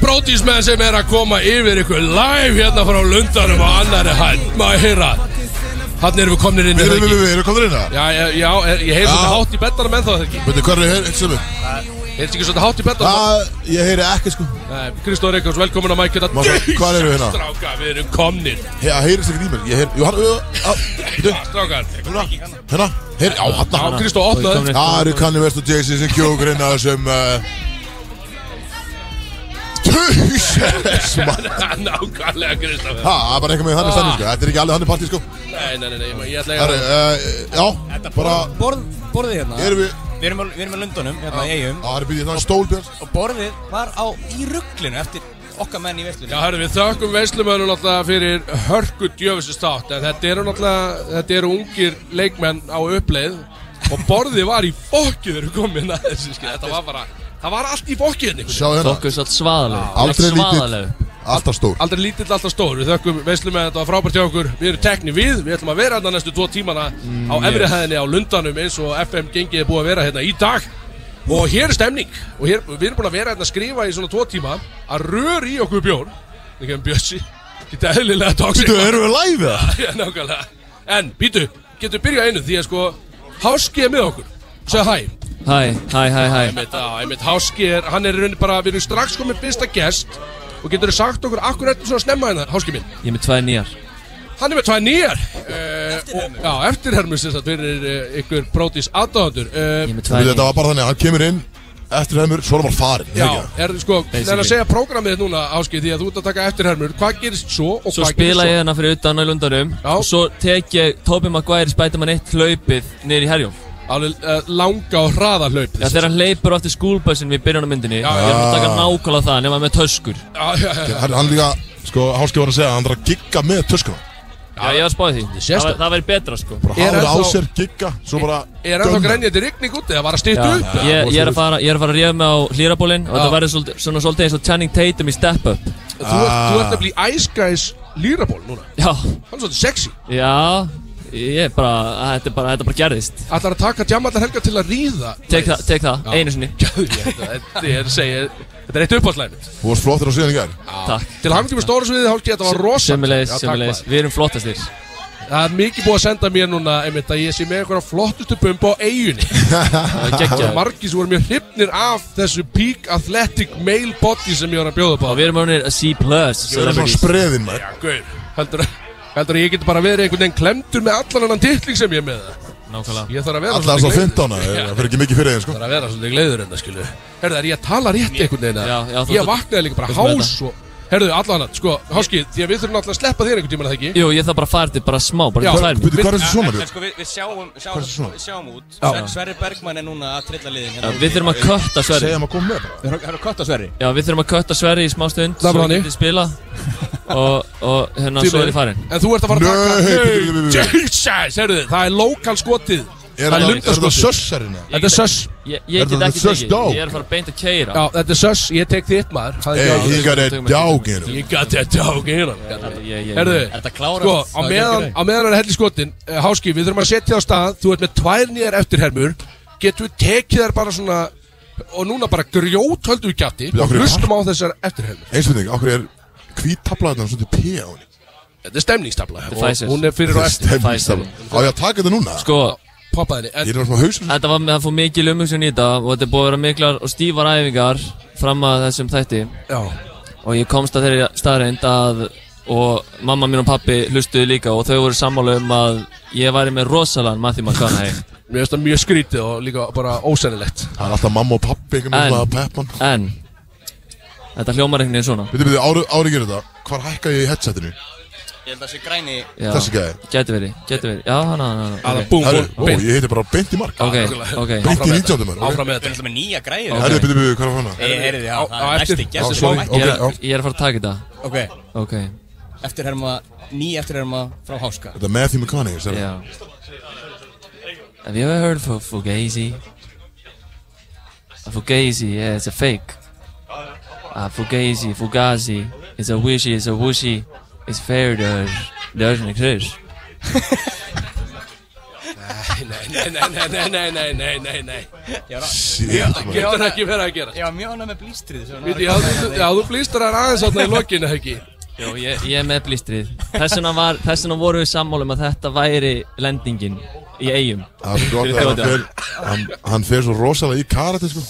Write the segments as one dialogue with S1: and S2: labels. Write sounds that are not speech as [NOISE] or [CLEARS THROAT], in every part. S1: brótismenn sem er að koma yfir ykkur live hérna frá lundanum og annari hætt maður heyra hann erum við komnir inn er
S2: Við
S1: það
S2: erum
S1: ekki?
S2: við, við erum komin inn það
S1: já, já, já, er- ég heyr svolítið
S2: Já.
S1: hátt í bettanum ennþá er það ekki
S2: Veitu, hvað er það, sem er?
S1: heyrst ekki svolítið hátt í bettanum
S2: Það, ég heyri ekki sko
S1: Kristóð Reykjavíks velkomin á mækjönda
S2: Má sjá, hvað erum við hérna?
S1: stráka við erum komnir
S2: Hei, Það heyrist ekkert í mér Ég heyri, jú, hann, jú,
S1: Já, strákar
S2: hérna Hérna, heyri, á,
S1: já,
S2: hérna
S1: Kristóð opnaði
S2: Það eru
S1: [LAUGHS]
S2: kannu verðst og Jason sem kjókur hérna sem uh, Jesus, mann
S1: nákvæmlega Kristóð
S2: Ha, Það er bara eitthvað með þannig stannir sko Þetta er ekki alveg hann er partí sko
S1: nei, nei, nei, nei, ég ætla
S2: Það
S1: ekki
S2: er, uh, já, bara
S3: Borð, borðið hérna
S2: Erum við,
S3: Við erum, við erum með Lundunum, hérna í eigum
S2: það er býtið þannig stólbjörn
S3: Og borðið var á í rugglinu eftir okkar menn í veislunni
S1: Já, herru, við þökkum veistlumönnum náttúrulega fyrir hörku djöfisistátt en þetta eru náttúrulega, þetta eru ungir leikmenn á uppleið og borðið var í fokkið þegar við komum inn að þessu, skil, þetta var bara, það var allt í fokkið hérna einhvern veginn.
S2: Sjá hérna,
S4: Fokkus allt svaðaleg
S2: aldrei lítill Alltaf stór
S1: Aldrei lítill, alltaf stór, við þökkum veistlumönnum, þetta var frábært hjá okkur, við erum tekni við, við ætlum að vera hérna næstu tvo tímana
S2: Mm,
S1: á efri hæðinni á Lundanum eins og FM gengið er búið að vera hérna í dag og hér er stemning og hér, við erum búin að vera hérna að skrifa í svona tvo tíma að rör í okkur bjór, það kemur bjössi, geta eðlilega tóksik
S2: Þú, erum við live eða?
S1: [LAUGHS] Já, nákvæmlega En, býtu, getur byrjað einu því að sko Háski er með okkur Segð hæ
S4: Hæ, hæ, hæ, hæ
S1: Einmitt, á, einmitt, Háski er, hann er í rauninni bara Við erum strax komið fyrsta gest Og getur þú sagt okkur akkur eftir svona snemma hérna, Háski minn
S4: Ég er með tvær nýjar
S1: Hann er með tvær nýjar uh, Já, eftirhermur sem sagt Fyrir uh, ykkur brótis aðdáðandur
S4: Ég
S1: uh,
S4: er með
S2: Þú
S4: tvær
S2: veit, Þetta
S4: nýjar
S2: var bara þannig að hann kemur inn Eftir heimur, svo er hann bara farinn, er
S1: Já,
S2: það ekki?
S1: er sko,
S4: Basically.
S1: neðan að segja prógramið þitt núna Háski Því að þú ert að taka eftirhermur Hvað gerist svo og
S4: Svo
S1: hvað
S4: spila ég
S1: gerist svo
S4: hérna fyrir utan á lundarum
S1: Já.
S4: Og svo tek ég Tobey Maguire Spiderman 1 hlaupið niður í herjum
S1: Alveg uh, langa og hraða hlaup
S4: Já, þegar hann hleypur eftir skúlbössin við byrjunum myndinni
S1: Já,
S4: Ég er að taka nákvæmlega það nema með töskur Já,
S1: Já, já, já, já.
S2: Hann, hann líka, sko, háski var að segja að hann þarf að gigga með töskuna
S4: ég var að spáði því
S1: sést
S4: Það,
S1: það.
S4: væri- það væri betra sko
S2: Bara
S1: Er
S2: hára á
S1: ennþá-
S2: sér, gigga, svo bara
S1: Er ennþá
S2: dönn.
S1: grænjandi rigning úti? Það var
S4: Já,
S1: að stýta upp
S4: ég, ég er að fara, ég er að fara að ríða mig á hlýrabólinn og þetta verður svolítið- svona svolítið eins og Channing Tatum í Step Up
S1: Þú ert, þú ert að bli Ice Guys líraból núna
S4: Já,
S1: Hann er svolítið sexy
S4: já, ég er bara, þetta er bara, þetta bara gerðist
S1: Ætlar að taka djamallar helga til að ríða
S4: Tek það, tek það, einu sinni,
S1: Gæðvegt, Þetta er að segja Þetta er eitt uppáðslæmi
S2: Þú varst flottur á síðan í gær
S4: takk
S1: Til hafingjum með stóra sviðið hálfki Þetta var rosa
S4: Semilegis, semilegis, við erum flottastir
S1: Það er mikið búið að senda mér núna einmitt að ég sé með einhverja flottustu bumbu á eiginni
S4: [LAUGHS] Það er
S1: Það er
S4: geggjað
S1: margir sem voru mjög hrifnir af þessu Peak Athletic Male Body sem ég var að bjóða upp á
S4: Og við erum ánir að C+,
S2: Ég verður svona
S4: celebrities
S2: spreðinn, maður
S1: Gaur, heldur Heldur að ég geti bara verið einhvern veginn klemdur með allan annan titling sem ég er með
S4: Nákvæmlega
S1: Ég þarf að vera
S2: Alltaf
S1: svolítið
S2: svo
S1: gleiður.
S2: 15 Það fyrir ekki mikið fyrir þeim, sko
S1: Það er að vera svolítið gleiður
S4: hérna,
S1: en það skilu Herðu, er ég að tala rétt einhvern veginn? eða?
S4: Já, já, þú-
S1: Ég vaknaði líka bara
S4: þú- þú-
S1: hás og Herðu, allan að, sko, háski, því að við þurfum alltaf að sleppa þér einhvern tímann að það ekki
S4: Jú, ég þarf bara að fara þetta bara smá,
S1: Já.
S4: bara í tvær mínútur.
S2: Býttu, hvað er
S3: En,
S2: þessi svona,
S3: en sko, við, við sjáum,
S2: Hvað er svona?
S3: sjáum, við sjáum út
S1: Já.
S3: Sver- Sverri Bergmann er núna að trilla liðin
S4: Já,
S3: hérna
S4: Við þurfum að kötta
S2: við
S4: Sverri
S2: Segja maður að koma með bara
S3: Það er að kötta Sverri
S4: Já, við þurfum að kötta Sverri í smá stund
S1: Það er
S4: Svo
S1: bara þannig.
S4: getið spila Og, og hérna,
S1: Því
S4: svo er
S1: miður.
S4: ég farin
S1: En þú ert að fara að
S2: Nei,
S1: taka
S2: bíddu, bíddu, bíddu.
S1: Jesus, herðu, það er lokal skotið
S2: Er
S1: Það er
S2: það- er það
S1: lundaskotið
S2: sössarinn, eða?
S1: Þetta er söss
S4: Ég,
S2: Er
S4: ég get
S2: það
S4: ekki
S2: such
S4: tekið,
S2: dog?
S4: ég er að fara beint að keira
S1: Já, þetta er söss, ég tek þitt maður Það er
S2: Hey,
S1: ekki
S2: he
S1: alveg-
S2: got a
S4: tökum-
S2: dog in him
S1: Ég gat þetta á geinan
S4: Ég- ég- ég-
S1: Herðu,
S3: Er þetta klárað?
S1: sko, á meðan, á meðan hann er helli skotin uh, Háski, við þurfum að setja á stað Þú ert með tvær nýjar eftirhermur Getum við tekið þær bara svona Og núna bara grjót höldum við gæti
S2: Við
S1: Og
S2: okkur-
S1: hlustum á þessar eftirhermur
S2: Einsvinning, okkur er Hvítablaðan svona P á henni
S1: Þetta er stemningstabla
S4: Þetta er
S1: Og
S4: Pfizer.
S1: hún er fyrir og eftir
S2: Stemningstabla Á ég að taka þetta núna?
S4: Sko,
S1: Poppaðinni
S2: Ég
S1: En
S2: er svona hausur
S4: þetta var, það fór mikil umhugsun í þetta Og þetta er búið að vera miklar og stífar æfingar Fram að þessum þætti
S1: já,
S4: Og ég komst að þeirri staðreind að Og mamma mín og pappi hlustuðu líka Og þau voru sammála um að Ég væri með rosalan Matthew McConaughey
S1: mér finnst það mjög skrítið Og líka bara ósennilegt
S2: Það er alltaf mamma og pappi Eitthvað með
S4: En-
S2: svona peppan
S4: En Þetta hljómar einhvern veginn svona
S2: Býttu, býttu, ári, ári gerir þetta Hvar hækka ég í headsetinu?
S3: Ég held að það sé græni
S4: Já.
S2: Þessi gæði
S4: Gæti verið, gæti verið Já, hana, hana,
S1: Aða
S4: hana
S1: búm,
S2: Herru, ó,
S1: búm, beint
S2: ég heiti bara beint í mark
S4: Ok,
S1: nákvæmlega.
S4: ok
S2: Beint í 19. mann
S1: Áfram með
S3: Við erum
S1: þetta
S3: alltaf með nýja græði
S2: Herru, býttu, býttu, hvað er fann það?
S3: Ég heyri því, já,
S1: Á- á
S3: það er næsti
S1: eftir.
S2: Já,
S3: gestur
S2: sorry,
S3: sem
S4: Ég er,
S2: ok, já.
S4: að- ég er að fara að taka þetta
S3: Ok,
S4: Ok,
S3: eftirherma, ný eftirherma frá Háska
S2: Þetta er Matthew McConaughey, sér
S4: já Have you ever heard of Fugazi? A Fugazi, yeah, it's a fake A Fugazi, Fugazi It's a wishy, it's a wushy It's
S2: [LAUGHS]
S4: fair, does, doesn't exist
S1: Nei, nei, Nei, nei, nei, nei, nei, nei, nei, nei, nei
S3: Ég var, á-
S2: Shit, maður.
S1: Getur það ekki verið að gera
S3: ég var mjög ánægð með blístrið sem var að
S1: Viti, já, þú- já, þú blýstrar aðeins átna í lokinu, ekki
S4: Jó, ég, ég er með blístrið. Þessuna, var, þessuna voru við sammálum að þetta væri lendingin í eigum.
S2: Það er svo gott að hann
S4: Fyrir
S2: fer, hann, hann fer svo rosalega í karate sko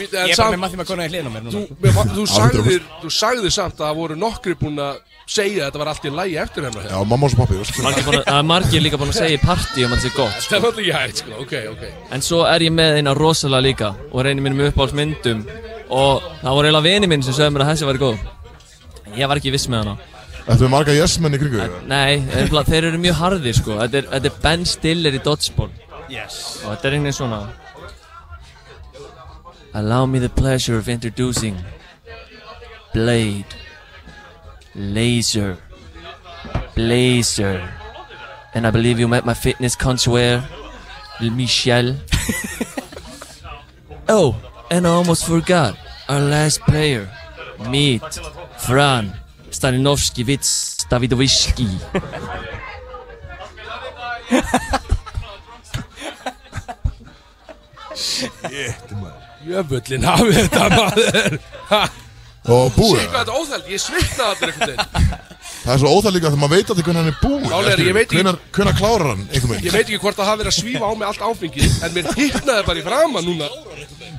S1: Viti, en
S3: Ég er bara með
S1: samt
S3: Matti McConaughey hliðin á mér
S1: Þú,
S3: núna
S1: mér fa- þú, sagðir,
S2: 100%.
S1: þú sagðir samt að það voru nokkri búin að segja að þetta var allt í lægi eftir hérna. hennar
S2: Já, mamma og svo pappi veist.
S4: Margir búin, að- það er margir líka búin að segja í partí um að þetta sé gott.
S1: [LAUGHS] Það var allir hægt, sko, ok, ok
S4: En svo er ég með eina rosalega líka og reynir mínum uppáhaldsmyndum og það voru eiginlega vinið minn sem sögðu mér að þessi væri góð. En Ég var ekki viss með hana.
S2: Þetta er marga jesmenn í kringu þig,
S4: Nei, nefnilega, þeir eru mjög harðir sko. Þetta er, þetta er Ben Stiller í Dodgeball
S3: Yes
S4: og þetta er einhvern veginn svona. Allow me the pleasure of introducing Blade, Laser, Blazer and I believe you met my fitness conswear, Michelle. oh, and I almost forgot our last player, Meet, Fran, Staninovski, Vits, Davidovski.
S1: Jöfullin hafið þetta maður Ha,
S2: Og búið
S1: Sér hvað þetta óþæld, ég svitnaði allir einhvern veginn
S2: Það er svo óþæð líka þegar maður veit aldrei hvernig hann er búið
S1: Máli er, ég veit ekki-
S2: Hvernig, hvernig klárar hann einhvern
S1: Ég
S2: veginn
S1: veit ekki hvort það hafi verið að svífa á mig allt áfengið En mér hittnaði bara í frama núna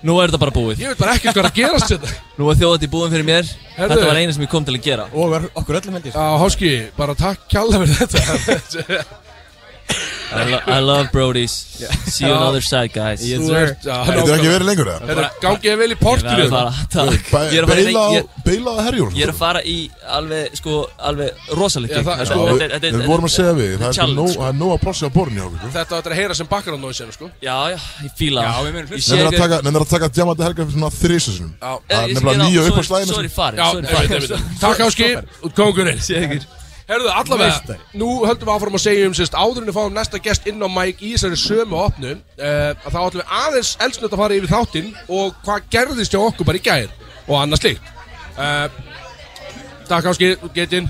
S4: Nú er þetta bara búið.
S1: Ég veit bara ekkert hvað er að gerast þetta
S4: Nú er þjóðat í búin fyrir mér.
S1: Herðu.
S4: Þetta var eina sem ég kom til að gera.
S3: Og var okkur öllum held ég
S1: Já, Háski, bara takk kjalla fyrir
S3: [LAUGHS]
S1: þetta
S4: I, lo I love Brody's. See you on the other side, guys. Ég
S1: Þú ert, já,
S2: Þetta er ekki
S1: nákvæmlega.
S2: verið lengur eða
S1: Herra, gangið vel í
S4: er
S1: portinu
S4: að fara, takk. Ég er að fara í,
S2: Beila á,
S4: ég,
S2: beila á herjúr
S4: ég er að fara í alveg, sko, alveg rosalegt.
S1: Já,
S4: gig.
S1: það-
S4: Þetta-
S1: sko,
S4: þetta er- þetta er-
S2: Við vorum að segja við Það er sko
S4: challenge,
S2: nóg-
S4: sko.
S2: það er nóg að plossi á borðin hjá okkur sko.
S1: Þetta áttur að heyra sem background noise hérna, sko
S4: Já, já, ég fíla
S3: Já,
S4: það.
S3: við munum hlusta.
S4: Ég sé
S2: Nefnir
S4: ykkur-
S2: að taka, nefnir að taka Diamante Helga fyrir svona þrísisunum
S1: Já,
S2: Það
S4: Ég
S2: er
S4: skal
S2: nefnilega
S4: gera-
S2: nýja
S4: sorry-
S2: uppáðslæðin
S4: Sorry, farið,
S1: Já,
S4: sorry, farið.
S2: [LAUGHS]
S1: einmitt, einmitt Takk Háski, út kongurinn
S4: Sigur.
S1: Herðu, allavega, nú höldum við áfram að segja um sérst áður en við fáum næsta gest inn á Mike í þessari sömu opnu uh, að þá ætlum við aðeins elsnönd að fara yfir þáttinn og hvað gerðist hjá okkur bara í gær og annað slíkt uh, Takk Áski, getinn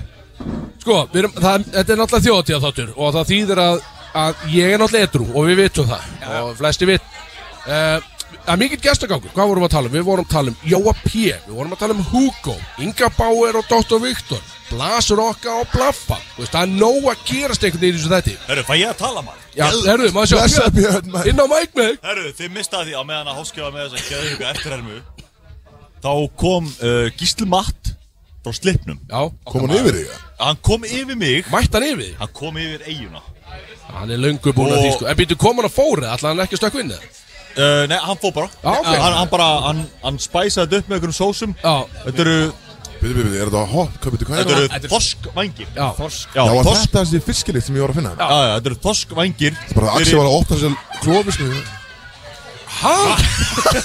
S1: Sko, við erum, það, þetta er náttúrulega þjóðatíða þáttur og það þýðir að, að ég er náttúrulega edru og við vitum það og flesti vit uh, Það er mikill gestagangur, hvað vorum við að tala um? Við vorum að tala um Jóa P, við vorum að tala um Hugo, Inga Bauer og Dr. Viktor, Blas Rokka og Blaffa. Þú veist, það er nóg að gerast einhvern veginn í þessu þætti.
S5: Herru, fæ ég að tala maður?
S1: Já, herru, maður sjá,
S2: Blessa Björn maður.
S1: inn á mæk með þig.
S5: Herru, þið mistaði því að meðan að háskjöfa með þess að geða ykkur eftirhermu Þá kom
S2: eh,
S5: uh, Gísli Matt frá slipnum
S1: Já,
S2: Kom hann yfir þig eða?
S5: Hann kom yfir mig,
S1: mætt hann yfir því.
S5: hann kom yfir eiguna
S1: Hann er löngu búin að því, sko. En býtu, kom hann að fóri, ætlaði hann ekki að stökk vinna?
S5: uh, Nei, hann fór bara
S1: Já, ok.
S5: hann, hann bara, hann, hann spæsaði þetta upp með einhverjum sósum
S1: Já.
S5: Þetta eru,
S2: Bíti, bíti, er þetta hopp? Hvað bíti, hvað er
S5: þetta
S2: það?
S5: eru þorskvængir
S1: Já,
S5: Já,
S2: Já, var
S5: þorsk,
S2: þetta þessi fiskilíkt sem ég var að finna?
S5: já, já, þetta eru þorskvængir
S2: Bara að Axi var að opna þessi klófi sko
S1: hæ?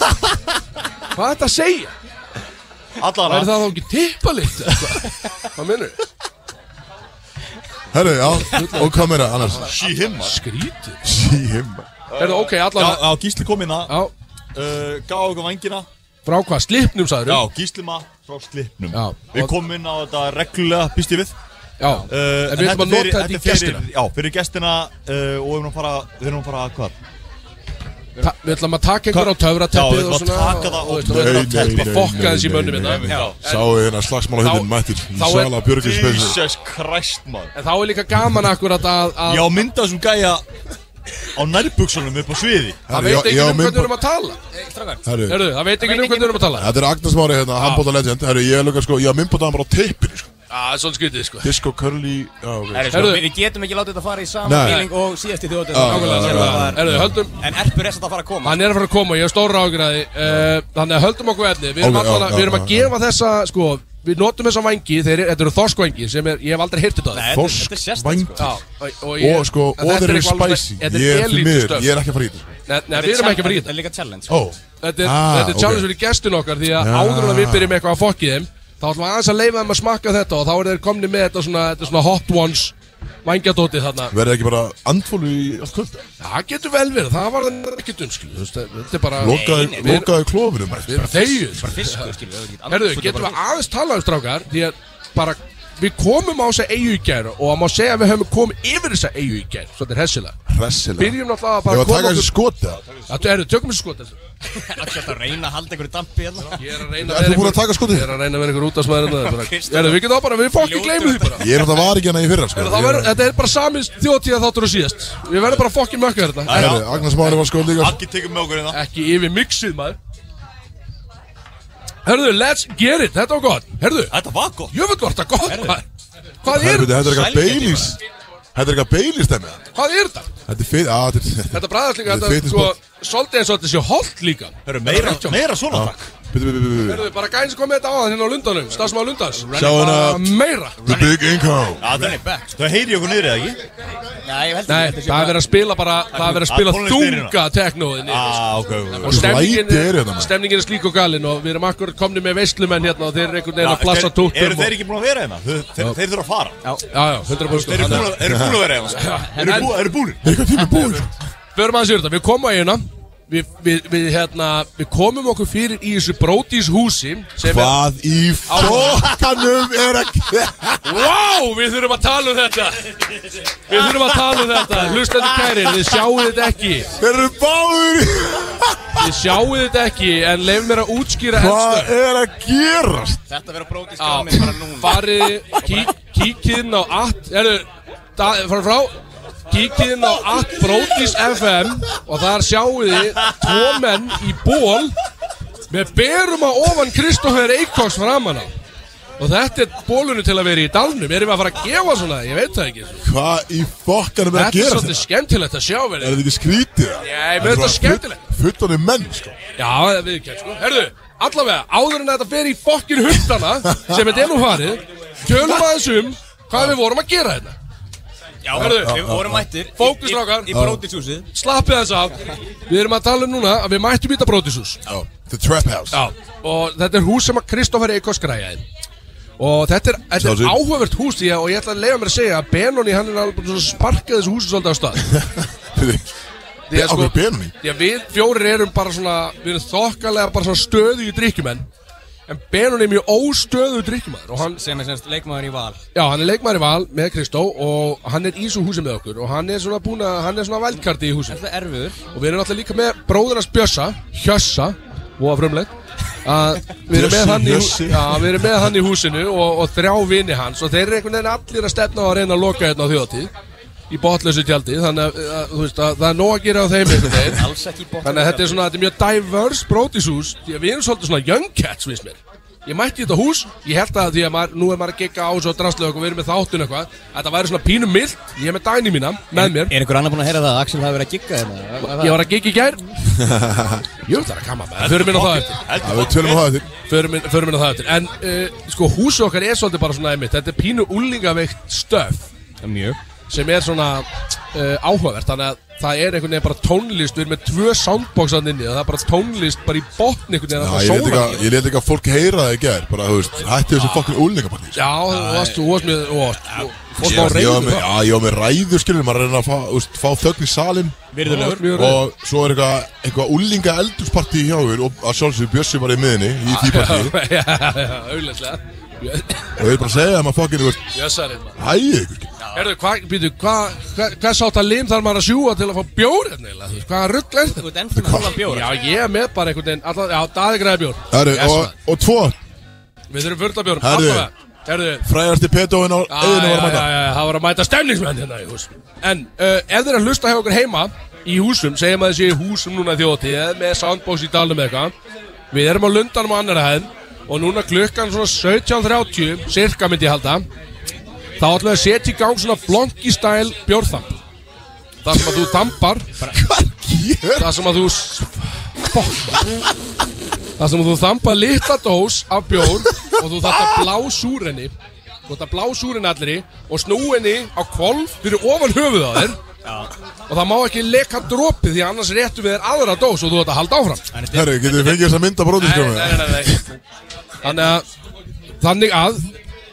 S1: [LAUGHS] Hvað er þetta að segja?
S5: Allara,
S1: Er það þá ekki tippalikt? Hvað minnur?
S2: Herru, já, og hvað meira annars?
S5: she him maður.
S1: Grítið.
S2: Sí, himma
S1: Er það ok,
S5: Já,
S1: allan
S5: já, Gísli kom inn að,
S1: Já,
S5: gaf okkur vængina
S1: frá hvað, slipnum sagður?
S5: Já, Gísli Matt frá slipnum
S1: um. Já.
S5: Við komum inn á þetta reglulega, býst ég við
S1: Já,
S5: Uh,
S1: en við ætlum að
S5: fyrir-
S1: nota þetta í
S5: er
S1: gestina
S5: fyrir, Já, fyrir gestina uh, og við erum að fara, við erum að fara hvað?
S1: Ta- Við ætlum að taka einhver á töfrateppið
S5: Já, við
S1: og
S5: ætlum að
S1: svona
S5: taka það og-
S1: og- og- og-
S5: Nei,
S1: og-
S5: nei,
S1: og- og- Fokka þessi mönnum
S2: nei,
S1: þetta
S2: nei.
S5: Já,
S2: Sáu hérna slagsmála
S1: Þá-
S2: hérna mættir Í
S1: þá er-
S2: sala Björgins spesir
S5: Jesus Christ maður
S1: En þá er líka gaman akkurat að að-
S5: Já, mynda þessum gæja á nærbuksunum upp á sviði
S1: Það veit ekki um hvernig við erum að tala
S2: Herru,
S1: Herðu, það veit ekki um hvernig við erum að tala Ah.
S2: þetta er Agnes Mári hérna, handbóta legend Herru, ég er lukkar sko, ég haf minnbótað hann bara á teipinu sko
S1: Já, það er svolítið skytið sko
S2: Disco Curly, já, ok
S3: Herru, sko,
S1: Herðu.
S3: Við getum ekki látið þetta fara í sama
S2: Nei.
S3: feeling og síðasti þjóðatíð
S2: Já, já, já, já.
S3: ah,
S1: Herðu, höldum
S3: En erpur er samt að fara að koma
S1: Hann er að fara að koma, ég hef stóra ágræði uh, Þannig að höldum okkur efni Við erum,
S2: Ok, já,
S1: allan, að,
S2: já,
S1: við erum að
S2: já, já.
S1: gefa þessa, sko Við notum þessa vangi, þeir eru, þetta eru þorskvangi sem er, ég hef aldrei hirtið það
S3: Nei, þetta- þetta er sérstakt, sko.
S2: Þorskvæng
S1: Já, og,
S2: Og sko,
S1: en
S2: og
S1: þetta
S2: þeir eru
S1: eitthvað alveg-
S2: spicy
S1: Þetta
S2: Ég
S1: er
S2: er því miður,
S1: elítustöf
S2: ég er ekki að fara í þetta sko.
S1: Nei, nei, við erum ekki að fara í þetta
S3: Þetta er líka challenge
S2: Ó,
S1: Þetta er,
S2: Ah,
S1: þetta er challenge
S2: ok.
S1: fyrir gestin okkar Því að
S2: Já.
S1: áður en að við byrjum með eitthvað að fokki þeim Þá ætlum við aðeins að leifa þeim að smakka þetta Og þá er þeir komni með þetta svona, þetta svona hot ones Vangjadóti þarna
S2: verður ekki bara andfólu í allt kvöld
S1: Það getur vel verið, það var það ekki dumskil Þetta er bara
S2: Lokaði,
S1: við-
S2: lokaði klófinu
S1: Við erum þegið
S3: Bara fiskur skilur við
S1: Herðu, getum við aðeins talað um strákar Því að bara, við komum á þessa eigu í gær Og að má segja að við höfum komið yfir þessa eigu í gær Svona er hessilega
S2: Hressilega
S1: Byrjum náttúrulega að
S2: Ég
S1: bara
S2: var að taka
S1: koma
S2: þessi
S1: okkur
S2: skoti
S1: Það eru, tökum þessu skot þessu.
S3: Allt þetta að reyna að halda einhverju dampi hérna
S1: Ég er að reyna
S2: Ert þú búin að
S1: einhver-
S2: taka skotið?
S1: Ég er að reyna að vera einhver út af smaður Erðu, við getum þá bara, við fokkin gleymum því bara
S2: Ég er náttúrulega var ekki hana í fyrra sko
S1: Heyrðu, þá verður- Þetta er bara samins þjóttíða þáttur og síðast Við verðum bara fokkin mökka þetta
S5: Já,
S2: Herri, Agnars Mári var skot líka sko-
S5: Akki tekur með okkur hérna
S1: Ekki yfir mixið maður Herðu, let's get it, þetta var gott Herðu,
S5: Þetta var gott
S1: jöfnveld var þetta gott maður Hvað er,
S2: Herri, Þetta er eitthvað
S5: Sælgæti
S2: Baileys Þetta er eitthvað Baileys dæmi
S1: hvað er þetta?
S2: Þetta er fyrir, á, þetta
S1: Þetta bræðast líka,
S2: Þetta er
S1: þetta sko,
S2: fitness
S1: svolítið eins og þetta sé holt líka
S5: Hörru, meira,
S1: Þetta er
S5: meira svona takk
S2: er Bitu, bitu, bitu, bitu
S1: Herðu, bara gæðin sem kom með þetta á hérna á Lundanum, stafsmáð Lundans
S2: Sjá
S1: Bara
S2: hana
S1: Meira
S2: The Big Income
S5: Já, það er sko.
S3: back.
S5: Það heyri okkur niður eða ekki?
S3: Nei, ég held
S1: Nei,
S3: ekki
S1: það er verið að spila bara, það er verið að
S5: Ah,
S1: spila
S5: tónlist er hérna.
S1: þunga teknóðinni
S5: Á, Ah, ok, ok, ok
S1: Og stemningin
S2: læti eru
S1: er,
S2: hérna, maður.
S1: stemningin er slík og galin og við erum akkur komni með veislumenn hérna og þeir eru einhvern veginn að flassa
S5: Eru
S1: tóttum
S5: þeir ekki búin að vera hérna? Þeir, þeir, þeir þurfa að fara
S1: Já, já, 100%
S5: Þeir eru búin að, eru búin að vera hérna Eru
S1: en-
S5: búin, eru búin
S2: Er eitthvað tími búið
S1: Förum aðeins yfir þetta, við komum að hérna við, við, við, hérna, við komum okkur fyrir í þessu brótis húsi sem er,
S2: Hvað í fokkanum er að
S1: wow, við þurfum að tala um þetta Við þurfum að tala um þetta Hlustandi kærir, þið sjáuð þetta ekki
S2: Þeir eru báður í
S1: Þið sjáuð þetta ekki, en leif mér að útskýra ennstöð
S2: Hvað er að gerast?
S3: Þetta verður brókið
S1: Já,
S3: skamið bara núna
S1: farið,
S3: [LAUGHS]
S1: kík, kíkið inn á at, erðu, da- frá frá, kíkið inn á at Brodís FM og þar sjáu þið tvo menn í ból með berum að ofan Kristófer Eikóks framan á. Og þetta er bólunum til að vera í dalnum, erum við að fara að gefa svona, ég veit það ekki.
S2: Hvað í fokkanum er að
S1: Þetta er
S2: gerast?
S1: svolítið skemmtilegt að sjá
S2: Er
S1: verið.
S2: þetta ekki skrítið? eða?
S1: Nei, mér finnst það skemmtilegt.
S2: Fullonir menn, sko
S1: Já, það við kemst sko. Herðu, allavega, áður en þetta fer í fokkin hundana sem þetta er nú farið, tölum aðeins um hvað við vorum að gera hérna.
S3: Já,
S1: Hörðu,
S3: við vorum mættir
S1: Fókus, strákar.
S3: Í brótishúsið
S1: Slappið þess af Við erum að tala um núna að við mættum í þetta brótishús
S2: Já, The Trap House
S1: Já Og þetta er hús sem að Kristófer Eikos græjaði Og þetta er, þetta er
S2: Sjálfsögðu.
S1: áhugavert hús því að Og ég ætla að leiða mér að segja að Benoni hann er alveg svona sparkað þessu húsi svolítið á stað
S2: [LAUGHS] Fyrir
S1: Því að sko,
S2: Á hverju benum í?
S1: Því að við fjórir erum bara svona Við erum þokkalega bara svona stöðu í drikkjumenn En Benoni er mjög óstöðu drikkjumæður Og hann
S3: Sem er semst leikmaður í val
S1: Já, hann er leikmæri val með Kristó og hann er í svo húsi með okkur og hann er svona búin að, hann er svona vældkarti í húsi
S3: Þetta er erfiður
S1: og við erum alltaf líka með bróðunars Bjössa Hjössa, voða frumleg að við erum með
S2: Bjössi,
S1: hann í,
S2: Hjössi.
S1: hú- já, við erum með hann í húsinu og, og þrjá vini hans og þeir eru einhvern veginn allir að stefna á að reyna að loka hérna á þjóðatíð í botlausu tjaldi þannig að, að, þú veist, að það er nóg að gera á þeim einhvern veginn
S3: Alls ekki í bótt
S1: þannig að þetta er svona þetta er mjög diverse brótishús því að við erum svolítið svona young cats viðst mér Ég mætti í þetta hús, ég held að því að maður, nú er maður að gegga á svo drastlega og við erum með þáttun eitthvað að það væri svona pínum mild, ég er með dæni mína með mér
S3: Er einhver annar búinn að heyra það að Axel hafi verið að gigga hérna?
S1: Ég var að gigga í gær Jú, það er að kama með Förum inn á það eftir
S2: Já, við tölum á það eftir
S1: Förum inn, förum inn á það eftir En uh, sko, húsið okkar er svolítið bara svona einmitt Þetta er pínu úlingaveikt stöf
S3: Mjög
S1: Sem er svona uh, áhugavert Þannig að það er einhvern veginn bara tónlist Við erum með tvö soundbox hann inni og Það er bara tónlist bara í botn einhvern veginn
S2: Já,
S1: að
S2: ég
S1: það
S2: lét
S1: sóla
S2: eitthvað- ég lét ekki að fólk heyra það í gær Bara, þú veist, hætti þessu fokkin úlingapartí
S1: Já, þú varst, þú varst með Þú varst, þú varst á
S2: Ég var- ég var
S1: reyðu
S2: með-
S1: það
S2: já, ég var með ræður, skilur Maður er að reyna að fá, þú veist, fá þögn í salin
S1: Virðulegur mjög reyður.
S2: Og svo er eitthvað Eitthvað úlinga eldurspartí hjá þér Og að sjálfsögur Bjössi var í miðinni Í því partí
S1: [LAUGHS] Já, já, auðvitað
S2: Og ég er bara að segja að maður fokkin, þú veist
S1: Jössarinn maður.
S2: Hæði ykkur, skilur
S1: Herðu, hvað, býtu, hvað, hvað, hvað sátt að lim þarf maður að sjúa til að fá bjór hérna eiginlega? Þú veist, Hvaða rugl er þetta?
S3: Þú ert ennþá með hálfa bjóra
S1: Já, ég er með bara einhvern veginn alla, Já, Daði græði bjór
S2: Herru,
S1: Yes,
S2: og,
S1: maður.
S2: og tvo
S1: Við þurfum fyrta bjór
S2: Herðu.
S1: Herðu
S2: Fræðasti petóin á
S1: Já,
S2: auðinu
S1: já,
S2: var að mæta
S1: já, já, það var að mæta stemningsmenn hérna í hús En uh, ef þeir eru að hlusta hjá okkur heima Í húsum, segjum að þessi í húsum núna þjótið Með soundbox í dalum eða eitthvað Við erum á lundanum á annara hæð Og núna klukkan svona 17.30 Cirka myndi ég halda Þá ætlum við að setja í gang svona blonki-stæl bjórþamp Það sem að þú þampar
S2: Hvað gerir?
S1: Það sem að þú Fuck. Það sem að þú þampa litla dós af bjór Og þú þarft að blá súrenni Þú þarft að blá súrenni allri Og snú henni á kvolf fyrir ofan höfuð á þér Og það má ekki leka dropi Því annars réttum við þér aðra dós Og þú þarft að halda áfram
S2: Herru, getur við fengið þess að mynda bróðinskjóma?
S1: Þannig að Þannig að,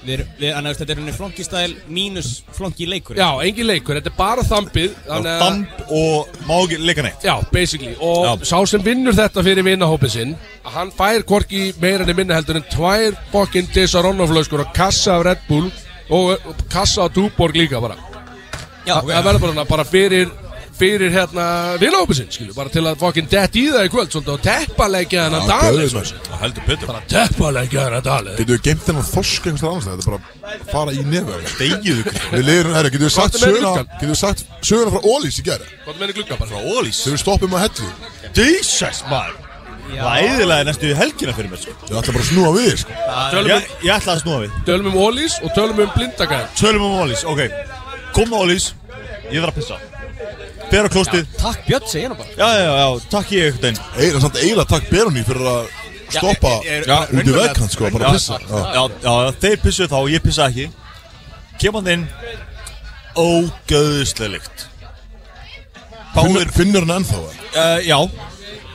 S3: Við erum, við, annars þetta er henni flonkistæl mínus flonki leikur
S1: já, engin leikur Þetta er bara þambið Þannig að
S5: Damp og má ekki leika neitt
S1: Já, basically, og
S5: Já.
S1: sá sem vinnur þetta fyrir vinnahópin sinn Hann fær korki meira enn minna heldur en tvær fokkin disaronoflöskur og kassa af Red Bull og og kassa af Túborg líka bara
S3: Já,
S1: Það verður hérna bara, svona bara fyrir fyrir hérna vilópið sinn, skilju, bara til að fokkin dett í það í kvöld, svolítið og teppalegja hennar
S2: Já,
S1: dalið,
S2: geðveikt,
S1: sko.
S2: maður.
S5: Það heldur betur
S1: bara teppalegja hennar dalið.
S2: Getur við geimt þennan þorsk einhvers staðar annars staðar? Þetta er bara að fara í nefn
S5: Degiðu ykkur
S2: Við leirum, herra, getur við sagt
S1: Hvað er með
S2: söguna
S1: gluggann?
S2: Getur við sagt söguna frá Ólís í gera
S1: Hvað með henni glugga bara?
S5: Frá ólís
S2: Þegar við stoppum að hellu
S5: Jesus maður Það æðilaði næstu í helgina fyrir mér sko.
S2: Við ætlum bara að snúa við, sko
S1: Tölum
S5: ég,
S1: um,
S5: ég ætla að snúa við
S1: tölum um Ólís og tölum um blindagæðan.
S5: Tölum um ólís, ok Kom ólís Ég þarf að pissa Fer á klóstið
S3: Takk Björn, segja nú bara
S5: Já, já, já, takk ég einhvern veginn
S2: Eila, samt eila takk Beroni fyrir að stoppa
S5: er- er-
S2: út í
S5: raunverulega-
S2: vegkant, sko, bara að pissa Já.
S5: já, já, þeir pissuðu þá, ég pissa ekki Kem hann inn Ógöðslega lykt Báðir,
S2: Finnur- Finnur hann ennþá, eða?
S5: uh, já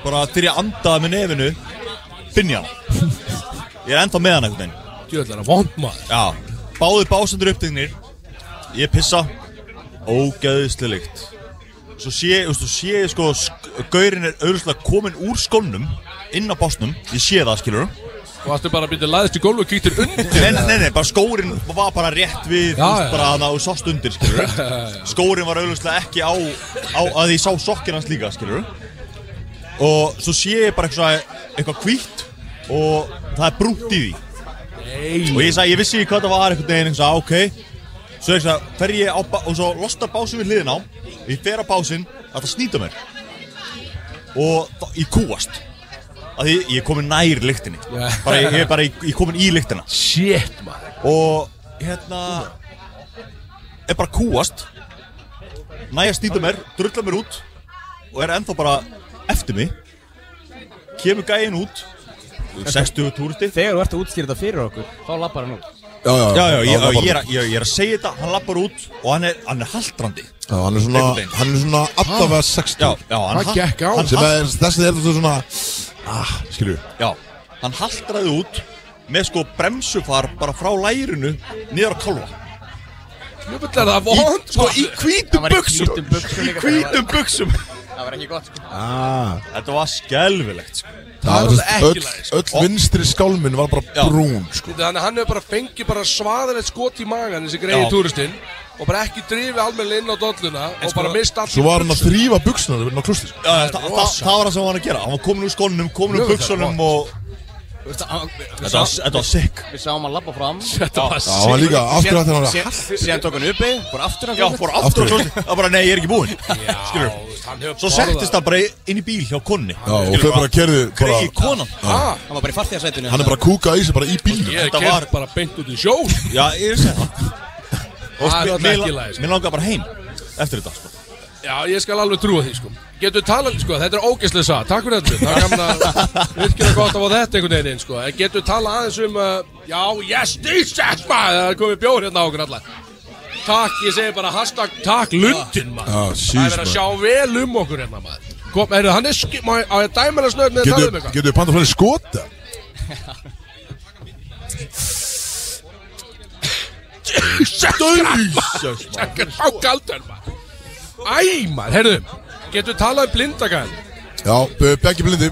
S5: Bara þegar ég andaði með nefinu Finn ég hann Ég er ennþá með hann einhvern veginn
S1: Djöðlega, vond maður.
S5: Já, báðir básendur upptegnir Ég pissa Ógæðislega líkt Svo sé, þú veist, þú sé sko sk- Gaurin er auðvitað komin úr skónum Inn á básnum, ég sé það skilur
S1: Þú ætti bara að byrja laðist í gólf og kíktir undir.
S5: Nei, nei, nei, nei, bara skórin var bara rétt við Þú
S1: Já,
S5: veist,
S1: já.
S5: bara að þú sást undir skilur
S1: [LAUGHS]
S5: Skórin var auðvitað ekki á, á Að ég sá sokkin hans líka skilur Og svo sé ég bara eitthvað Eitthvað hvítt Og það er brúnt í því og ég sagði, ég vissi ekki hvað það var einhvern veginn, ég sagði, "Ah, ok svo ég sagði, fer ég á, ba- og svo losna básin við hliðin á og ég fer á básin að það snýta mér og þá, ég kúast að ég, ég er komin nær lyktinni
S1: Já.
S5: bara, ég, ég er bara, ég, ég er komin í lyktina
S1: Shit, maður.
S5: og hérna er bara kúast næja snýta mér, drulla mér út og er ennþá bara eftir mig kemur gæin út 60 túristi
S3: Þegar þú ert að útskýra þetta fyrir okkur Þá lappar hann út
S2: Já, já,
S5: Já, já, ég,
S2: það var
S5: ég, er,
S2: bara-
S5: að- ég, ég er að segja þetta, hann lappar út og hann er, hann er haldrandi
S2: Já, hann er svona,
S5: Einhvern veginn.
S2: hann er svona allavega 60
S5: Já, já, hann,
S1: Hvað gekk á?
S5: hann,
S2: Sem
S5: hal-
S2: er, þessi er þetta svona Ah, skilju
S5: já, hann haldraði út með sko bremsufar bara frá lærinu niður á kálfa
S1: Jöfnveld er það vond,
S5: Sko í hvítum
S3: var í
S5: buksum
S3: hvítum buxum
S5: Í
S3: líka,
S5: hvítum buksum
S3: Það var ekki gott sko
S2: Ah,
S5: Þetta var skelfilegt sko.
S1: Það er
S2: þú veist,
S1: alltaf ekki
S2: öll-
S1: læg, sko.
S2: Öll vinstri skálminn var bara
S5: Já.
S2: brún, sko
S1: Þannig að hann hefur bara fengið bara svaðilegt skot í magan þessi greiði
S5: Já.
S1: túristinn og bara ekki drifið almennilega inn á dolluna og bara
S5: sko-
S1: mist allt
S2: Svo var hann að þrýfa buksuna þegar hann á sko. klusti
S5: já, það, það, það, það var það sem hann var að gera Hann var komin úr skónum, komin úr
S1: Jöfull,
S5: buksunum og
S3: Þú veist, hann- við
S5: Þetta var,
S3: sá-
S5: þetta var sick
S3: Við sáum hann lappa fram
S1: Þetta var
S2: Já, hann líka, af hverju ætti hann að
S3: Síðan- Síðan tók hann uppi Fór aftur hann
S5: Já, fór aftur á klósti Það var bara, nei, ég er ekki búinn Skilur, svo settist hann bara inn í uh, bíl hjá konni
S2: Já, og þau bara kerði bara,
S5: Gregi konan
S1: Hann
S3: Hann var bara í fartíðarsætinu
S2: Hann er bara að kúka í sig bara í bílnum
S1: Ég
S5: Þetta
S1: kem
S5: var-
S1: bara beint út í sjó
S5: Já, ég er að segja það
S1: Það er
S5: Mér-
S1: alltaf
S5: mér-
S1: ekki læg sko.
S5: Mér langar bara heim Eftir þetta sko.
S1: Já, ég skal alveg trúa því sko Getur talað, sko, þetta er ógeðslega sað Takk fyrir þetta, það er gaman að virkilega gott að fá þetta einhvern veginn inn, sko En getur talað aðeins um uh, Já, yes, Jesus, maður Það er komið bjór hérna á okkur alla Takk, ég segi bara hashtag Takk Lundin, maður
S2: Já,
S1: Það
S2: sís,
S1: er verið að
S2: maður.
S1: sjá vel um okkur hérna, maður Kom, er, hann er skip, má, á ég dæmala snöð með það um
S2: Getur
S1: eitthvað?
S2: getur við panta fleiri skota?
S1: Jesus, maður Há galdur, maður Æ, maður, heyrðu, getur talað um blindagæðan
S2: Já, be- beggi blindi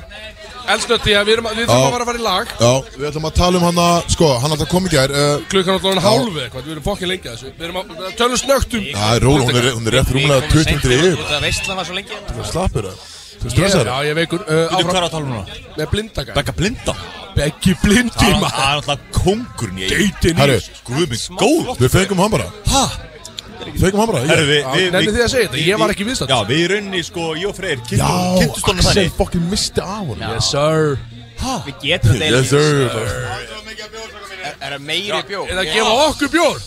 S1: Elsnötti, við, erum- við þurfum
S2: Já.
S1: að fara að fara í lag
S2: Já, við ætlum að tala um hann að, sko, hann alltaf kom í gær uh,
S1: Klukkan er allavega hálfu eitthvað, við erum fokkin lengi að þessu Við erum að við tölum snögt um
S2: Já, róla, hún er, hún er rétt rúmlega 20 til yfir
S3: Það veistlan var svo lengi
S2: Slappir það, þú stressar
S1: Já,
S2: það
S1: ég er veikur uh,
S5: Þú hvað
S1: áfram
S5: er að tala um núna?
S1: með blindaka
S5: Begga blinda
S1: Beggi blindi
S5: Það
S1: maður
S5: er alltaf kóngurinn ég
S1: Geitin í
S2: Herru,
S1: þessu.
S5: Guð minn góð
S2: við fengum hann bara
S5: Hæ?
S2: Fengum hann bara,
S5: Herru,
S2: ég
S5: við
S1: Já,
S5: við-
S1: nennið
S5: við-
S1: þið að segja þetta?
S5: við-
S1: Ég var
S5: við-
S1: ekki viðstaddur.
S5: Já, við í rauninni sko, ég og Freyr
S2: Já,
S5: Kynntust honum
S2: Axel
S5: þannig
S2: fucking misti af honum
S1: Yes sir
S3: Við getum þetta eiginlega
S2: Yes sir
S3: ekki. Er það meiri bjór?
S1: Eða gefa okkur bjór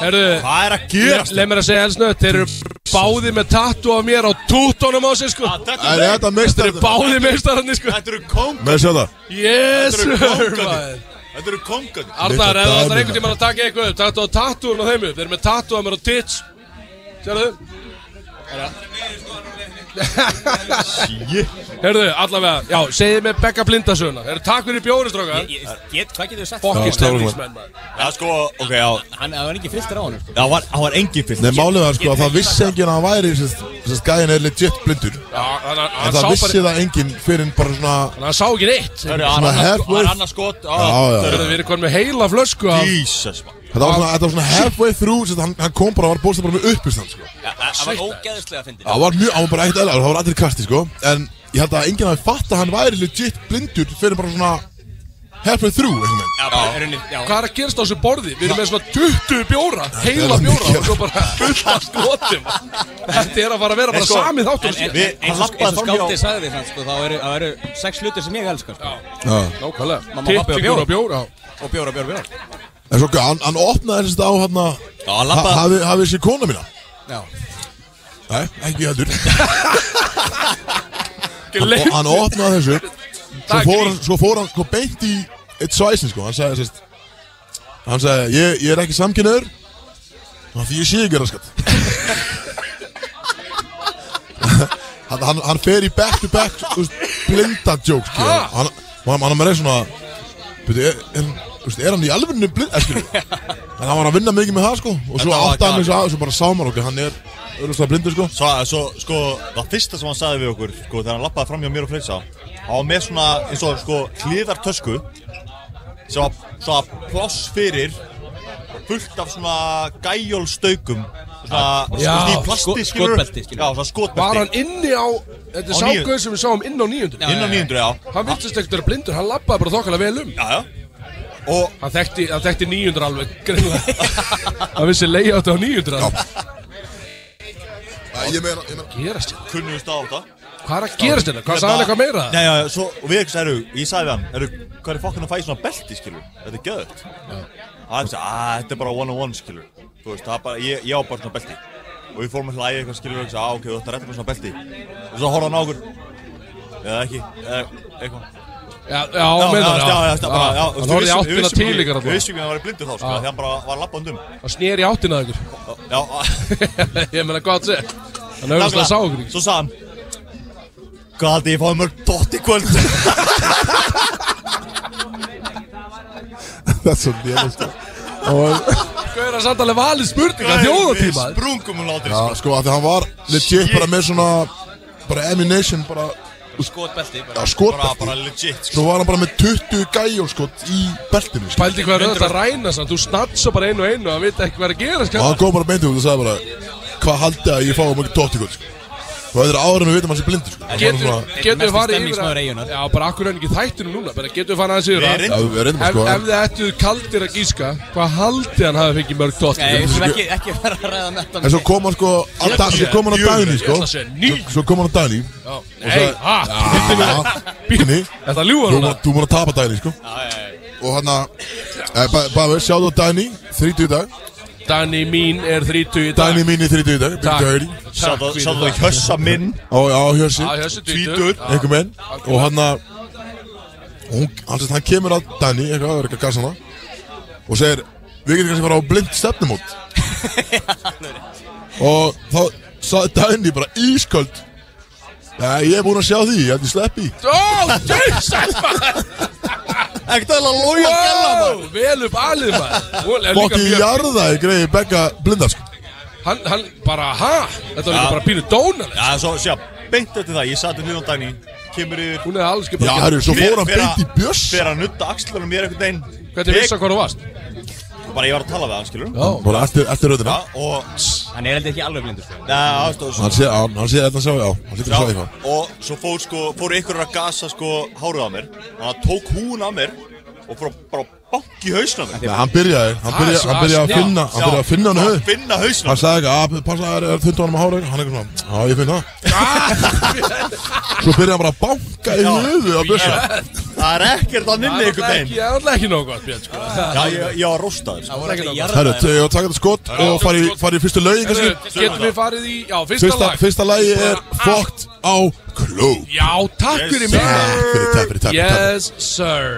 S1: Herru,
S5: Hvað er að gerast?
S1: leið mér að segja elsnött Þeir eru báði með tattu af mér á tútónum á sig sko
S5: Ah, Þetta
S2: Það er þetta
S1: Þeir
S2: meistar
S1: eru báði meistararnir sko
S5: Þetta eru kóng
S2: Með hérna. sjá það
S1: Yes
S5: Þetta eru
S1: sir
S5: kóngandi
S1: maður
S5: Þetta eru kóngandi
S1: Arnar,
S2: Litla
S1: ef þú ætlar
S2: dæmið.
S1: einhvern tímann að taka eitthvað upp Taktu á tattúun á þeim upp Þeir eru með tattú af mér á tits Sérðu? Herðu, allavega, já, segið mér Begga Blindasöna Herðu, takk fyrir bjóri, strókar
S3: Ég- get- Hvað getur þú sagt?
S1: Fokkin
S2: Já, strákar.
S1: stemningsmenn, maður
S5: Já, sko, ok, já
S3: Hann hann var ekki fyrstur á hann sko.
S5: Já, hann var- hann var engin fyllt
S2: Nei, málið var sko að það vissi enginn að hann væri Þess að gæðin er legit blindur
S1: Já, þannig að
S2: En
S1: hann
S2: það
S1: sá
S2: vissi
S1: bara
S2: það enginn fyrir en bara svona
S1: Þannig að hann sá ekki neitt
S5: Það er
S2: Svona halfway.
S5: annars skot Ah,
S2: Já, já
S1: Herðu, við erum konum með heila flösku af
S5: Jesus, man
S2: Þetta var svona, þetta var svona halfway through sem hann, hann kom bara og var bóðslega bara með uppistand sko.
S3: Það var ógeðslega að fyndi
S2: Það var mjög, hann var bara eitt eðlæður, það var allir í kasti sko. En ég held að enginn hafi fatt að hann væri legit blindur fyrir bara svona halfway through einhvern veginn.
S3: Já, bara, er henni, já
S1: Hvað er að gerast á þessu borði? Við erum með svona 20 bjóra, heila bjóra
S2: er mikið.
S1: og svo bara fullt af skotum Þetta er að fara að vera bara
S5: sko,
S1: samið þáttur
S3: En
S5: Við- hann
S3: eins og-
S5: labbaði
S3: eins og
S5: fram hjá-
S3: skáttið sagði því sko, þá eru, þá eru sex hlutir sem ég elskar sko.
S1: Nákvæmlega,
S3: Mamma, pabbi
S1: tippi
S3: og
S1: og
S3: bjór.
S1: bjóra, bjóra
S3: og bjóra, bjóra, bjóra
S2: En svo, hann, hann opnaði þess að á hann að
S5: Já, hann
S2: ha,
S5: lappaði
S2: hafi, hafi sér kona mína.
S3: Já.
S2: Nei, ekki heldur. [LAUGHS] Og hann opnaði þessu. Svo fór hann, svo fór hann sko beint í eitt svæsin sko. Hann sagði, sérst, hann sagði, ég, ég er ekki samkynnaður. af Því ég sé ekki raskat. [LAUGHS] hann, hann, hann fer í back to back þú veist, blinda jokes skilur.
S1: Ha?
S2: hann, hann, hann er með svona beti, er, er, þú veist, er hann í alveg blind skilur. en hann var að vinna mikið með það sko, og svo
S5: Þetta var
S2: átti hann
S5: galið.
S2: þessu að og svo bara sá maður okkur hann er auðvitað blindur sko.
S5: Svo, svo, sko, það fyrsta sem hann sagði við okkur, sko, þegar hann lappaði fram hjá mér og Freysa, hann var með svona, eins og, sko, hliðartösku, sem var svona pláss fyrir, fullt af svona gæjólstaukum, svona,
S1: Já,
S5: svona í plasti,
S3: sko-
S5: skilur.
S3: skotbelti, skilur.
S5: Já, svona
S1: Var
S5: skotbelti.
S1: hann inni á, þetta er
S5: Á níu.
S1: ságauð sem við sáum inn á nýjundunum
S5: Inn á 900, já.
S1: Hann virtist ekkert vera blindur, hann labbaði bara þokkala vel um
S5: Já, já. Og
S1: Hann þekkti, hann þekkti nýjundur alveg, greinlega
S5: [LAUGHS]
S1: Hann vissi leiði á nýjundur alveg
S2: Æ, ég meina, ég meina
S1: Gerast þetta?
S5: kunnumst á þetta.
S1: Hvað er að gerast þetta? Hvað sagði hann eitthvað meira?
S5: Nei, já, já, svo, og við ekki sagði, ég sagði við hann, eru, hvað er fokkan að fæ svona belti, skilur? Þetta er göðut. Hann sagði, að þetta er bara one on one, skilur. Þú veist, það er bara, ég, ég á bara svona belti. Og við fórum að hlæja eitthvað, skilur, og ég sagði, að, ok, þú ætti að redda með svona belti. Og svo horfði hann á okkur, eða ekki, eða eitthvað.
S1: Já, já, meinar
S5: já, já, já, bara, já. þú veist,
S1: Hann horfði í
S5: við vissum- við
S1: áttina
S5: vissum
S1: til
S5: ekki- Við
S1: ykkar alltaf
S5: vissum ekki að hann var blindur þá, sko,
S1: Já.
S5: því hann bara var labband um.
S1: Hann sneri í áttina að ykkur
S5: Já,
S1: [LAUGHS]
S5: um.
S1: Ég meina, hvað áttu segja? Hann auðvitað sá okkur ekki
S5: Svo sagði hann, hvað haldi ég fáið mörg dott í kvöld?
S2: Það er svo lélega sko. Og,
S1: Hvað er að samt alveg valið spurninga þjóðatíma?
S5: Við sprungum hún látið,
S2: já, sko, af því hann var legit bara með svona bara emination, bara
S3: Skotbelti bara.
S2: já,
S5: bara,
S2: skotbelti
S5: bara legit sko.
S2: Svo var hann bara með 20 gæjól skot í beltinu sko.
S1: Pældi hvað er auðvitað að ræna samt Þú snatsa bara einu og einu Hann veit ekki hvað er að gera
S2: Og hann
S1: skall
S2: kom bara beint út og sagði bara Hvað haldið að ég fá um ekki tótt í kvöld sko. Og þetta er áður en við vitum að hann sé blindur sko. Hann var
S1: Getur,
S2: svona-
S1: getur við farið
S3: mesti
S1: yfir
S3: stemningsmaður
S1: að-
S3: eyjunnar.
S1: Já, bara akkur er ekki í þættinum núna Bara getur við farið aðeins yfir
S5: Við
S1: að
S2: Já,
S5: reyndum-
S2: við reyndum
S1: Ef,
S2: sko
S1: ef þið ættu kaldir að gíska Hvað haldið hann hafi fengið mörg tótt
S3: Nei, við skulum ekki, ekki vera að ræða með
S2: En
S3: þetta
S2: svo kom hann sko að dag- Svo kom hann á dagni sko
S1: ætla að segja níu.
S2: Svo- Svo kom hann á dagni
S1: Nei, ha, [LAUGHS] hittu mig
S2: Bíni
S1: Þetta ljúður
S2: Þú
S1: hann
S2: múið að, að tapa dagni sko Og hérna, hann að Bæður, sjáðu á dagni 30 í dag
S1: Dani mín er 30 í dag
S2: Dagni mín er 30 í dag Big
S1: Takk.
S2: Dirty
S1: Takk
S5: Sjáðu
S1: fyrir
S5: sjáðu
S1: það.
S5: það hjössa minn
S2: Á, á hjössi
S1: Á, Hjössi, tvítugur.
S2: Tvítur Einhver menn Og hann að Hún, hann sérst, hann kemur á dagni Eitthvað, það er eitthvað gasa hana Og segir Við getum kannski fara á
S1: [LAUGHS]
S2: blind stefnumót Og þá sagði dagni bara ísköld Nei, ég er búinn að sjá því Ég held ég sleppi
S1: Ó, Jesus maður
S5: Ekkert að loja
S1: Wow, vel upp alið maður Hún er líka
S2: Fokki
S1: mjög
S2: jarða í greiði Begga sko. blindarsk
S1: Hann, hann, bara, ha Þetta var líka
S5: Ja.
S1: bara pínu dónaleg
S5: Já, svo sjá, beint eftir það, ég hérna sati hljóðan dagni Kemur yfir
S1: Hún hefði alls ekki
S2: Já,
S1: bara
S2: herru, svo fór hann
S5: fer að-
S2: beint í björs
S5: Fer að nutta axlunum mér einhvern veginn
S1: Hvernig
S5: Tek-
S1: vissi hann hvað þú varst?
S5: Bara ég var að tala við hann, skilur
S1: Já
S2: Bara eftir, eftir
S5: Já,
S2: röðina
S5: og
S3: Hann er heldur ekki alveg blindur sko.
S5: Já, aðstóð
S2: Hann sé, hann, hann sé þetta sjá, já Hann lítur að sjá eitthvað
S5: og svo fór sko, fór ykkur að gasa sko hárið á mér Þannig að tók hún á mér Og fór að bara banki hausna mér
S2: Nei, hann byrjaði, hann byrjaði,
S1: svo-
S2: hann byrjaði
S1: að
S2: að
S1: snjá.
S2: finna, hann byrjaði að finna hann
S5: Bara
S2: höfð
S5: Finna hausna
S2: Hann sagði ekki, að passa það er þundu honum að hára Hann eitthvað svona, já ég finn
S1: [LAUGHS]
S2: það Svo byrjaði hann bara að banka í
S5: Já.
S2: höfu á bjössu
S5: Það er ekkert að
S1: Það
S5: nynni
S1: er
S5: einhvern
S1: náttúrulega
S5: veginn
S1: ekki, það er náttúrulega ekki nóg gott, Björn, sko
S5: Já, ég, ég var róstaður sko.
S3: Það voru alltaf
S2: Herru,
S3: jarðaðir.
S2: ég var að taka þetta skot og fari, fari í fyrstu lögin
S1: Herru,
S2: kannski
S1: Getum við farið í, já, fyrsta,
S2: Fyrsta,
S1: lag
S2: fyrsta lagi er Fucked á kló
S1: Já, takk
S5: Yes,
S1: fyrir
S5: sir.
S1: mig
S2: Takk fyrir, takk fyrir, takk fyrir
S1: Yes, sir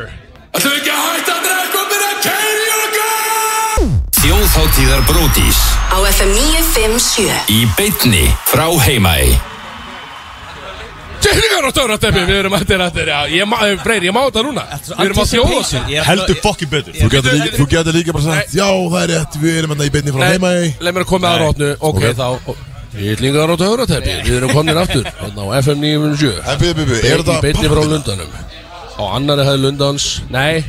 S6: Ætlum við ekki að hætta að drekka og byrja að keiri og gá!
S7: Þjóðháttíðar Bródís
S8: á FM 957
S7: í beitni frá heimæ
S1: Tjeringar og törrateppi, við erum að þetta er Já, ég má, eh, Freyr, ég má þetta núna Við erum á
S3: Anticipation.
S1: þjóðast
S3: Ég er alltaf-
S5: Heldur fokkin betur
S2: Þú getur líka, þú getur líka bara sagt Já, það er rétt, við erum hérna í beinni frá heima í
S1: Leð mér að koma að rótnu, ok,
S2: Ok.
S1: Sko, þá Tjeringar og törrateppi, við erum komin aftur Þannig á FM 957
S2: En byrju, byrju, byrju, er
S1: Í
S2: þetta
S1: beinni frá
S2: pappina?
S1: lundanum Á annari hæði lundans Nei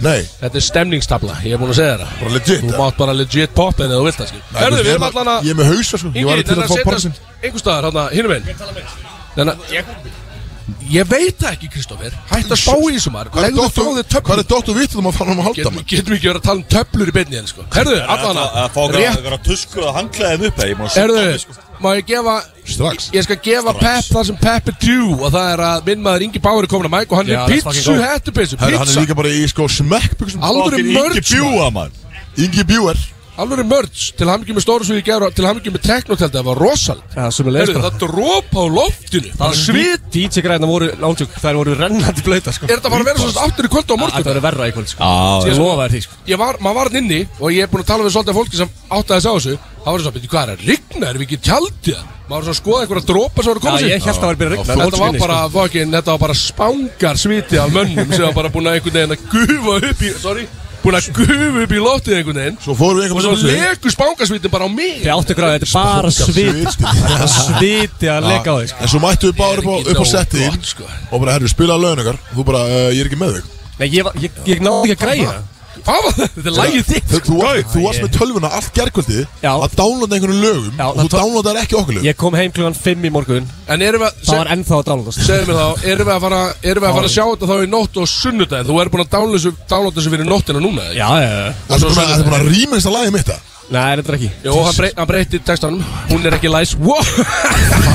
S2: Nei,
S1: Þetta er stemningstabla, ég er búin að segja þér það
S2: bara legit
S1: Þú
S2: eh?
S1: mátt bara legit poppa en þú vilt það skil
S2: Nei,
S1: Herðu,
S2: þú veist,
S1: við erum
S2: ég er bara-
S1: allan að
S2: Ég er með hausa sko, ég var til að fá porsin
S1: Einhvers staðar, hérna, hinum einn Þannig að Ég veit það ekki, Kristófer Hætt að spá í þessu maður
S2: Hvað er
S1: Legðu
S2: Dotto-
S1: frá þér
S2: hvað
S1: töflur
S2: er Dotto vittum að fara um að halda
S1: Getum
S2: mann?
S1: getum ekki verið að tala um töflur í beinni henni, sko Herðu, allan
S5: Að fá
S1: að Rétt,
S5: eitthvað tusku að hangla þeim upp eða ég má að
S1: herðu,
S5: sýta mig, sko.
S1: má ég gefa
S2: Strax
S1: Ég skal gefa Pepp það sem Pepp er djú Og það er að minn maður Ingi Báur er komin að mæk Og hann
S4: Já,
S1: er
S4: það er fucking
S1: pizzu
S4: góð.
S1: hættupissu
S2: Herru, hann er
S1: Pizza
S2: líka bara í sko smekkbuksum
S1: Alvöru
S5: Fucking Ingi
S1: mörg
S5: Bjúga maður
S2: Ingi Bjúer
S1: Alvöru mörds Til hamingjum með stóru svo ég gerur Til hamingjum með teknoteldi Það var rosalegt
S9: Já, sem er sko.
S1: Heyrðu,
S9: leiðist bara
S1: Það dropa á loftinu Það er svit
S9: DJ græna voru lántjúk, þær voru rennandi blöyta sko
S1: Er þetta bara að vera svona aftur í kvöldu á morgun
S9: Þetta verður verra í kvöld sko
S5: Já,
S9: Ég lofa þér því sko
S1: Ég var, maður var hann inni Og ég er búin að tala við svolítið fólki sem átti að þessu á þessu Það var svona, beti, hvað er að rigna? Erum við ekki í tjaldi? það?" Maður var svona að skoða einhverja dropa sem voru að koma
S9: Já, ég held að það var sko- að byrja að rigna,
S1: Þetta var
S9: fólkskinni,
S1: bara, fucking, þetta var bara spangar sviti af mönnum Sem var bara búin að einhvern veginn að gufa upp í Sorry Búin að gufa upp í loftið einhvern veginn
S2: Svo fórum
S1: Og
S2: við einhvern
S1: svo
S2: veginn
S1: leku spangarsvitin bara á mig
S9: Þið áttu gráði, þetta er bara svit Þetta er sviti að leka á þig sko
S2: sko. En svo mættu við bara upp á, upp á settið
S1: gott,
S2: þín
S1: sko.
S2: Og bara, herru, spilaðu lögin ykkar Þú bara, uh, ég er ekki með þig
S9: Nei, ég, var- ég, ég náði ekki að græja það.
S1: Hvað var þetta? Þetta er lægið þitt
S9: sko.
S2: Þú, þú, var, þú varst
S9: ég-
S2: með tölvuna allt gerkvöldi
S9: Já.
S2: Að downloada einhvern lögum
S9: Já,
S2: Og
S9: það
S2: þú
S9: tó-
S2: downloadaði ekki okkur lögum
S9: Ég kom heim klugan 5 í morgun
S1: En erum við
S9: Það
S1: að
S9: var ennþá að sko. dálóðast
S1: Segðu mér þá, erum við að fara, erum við að, fara að sjá þetta þá í nótt og sunnudaginn? Þú er búin að downloada þessu- downloada þessu fyrir nóttina núna, eða?
S9: Já, já, já
S2: Það er bara- [LAUGHS] það er bara að rýma þess að lagi mitt það
S9: Nei, þetta er ekki
S1: Jó, hann, brey, hann breytti textanum Hún er ekki læs
S9: [LAUGHS]
S1: wow.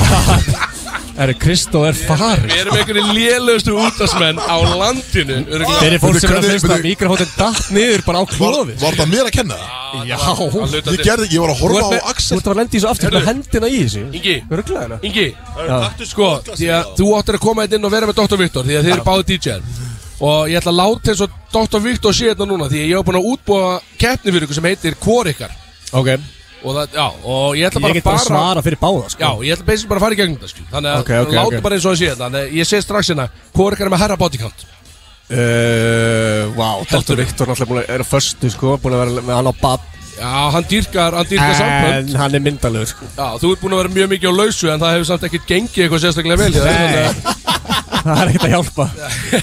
S9: Það eru Kristó er farin
S1: Við erum einhverju lélugustu útasmenn á landinu Örugglega.
S9: Fyrir fólk
S2: Veitu,
S9: sem er að
S2: hvernig-
S9: finnst að
S2: veitu-
S9: mikrofótinn datt niður bara á
S2: Var,
S9: klófi
S2: var það mér að kenna það?
S9: Já
S1: Að
S9: Þú
S1: hluta
S2: Ég
S1: til.
S2: gerði, ég var að
S9: ert
S2: horfa
S9: með-
S2: á
S9: þú
S2: Axel
S9: ert að lendi í þessu aftur með hendina í þessu
S1: Ingi.
S9: Rugglaði hana
S1: Ingi,
S5: Taktu
S1: sko, því að þú áttir að koma einn inn og vera með Dr. Viktor Því að þið eru báði DJ-ar Og ég ætla að láta eins og Dr. Viktor sé þetta núna Því að ég hef búin að útbúa keppni fyrir ykkur sem heitir Hvor ykkar
S9: Ok
S1: Og, það, já, og ég ætla
S9: Ég
S1: bara
S9: get bara að
S1: bara
S9: svara fyrir báða
S1: Já,
S9: sko
S1: ég ætla basically bara að fara í gegnum þetta skil Þannig að
S9: Ok, ok,
S1: láta
S9: ok.
S1: bara eins og það sé þetta Þannig að ég sé strax hérna Hvor ykkar er með herra body count
S9: Uh, Vá, Dr. Viktor náttúrulega búin að- er á förstu sko Búin að vera með hann á bab
S1: Já, hann dýrkar, hann dýrkar sambönd
S9: En hann er myndalegur sko
S1: Já, þú ert búin að vera mjög mikið á lausu en það hefur samt ekkert gengið eitthvað sérstaklega vel hjá þér, [LAUGHS]
S9: Það er ekkert að hjálpa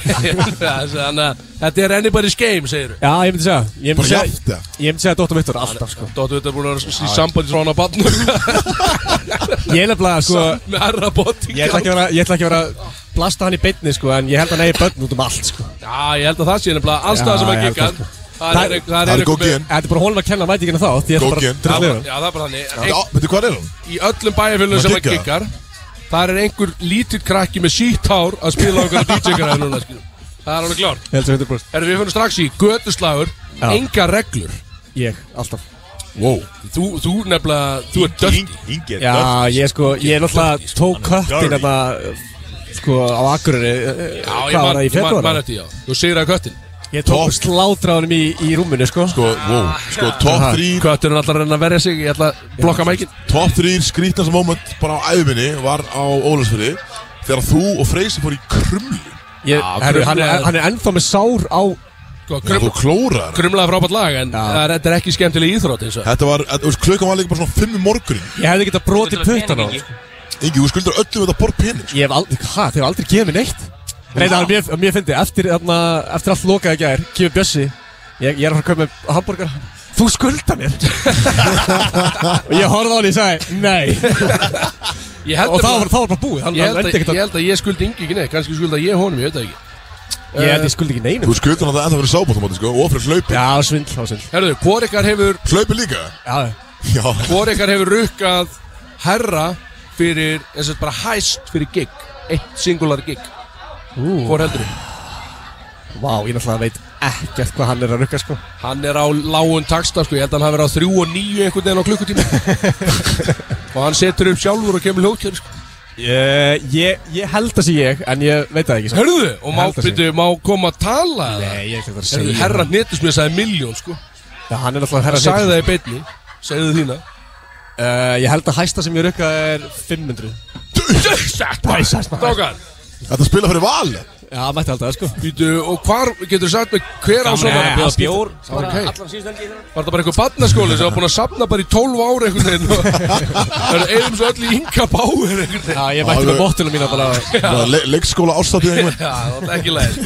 S1: þannig að- Þannig að þetta er anybody's game, segir
S9: Já, ég myndi segja Ég myndi
S2: Bara
S9: segja,
S2: jafnt það
S9: ég myndi segja Dr. Viktor alltaf sko
S1: við Dóttu, þetta er búin að vera í sambandi frá hann að batna
S9: [LAUGHS] Ég er nefnilega sko
S1: með arra bóting
S9: Ég ætla ekki að vera, ég ætla ekki að vera að Blasta hann í beinni sko En ég held að hann eigi börn út um allt sko
S1: Já, ég held að það sé nefnilega allstað
S9: Já,
S1: sem að
S9: ég held
S1: gikka
S9: það, sko.
S1: Það er eitthvað
S2: Það er
S1: eitthvað
S2: góð
S1: með-
S2: gen
S9: Þetta er bara honum að kenna mætingina þá um Því ég ætla
S2: Góð
S9: bara
S2: gen.
S9: að drilla í hann.
S1: Já, það er bara þannig
S2: Já,
S1: Ein-
S2: veitu hvað er hún?
S1: Í öllum bæjarfélagum sem að
S2: Maður giggað.
S1: gikkar Það er einhver lítill krakki með sítt hár að spila á einhverja
S9: [LAUGHS]
S1: DJ-græði núna skilur. Það er alveg klár
S9: Ég held sem 100%
S1: Erum við fyrir strax í götuslagur
S9: Já.
S1: Enga reglur
S9: Ég, alltaf
S2: Wow
S1: Þú, þú nefnilega, þú er dött
S5: Ingi er dörf
S9: Já, ég sko, ég er náttúrulega tók köttin hérna Sko, á Akureyri eh,
S1: Já, ég
S9: Hvað var
S1: man,
S9: það í
S1: ég man, man
S9: februar?
S1: eftir, já Þú segir að köttin
S9: Ég tók
S2: Topp.
S9: slátráðunum í, í rúminu, sko
S2: Sko, wow Sko, top 3
S1: Köttin er alltaf að reyna að verja sig Ég ætla að blokka mækin
S2: Top 3 skrítnast moment bara á æðminni Var á Ólafsfyrði Þegar þú og Freysi fór í krumlu
S9: ég,
S1: Já,
S9: herru, hann, er,
S1: krumlaður.
S9: hann er ennþá með sár á
S2: Þegar
S1: Krumla,
S2: þú klórar
S1: krumlaði Sko, frábært lag En það er- þetta er ekki skemmtileg íþrótt eins og
S2: Þetta var, þetta- þú veist, klukkan var líka bara svona 5 í morgunin
S9: Ég hefði getað brotið puttan á hann, sko.
S2: Ingi, þú skuldar öllum þetta borð pening sko.
S9: Ég hef aldrei, hæ, þeir hef aldrei gefið mér neitt Reina, það er mjög, mjög fyndi Eftir, þarna, eftir allt lokaði gær Kjöfum Bjössi ég, ég er að fara að kaupa með hambúrgar Þú skulda
S2: [LAUGHS]
S9: mér Og ég horfði á hann og ég sagði, nei
S1: [LAUGHS] Ég held
S9: Og þá var,
S1: nefnilega-
S9: þá var bara búið hann,
S1: ég held
S9: hann
S1: að-
S9: reyndi ekkert
S1: ég
S9: að-
S1: held að ég skuldi yngi ekki neitt Kanski skulda ég honum, ég veit það ekki Eh,
S9: Ég held ég skuldi ekki neinum
S2: Þú skuldar þetta ennþá fyrir sábóttamóti, sko Og fyrir hlaupi
S9: Já, svindl, þá svindl
S1: Herðu, hvor ykkar hefur
S2: Hlaupi líka
S9: Já,
S2: Já
S1: Hvor ykkar hefur rukkað herra Fyrir, eins og bara hæst fyrir gig Eitt singular gig Hvor heldur þið?
S9: vá, ég náttúrulega veit ekkert hvað hann er að rukka sko
S1: Hann er á lágun taksta, sko Ég held að hann hafi verið á 3 og 9 einhvern veginn á klukkutíma Og hann setur upp sjálfur og kemur hljóðkjör, sko
S9: Ég, ég, ég held að sé ég, en ég veit það ekki sko.
S1: Hörðu, og
S9: Ég
S1: má,
S9: held að sé.
S1: byrju, má koma að tala eða?
S9: Nei, ég er ekki að
S1: Herðu,
S9: segja
S1: herra Netusmið sagði miljón, sko
S9: Já, hann er náttúrulega herra
S1: Sagði það í beinni, segðu þína
S9: uh, Ég held að hæsta sem ég rukka er 500
S1: Dókar,
S2: Þetta spila fyrir val
S9: Já, mætti held að það sko eh,
S1: býtu, og hvar getur sagt mig hver á svona
S4: að bjóða bjór
S1: bara allan Var það bara einhver barnaskóli sem var búin að sapna bara í 12 ára einhvern
S2: [LAUGHS]
S1: veginn og það er eigum svo öll í ynga báir einhvern veginn
S9: Já, ég mætti
S2: Já,
S9: með
S2: ég-
S9: bóttuna mína bara
S2: Le Leikskóla ástættið einhvern
S1: Já, það er ekki leið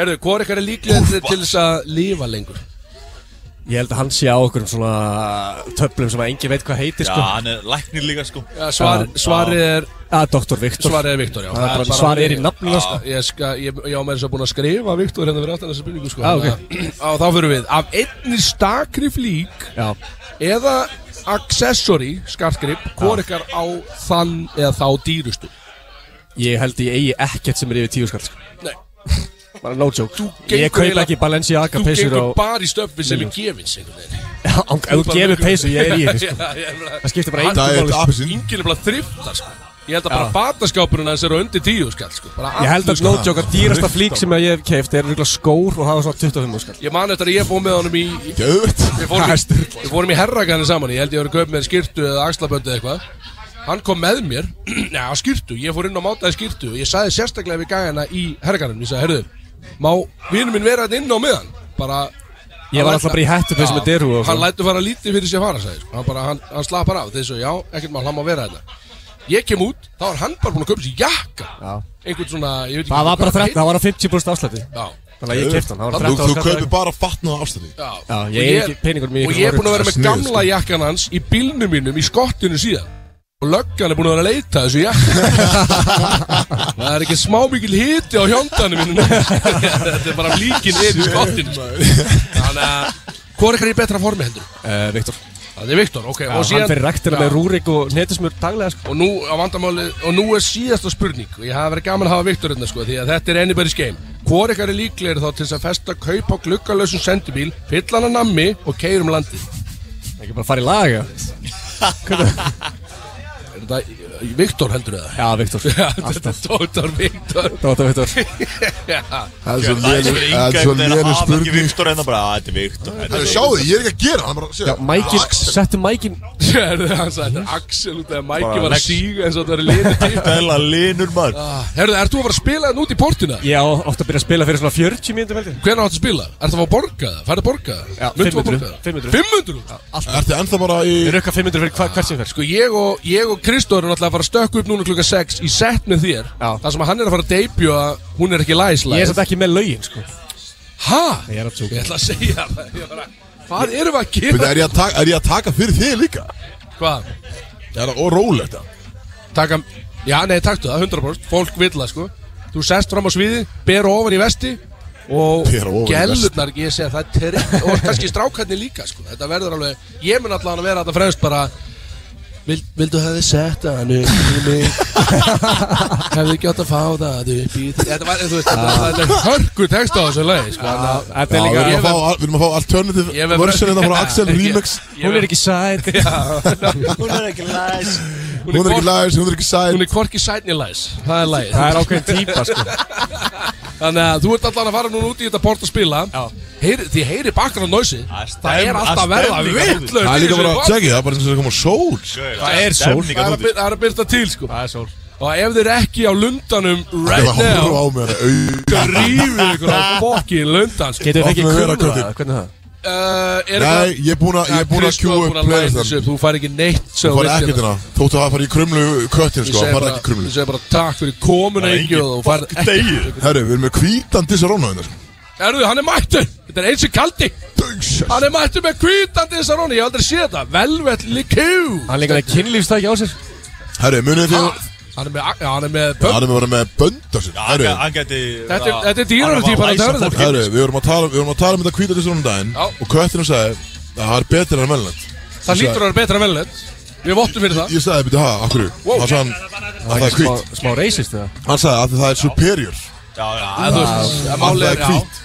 S1: Herðu, hvor ykkar er líklega til þess að lifa lengur?
S9: Ég held að hann sé á okkur um svona töflum sem að engin veit hvað
S5: Já,
S9: heitir sko.
S5: hann er læknir líka sko
S1: Ja, svar, svarið er
S9: Að Dr. Viktor
S1: Svarið er Viktor, já
S9: Það er bara-
S1: bara-
S9: svarið er í nafninu,
S1: Já,
S9: sko.
S1: Ég, ska, ég, ég á með þess að búin að skrifa Viktor hérna fyrir aftan þessu byrningu sko
S9: Ah, ok.
S1: Þannig að- [CLEARS THROAT] Á, Þá fyrir við Af einni stakri flík
S9: Já,
S1: Eða accessory skartgrip Hvor ykkar á þann eða þá dýrustu
S9: ég held ég eigi ekkert sem er yfir tíu skall sko.
S1: Nei,
S9: Bara no joke Ég
S1: gengur
S9: kaup
S1: eiginlega-
S9: ekki Balenciaga
S1: þú
S9: peysur
S1: gengur
S9: og
S1: bara í stöffi sem er gefins einhvern veginn
S9: Já, án- [LAUGHS] Ef þú gefur peysu, ég
S1: [LAUGHS]
S9: er í henni sko. Það skiptir bara engu
S2: Diet
S9: máli sko.
S2: appelsín.
S1: Ingin er bara þrifta sko Ég held að bara fataskápurinn hans er á undir tíu skall sko Bara
S9: Ég held
S1: allur,
S9: að
S1: sko.
S9: no joke að dýrasta
S1: [LAUGHS]
S9: flík sem að ég hef keift er rúglega skór og hafa svona 25 skall
S1: Ég man eftir að ég fóð með honum í í-
S2: Gjöðvögt
S1: Við fórum, í, við fórum í herrakanir saman Ég held ég voru að kaupa með skýrtu eða axlaböndi eða eitthvað Hann kom með mér [CLEARS THROAT] Já, skýrtu, ég fór inn og mátaði skýrtu Og ég sagði sérstaklega við gæjana í herrakanum Ég sagði, herðu, má vinur minn vera þetta inn á meðan Bara
S9: Ég var alltaf bara í hættu með derhú og
S1: Hann
S9: svona
S1: lætur fara lítið fyrir sér fara, sagði sko. Hann bara, hann, hann slappar af Þessu, já, ekkert mál, hann má vera þetta Ég kem út, þá er hann bara búin að kaupa sér jakka
S9: Já.
S1: Einhvern svona, ég veit ekki
S9: Það var bara
S1: hvað
S9: 13, það var á 50% afslætti
S1: Já,
S9: Þannig að ég keift hann, það var
S2: Þú,
S9: 13
S2: þú
S9: skall
S2: kaupir bara fatna á afstæði
S1: já,
S9: Já,
S1: Og
S9: ég er ekki- peningur mjög
S1: Og
S9: ekki
S1: ég er
S9: svona sko.
S1: búin að vera með
S2: sniðugt,
S1: gamla jakkan hans í bílnum mínum í skottinu síðan og löggan er búin að vera að leita að þessu jakka
S9: [LAUGHS]
S1: það er ekki smá mikil hiti á hjóndanum mínu [LAUGHS] þetta er bara líkin er í skottinu sko. þannig að hvað er ykkur í betra formi heldur?
S9: Eh, Viktor
S1: það er Viktor, ok
S9: Já, hann fyrir ræktina með rúrik og netismur daglega sko.
S1: og nú, á vandamáli, og nú er síðasta spurning og ég hafa verið gaman að hafa Viktor hérna sko, því að þetta er anybody's game hvor ykkar er líklegir þá til þess að festa kaup á gluggalösum sendibíl fylla hann að nammi og keyrum landið
S9: Ekki bara fara í laga
S1: er þetta, Viktor heldur það
S9: Já, Viktor
S1: [LAUGHS] Já, þetta
S9: Alltaf
S1: er Dóttar Viktor
S9: Dóta
S5: [LAUGHS]
S1: [LAUGHS]
S9: Viktor
S1: Já,
S2: Það er svo
S5: Það er svona
S2: léleg- það er
S5: yngan Það er
S2: svo léleg
S5: hafa ekki
S2: spurning sko.
S5: Viktor en það bara "Ah, Þetta er Viktor
S2: Það er sjáðu, ég er ekki að gera hann bara,
S9: Já,
S2: segja.
S9: mækin
S2: Axel.
S9: Settu mækin
S1: Sérðu, hann sagði, þetta er Axel út af að Mæki
S5: Bara
S1: var að
S5: Lex.
S1: síga eins og þetta var liðið til Ah,
S5: Dæla linur maður
S1: Herðu, ert þú að fara að spila þetta út í portina?
S9: Ég á, átti að byrja að spila fyrir svona 40 mínútum heldur
S1: Hvernig áttu að spila? Ert það að fá að borga það? Færðu að borga það?
S9: Já,
S1: Muntu að
S9: 500.
S1: borga það?
S9: 500.
S1: 500?
S2: Ertu ennþá bara í
S9: Ég rökka 500 fyrir hva, hvert sem fer sko.
S1: Sko ég og, ég og Kristóður er náttúrulega að fara að stökku upp núna klukka 6 í sett með þér
S9: Já.
S1: Það sem að hann er að fara að debuta Hún er ekki
S9: Ég er
S1: læslæð
S9: satt ekki með lögin sko.
S1: Hæ?
S9: Ég er að
S1: Ég
S9: tjóka
S1: ætla að segja það Ég bara, Hvað erum við að
S2: Veitu,
S1: gera?
S2: er, ég að taka, er ég að taka fyrir þig líka?
S1: Hvað?
S2: Það er órólegt það.
S1: Taka, já nei taktu það 100% Fólk vill það sko Þú sest fram á sviði Ber ofan í vesti Og
S2: Bera ofan í
S1: gælunar Ég segi það er trygg Og kannski strákarnir líka sko Þetta verður alveg Ég mun allan að vera þetta fremst bara Vild, Vildu hefði sett hann upp í mig Hefði ekki átt að fá það upp í þig Þetta var, þú veist, þetta var þetta er hörku text á þessu leið sko, þannig að-
S9: Þetta
S2: Ah. Já,
S9: er
S2: við
S9: líka
S2: erum
S1: ég
S2: að fá, við erum að fá alternative
S1: Ég verð-
S2: version en það frá
S1: [LAUGHS]
S2: Axel
S1: Ég-
S2: Remix
S1: ég
S9: Hún
S1: verð-
S9: er ekki sæt
S1: [LAUGHS]
S2: [LAUGHS]
S5: Hún er ekki læs
S2: Hún er ekki læs, hún er ekki sæl
S1: Hún er hvorki sætni læs Það er lægið
S9: Það er ákveðin típa
S1: [LAUGHS]
S9: sko.
S1: Þannig að þú ert allan að fara núna út í þetta port að spila Heyri, Því heyri bakgrann nási
S5: Það er
S1: Það er
S5: stem-
S1: alltaf að
S5: það er
S1: verða
S5: stemning
S1: vitlaust
S2: Það er
S1: í
S2: líka
S1: þessu
S2: bara,
S1: port.
S2: tjekki, það er bara eins og það koma sól
S5: Það er sól
S1: Það er að byr- það er að byrta til sko
S9: Það er sól
S1: Og ef þeir eru ekki á lundanum
S2: Það
S1: right
S2: horfa
S1: now
S2: á mér auðvitað
S1: Rífið ykkur
S2: [LAUGHS]
S1: á fokkin lundan sko.
S9: Getur við ekki kunna
S2: Opnaðu vera,
S9: það?
S2: Köttur.
S9: Hvernig það?
S1: uh, er
S2: Nei,
S1: eitthvað-
S2: ég er búin að, ég er búin að
S1: Kristó
S2: queue
S1: er búinn
S2: up
S1: læsa
S2: players
S1: þessu
S2: þann
S1: upp, Þú fær ekki neitt sem þú
S2: Þú fara
S1: vilt
S2: ekkert
S1: hérna.
S2: hérna Þóttu að það fara í krumlu köttin
S1: Ég segi
S2: sko, það fara
S1: bara-
S2: ekki í krumlu
S1: Ég segi bara takk fyrir komuna í gjöð og farið ekki
S5: Degir
S2: Herru, við erum með hvítan disarónu hérna sko.
S1: Erðu, hann er mættur Þetta er eins og kaldi
S2: Döngsjöss.
S1: Hann er mættur með kvítandi þessar honi Ég hef aldrei séð þetta Velvet Likú
S9: Hann er líka með kynlífstæki á sér
S2: Herru, munið þið
S1: Hann er með, já, hann er með pöpp
S2: Það erum við að vera með bönd á sér Herru,
S5: Hann gæti
S1: Þetta er- þetta er dýrari
S5: Hann var
S1: típan
S5: að
S1: að
S5: læsa
S1: törða
S5: fólki.
S2: herru, við vorum að tala, við vorum að tala um þetta hvítan disarónu daginn
S1: Já.
S2: Og köttinu sagði að það er betra en velnett
S1: Það lítur að vera betra en velnett Við vottum fyrir það
S2: Ég sagði, betur það, akkur
S1: Wow.
S2: Hann sagði hann að það er hvít
S9: Smá, smá racist eða?
S2: Hann sagði að það er superior
S5: Já, já
S1: Það er málið
S2: Það
S1: er
S2: er
S1: já
S2: hvít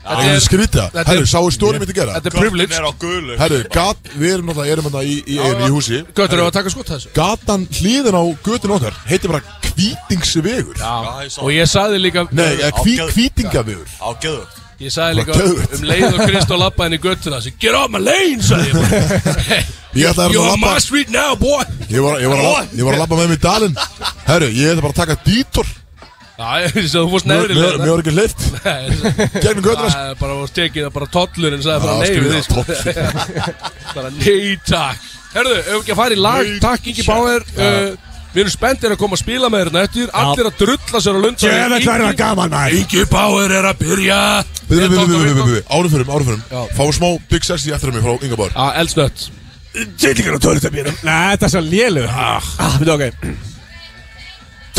S1: Þetta
S2: Það er
S1: er-
S2: skrýta
S1: þetta er-
S2: Herru, sáu stóri mitt að gera
S1: Þetta er privilege
S5: er á gulu
S2: Herru, gat, við erum náttúrulega, erum hérna í, í, einu í húsi
S1: Götur, við að taka skott þessu
S2: Gatan hliðin á götin okkar heitir bara hvítingsvegur
S1: Og ég sagði líka
S2: Nei, eða hví,
S5: Ágæð-
S2: hvítingavegur
S5: Á gæðu
S1: Ég sagði líka
S2: Bara geðveikt.
S1: um leið og Kristó lappa henni í göttuna þessi, Get off my lane, sagði ég bara.
S2: Ég ætla að vera
S1: You're
S2: að
S1: on my
S2: labba
S1: street now, boy
S2: Ég var, ég var, að, labba- ég var að labba með mig í dalinn Herru, ég ætla bara að taka dítor
S1: Já, ég veist að þú fórst neðri
S2: Mér
S1: leið
S2: mér var ekki leift
S1: [LAUGHS]
S2: Gegnum götuna sko.
S1: Það er bara að tekið það bara tollurinn sagði bara
S2: Já,
S1: nei við því
S2: skrýtið,
S1: sko. [LAUGHS] bara nei takk Herðu, ef ekki að fara í lag, takk Ingi Báður uh, Við erum spenntir að koma að spila með þér nættir Allir að drulla sér á lundan
S2: Djöfull verður það gaman, maður.
S1: Ingi Báir er að byrja
S2: Við, við, við, við, við, við, árum fyrir, árum
S1: Já.
S2: fyrir Fá smá Big Sexy eftir mig frá Ingabar
S1: Já, eldsnött
S2: Tjælingar á tölutabíðanum
S9: Nei, þetta er svo lélugur Ah, við ok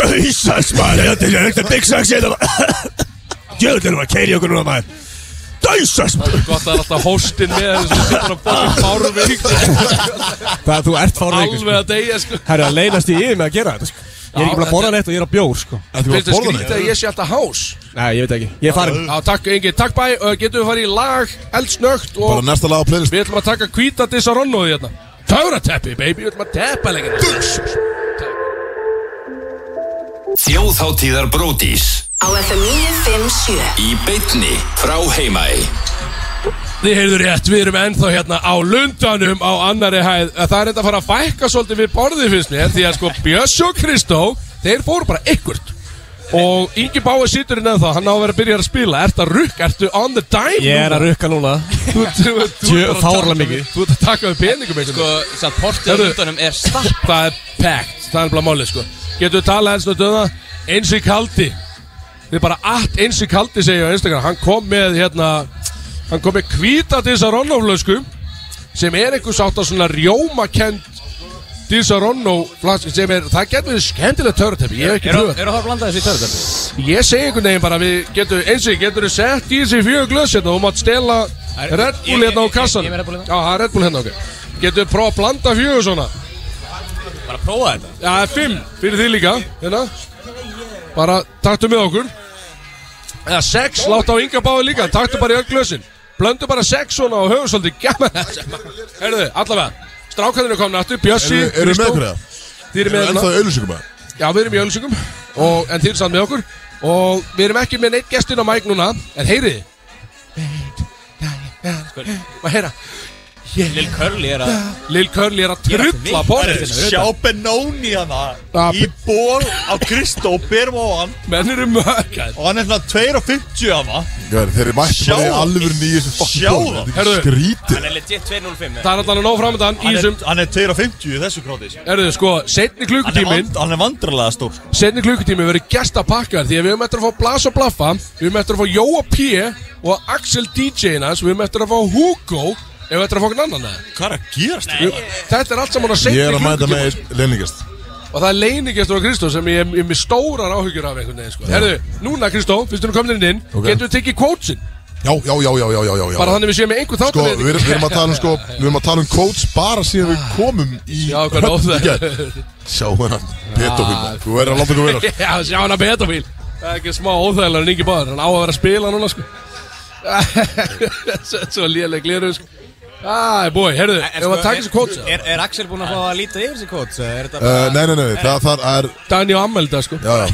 S2: Dæsas maður, þetta er ekkert Big Sexy Djöfull erum að keiri okkur núna maður Dæsas maður
S1: Gott að það er alltaf hóstinn með þér sem situr að borða fárveik
S9: Það þú ert fárveikur sko.
S1: Alveg að deyja sko
S9: Herru, að leynast í yfir með að gera þetta sko. Ég er ekki búin að borða neitt og ég er að bjór sko.
S2: Þetta
S1: Finnst þið
S2: er bara
S1: skrítið að
S2: borðan
S1: ég sé alltaf hás
S9: Nei, ég veit ekki Ég er farin
S1: Já, takk Ingi, takk bæ uh, Getum við farið í lag eldsnögt og
S2: Bara næsta lag á playlist
S1: Við ætlum að taka hvíta dissa ronnóði hérna Töfrateppi, baby, við ætlum að teppa leikina
S7: Þjóðháttíðar Bródís
S8: Á FM 957
S7: Í beitni frá Heimæ
S1: Þið heyrðu rétt, við erum ennþá hérna á lundanum á annari hæð Það er enda að fara að fækka svolítið við borðið finnst mér Því að sko Bjössi og Kristó, þeir fóru bara ykkurt Og Ingi Báir situr inn ennþá, hann á að vera að byrja að spila Ert að rukk, ertu on the dime
S9: Ég er að rukka núna
S1: rukka
S9: Djö- fáránlega mikið.
S1: Þú ert að taka við peningum einhvern
S3: Sko,
S1: veginn
S3: samt portið á
S1: Herru.
S3: hlutunum er stapp
S1: Það er packed, það er bara málið sko Getur við talað eins og döða, eins í kaldi Þið er bara allt eins í kaldi segja á Instagram Hann kom með hérna Hann kom með hvíta disaronno-flösku Sem er einhvers átt að svona rjómakend disaronno-flasku Sem er, það getur við skemmtilega törutæmi Ég hef ekki
S3: Eru
S1: trúið
S3: eru það að blanda þessu í törðan?
S1: Ég segi einhvern veginn bara við getur, eins og getur við sett í þessi fjögur glöss hérna og þú mátt stela Red Bull
S3: ég-
S1: hérna á
S3: ég-
S1: kassan
S3: ég- ég með Red Bull
S1: Já,
S3: hérna.
S1: það er Red Bull hérna, ok Getur við prófa að blanda fjögur svona
S3: Bara að prófa þetta
S1: Já, það er fimm fyrir því líka hérna. Bara taktu með okkur Eða sex, láta á ynga báði líka Taktu bara í öll glösin Blöndu bara sex svona og höfum svolítið gaman Herðu, allavega Strákarnir er komin aftur, Bjössi,
S2: Eru eru með okkur eða?
S1: Þið eru
S2: Eru
S1: með
S2: ennþá
S1: hérna
S2: í auðlýsingum eða?
S1: Já, við erum í ölsingum og, En þið eru samt með okkur Og við erum ekki með neitt gestinn á mæk núna En heyriði Maður heyra
S3: Lil Curly er að
S1: Lil Curly er að
S3: Ég er að
S1: trulla
S3: mikla
S1: borðið hérna,
S3: þetta.
S5: Sjá Benóni hana
S1: Ah,
S5: Í ból á Kristó Berum á hann
S1: Menn eru möggar
S5: Og hann er svona 2.50 hana
S2: Gæri, Þeir eru mætti bara í
S5: Sjá-
S2: alvöru nýjus
S5: Sjá það.
S1: Herðu.
S2: Skrítið
S3: Hann er legit 205
S1: Það er allan að ná framöndan í
S5: Hann
S1: þessum
S5: er- hann er 2.50 í þessu gráði sko.
S1: Erðu, sko, setni
S5: Hann er
S1: klukkutímin
S5: vand- Hann er vandralega stór sko.
S1: Setni klukkutími verið gestapakkar Því að við höfum eftir að fá Blas og Blaffa Við höfum eftir að fá Jóa P Og Axel DJ-in hans Við höfum eftir að fá Hugo Ef við eftir að fá einhvern annan eða?
S5: Hvað er að gerast? hérna?
S1: Við- Þetta er allt saman að
S2: Ég
S1: setni
S2: er að mæta
S1: klukkutíma
S2: með leiningast
S1: Og það er leiningestur á Kristó Sem ég er með stórar áhyggjur af einhvern veginn sko. Herðu, núna Kristó, fyrst við erum komin inn
S2: Ok.
S1: Getum við tekið kvótsin
S2: Já, já, já, já, já, já, já, já.
S1: Bara þannig við séum með einhver
S2: Sko, við
S1: þáttan
S2: erum, við erum að tala um
S1: [LAUGHS]
S2: sko Við erum að tala um coach bara síðan við komum í
S1: Já, hvað nóð
S2: Höfn [LAUGHS] í
S1: það
S2: gær. Sjá hennan, pedofil
S1: Ah.
S2: maður. Þú verður að láta ykkur vera
S1: [LAUGHS] Já, sjá hana betafíl Það er ekki smá óþægilega en ekki báður Hann á að vera að spila núna sko [LAUGHS] Svo- Svo léleg gliru sko Æ, búi, herðu, ef að taka þessi kóts
S3: sko, er, er Axel búinn að fá að líta yfir þessi kóts? eða Er þetta
S2: Uh, nei, nei, nei, það, það er
S1: Dani og Amelda sko
S2: Já, já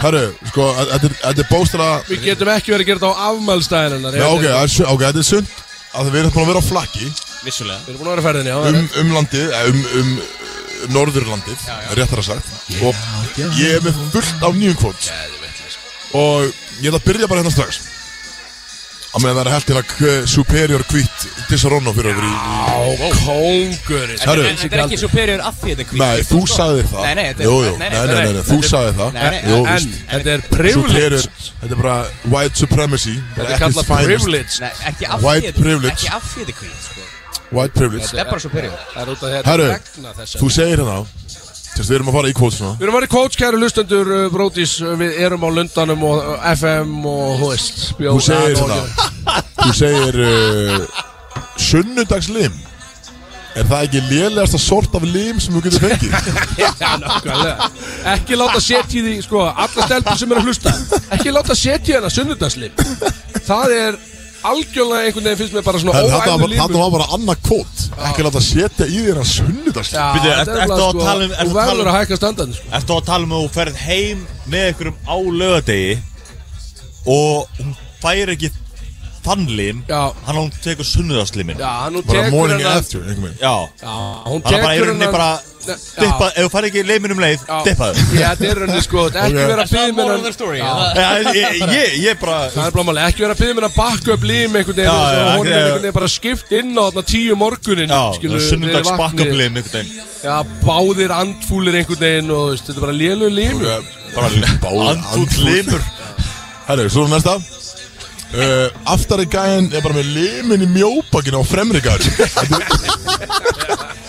S2: Herru, sko, að- þetta er- þetta er bóstara
S1: [LAUGHS] Við getum ekki verið að gera þetta á afmælstæðin hennar
S2: Já, ok, það er su- ok, þetta er sund að við erum búin að vera á flakki
S3: vissulega?
S1: Við erum búin að vera ferðinni, já
S2: um, um landið, eh, um, um uh, norðurlandið, réttar að sagt og ég er með fullt af nýjum kvot
S3: sko.
S2: og ég ætla að byrja bara hérna strax að meðan það er held til að k- superior kvít Disaronno fyrir okkur í
S1: Á, kóngurinn
S2: Herru.
S3: En þetta er ekki superior að því þetta er kvít
S2: Nei, þú sagðir það
S3: Nei, nei, þetta er-
S2: Jú, jú,
S3: nei, nei,
S2: nei, nei,
S3: þetta
S2: nei,
S3: er-
S2: nei, þú sagðir það
S3: Nei, nei,
S2: Jú,
S1: En
S2: víst.
S1: þetta er
S2: Superior,
S1: privilege
S2: þetta er bara white supremacy
S1: Þetta er kallað privilege
S3: Nei, ekki af
S2: White
S3: því þetta
S2: privilege.
S3: Ekki af því þetta er kvít sko.
S2: White privilege
S3: Þetta er bara superior
S1: Það er út af
S2: Herru,
S1: þetta vegna þess
S2: þú segir hérna Þess við erum að fara í kvot svona
S1: Við erum að vera í kóts, kæru lustendur uh, Brótis, uh, við erum á Lundanum og uh, FM og hóist
S2: Þú segir þetta Þú segir uh, Sunnudagslim Er það ekki lélegasta sort af lim sem þú getur fengið?
S1: Já, nákvæmlega Ekki láta setja í því, sko, alla stelpur sem eru að hlusta Ekki láta setja í hana sunnudagslim Það er algjörlega einhvern veginn finnst mér bara [LAUGHS] svona
S2: Þannig að
S1: óæðið
S2: þetta
S1: lífur
S2: var bara annað kvot Ekki láta setja í þér að sunnudagslim
S5: Bíddu, ert-
S1: þetta er sko
S5: ertu að
S1: bara,
S5: tala um- ertu
S1: Þú
S5: að tala
S1: verður
S5: um-
S1: að hækka sko. standan
S5: Ertu að tala um að þú ferð heim með einhverjum á lögadegi og hún fær ekki þann lim
S1: Já.
S5: Hann hún tekur sunnudagslimin
S1: Já, hann nú
S2: Bara
S1: tekur
S2: morning
S1: hennar
S2: after, einhvern veginn
S5: Já
S1: Já, hún
S5: Hann er bara í
S1: tekur
S5: rauninni bara
S1: Nei, já.
S5: Dippað, ef þú fær ekki liminum leið,
S1: Já.
S5: dippað
S1: Já, þetta er henni sko, þetta er ekki
S2: Ok.
S1: verið að
S3: Það
S1: bíða
S3: er
S1: mér
S3: moral of
S1: að-
S3: the story
S1: Já.
S3: eða?
S5: Já, ég, ég, ég bara
S1: Það er blámáli, ekki verið að byrja mér að bakka upp lim einhvern veginn
S5: Já,
S1: og
S5: já,
S1: svo hún er
S5: já.
S1: einhvern veginn bara skipt inn á þarna tíu morgunin
S5: Já,
S1: skilurðu, þegar
S5: sunnundags
S1: ég vaknaði.
S5: bakkablið einhvern veginn
S1: Já, báðir andfúlir einhvern veginn og veist, þetta er bara lélu lim
S2: Ok, Bara báð
S5: Andfúll limur
S2: Herru, svo er næsta uh, Aftari gæinn er bara með limin í mjóbakinu á fremri gæri Þetta er-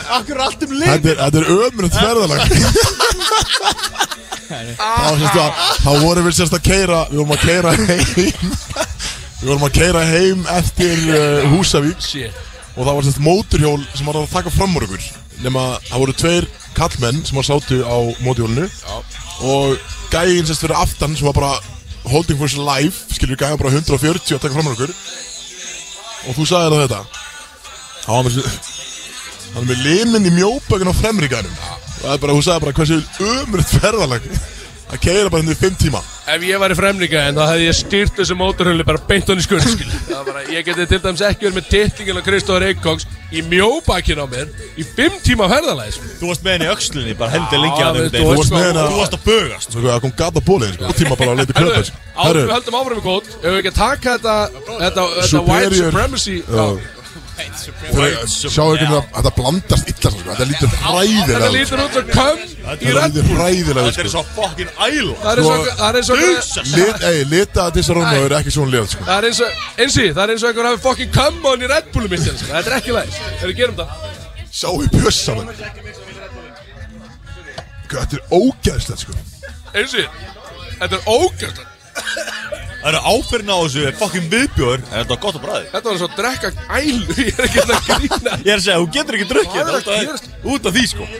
S5: Akkur er allt um lim
S2: þetta er, þetta er ömrönd ferðalag Þá sérst að Þá vorum við sérst að keira Við vorum að keira heim Við vorum að keira heim eftir uh, Húsavík
S1: Shit
S2: og það var semst móturhjól sem var að taka fram úr ykkur nema það voru tveir kallmenn sem var sátu á móturhjólinu og gægin semst fyrir aftan sem var bara holding for his life skilur gægin bara 140 að taka fram úr ykkur og þú sagði það þetta hann var með hann er með limin í mjóbökun á fremri gænum og það er bara, hún sagði bara hversu umröðt ferðalag að keira bara henni í 5 tíma
S1: Ef ég var í fremlinga en þá hefði ég styrt þessu mótorhullu bara beint hann í skurð skil. Það var bara, ég geti til dæmis ekki verið með tittingin á Kristóður Eikóks í mjóbakinn á mér í fimm tíma ferðalæs
S5: Þú varst með henni í öxlunni, bara heldur lengi
S1: Já,
S5: að
S1: veit,
S5: þeim
S1: þú
S5: Þú
S1: varst
S5: varst
S2: með henni að-
S5: Þú varst að bögast
S2: svo það kom gata bólið sko, tíma bara að leita
S1: Herru,
S2: kröpæs
S1: áður við höldum áfram í kvót Ef við ekki að taka þetta, þetta, þetta white
S2: Superior-
S1: supremacy já.
S2: Já. Þeir- Sjá ekki að þetta blandast illa sko. Þetta lítur
S1: Þetta
S2: hræðilega út. sko.
S1: lítur út svo köm í
S2: Þetta
S1: rönd
S2: lítur hræðilega út,
S5: Þetta er svo
S2: sko.
S5: fucking æla
S1: Það er eins og það er eins og
S2: Lit- ey, Lita þessar rónu er ekki svona lið sko.
S1: Það er eins og, einsi, það er eins og einhver hafi fucking come on í Red Bullu mitt hérna, sko. Þetta er ekki læs Þegar við gerum það
S2: Sjá í bjössa menn. Hvað, Þetta er ógæðslegt sko.
S1: Einsi, þetta er ógjöld
S5: Það eru áferðin á þessu fucking viðbjör En þetta var gott að bræði
S1: Þetta var svo að drekka ælu [LAUGHS] Ég er ekki að grína
S5: Ég er að segja, þú getur ekki
S1: [LAUGHS]
S5: drukkið
S1: Hvað er að
S5: þetta út af-
S1: gerast?
S5: Út af því sko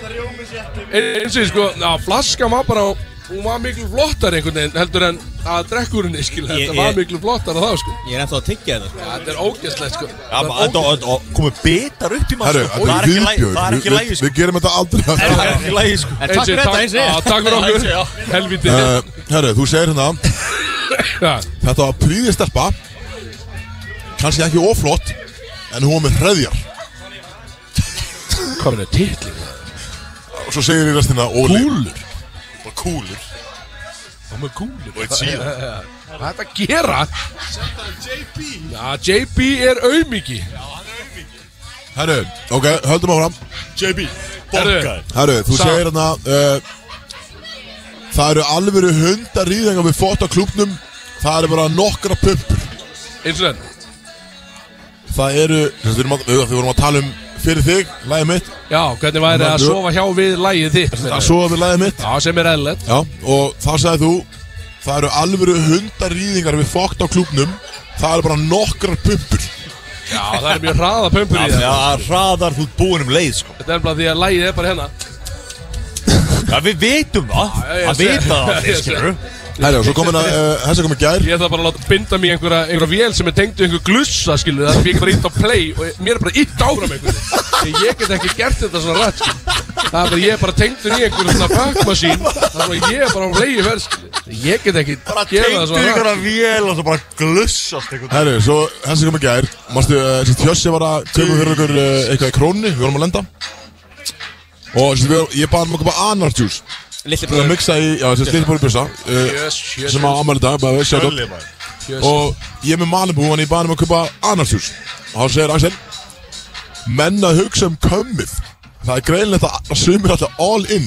S1: Einsi, sko, na, flaskan var bara Hún var miklu flottar einhvern veginn heldur en að drekkurinni, skil
S3: Ég-
S1: Þetta var
S3: ég-
S1: miklu flottar að það, sko
S3: Ég er ennþá að tyggja þetta sko.
S1: Ja, Þetta er ógjöldslegt, sko
S5: Já, bara Þetta var- þetta var- komið betar upp í
S2: Herru,
S5: maður sko.
S2: þetta
S5: Það
S2: er
S5: er ekki lægi Það er
S2: viðbjör
S5: ekki
S2: Við-
S5: lægi
S2: Við gerum þetta aldrei
S5: Það er
S2: aftur.
S5: ekki lægi sko
S3: En takk fyrir þetta, eins
S1: Já,
S3: og
S1: takk
S3: [LAUGHS]
S1: fyrir
S3: Einsi, já.
S1: okkur Helviti
S2: Eh, Herru, þú segir hérna
S1: Já.
S2: Þetta var príðið stelpa Kanski ekki oflott En hún var með hreðjar
S1: Hvað er þetta titling?
S2: Og svo segir í restina Óli Kúlur
S5: Og kúlur
S1: Það með kúlur
S5: Og eitt síðan
S1: [LAUGHS] Hvað er þetta að gera? Já, JB er auðmiki
S2: Herru, ok, höldum áfram
S5: JB
S1: Herru.
S5: Borgar
S2: Herru, þú
S1: Sa-
S2: segir hérna uh, Það eru alvöru hundar rýðingar við fót á klubnum Það eru bara nokkra pumpur
S1: Eins og þetta
S2: Það eru, þess að við erum að, við vorum að tala um fyrir þig, lagið mitt
S1: Já, hvernig væri að
S2: Mannur.
S1: sofa hjá við lægið þitt?
S2: Það sofa við lagið mitt
S1: Já, sem er eðlert
S2: Já, og þá sagði þú Það eru alvöru hundar rýðingar við fót á klubnum Það eru bara nokkra pumpur
S1: Já, það er mjög hraða pömpur í það
S5: Já, hraðar þú ert búinn um leið sko
S1: Þetta er bara því að lægið er bara hérna
S5: Já, við vitum það
S1: Já, ég
S5: Það
S1: sé.
S5: vita það
S1: [LAUGHS] Ég
S5: allir,
S1: sé.
S5: skilurðu.
S2: Herru, svo komin að, uh, þessi komin gær
S1: Ég ætla bara að láta binda mig í einhverja, einhverja vél sem er tengd við einhver glussa, skilur Það er ég bara ítt á play og mér er bara ítt áfram einhverju Þegar ég get ekki gert þetta svona rætt, skilur Það er bara, ég er bara tengdur í einhverju svona bakmasín Það er bara, ég er bara á play í verð, skilur Ég get ekki
S5: Bara
S1: gera það
S5: tengdu
S1: svona
S5: ykkur
S1: rætt
S5: að vél og svo bara glussast einhvern veginn
S2: Herru, svo hans sem kom í gær Mástu, uh, sérst, Hjössi var að köpa fyrir okkur uh, eitthvað í krónni Við vorum að lenda Og sérst, við, ég baði um að köpa anartjús
S3: Lilli
S2: Við að
S3: bróður
S2: mixa í, já, sérst, lítið búin bjösa uh,
S1: Jöss, jöss,
S2: Sem á ammæli dag, bara við, sjátt
S5: Gulli maður
S1: jöss
S2: Og ég er með Malibu, hann ég baði um að köpa anartjús Og hann segir Axel Menn að hugsa um kömmið Það er greinlegt að sumir alltaf all in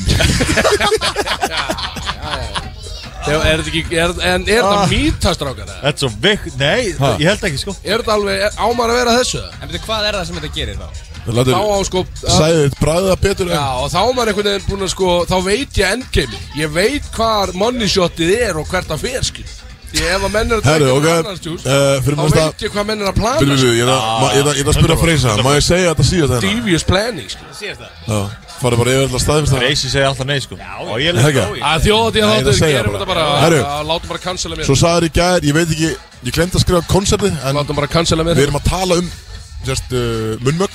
S1: Þegar er þetta ekki, er, en er þetta mítastrákar það?
S5: Ah. Þetta er svo vikt, nei, ég held ekki sko
S1: Er þetta alveg, er, ámar að vera þessu? eða?
S3: En veitu, hvað er það sem þetta gerir þá?
S2: Látur,
S1: Þá á sko að,
S2: Sæði þitt bræða betur
S1: Já,
S2: en
S1: og þá er maður einhvern veginn búin að sko Þá veit ég endgame Ég veit hvar money shotið er og hvert að fer skil Því ef að menn er að
S2: Herru, ok,
S1: einhvern
S2: uh,
S1: annars,
S2: fyrir
S1: Þá
S2: mér stað
S1: veit ég hvað menn er að plana
S2: Bíddu,
S1: skil.
S2: bíddu, Ég er að- ma- ég er að- ég er að
S5: 100%.
S2: spyrja Freysa, má ég segja þetta síðast hérna?
S1: Devious planning skil
S3: Sýrst það?
S2: Já, farið bara yfir alltaf staðfist það
S5: Reisi segir alltaf nei sko Já, ég
S2: Það
S5: leik
S2: ekki?
S1: Að þjóðatíð
S2: Nei, það
S1: þáttur,
S2: segja
S1: gerum
S2: bara.
S1: þetta bara
S2: Herru.
S1: að- Látum bara cancela mér
S2: Svo sagður í gær, ég veit ekki, ég glemt að skrifa konceptið En
S1: Látum bara cancela mér
S2: við erum að tala um, sérst, uh, munnmögg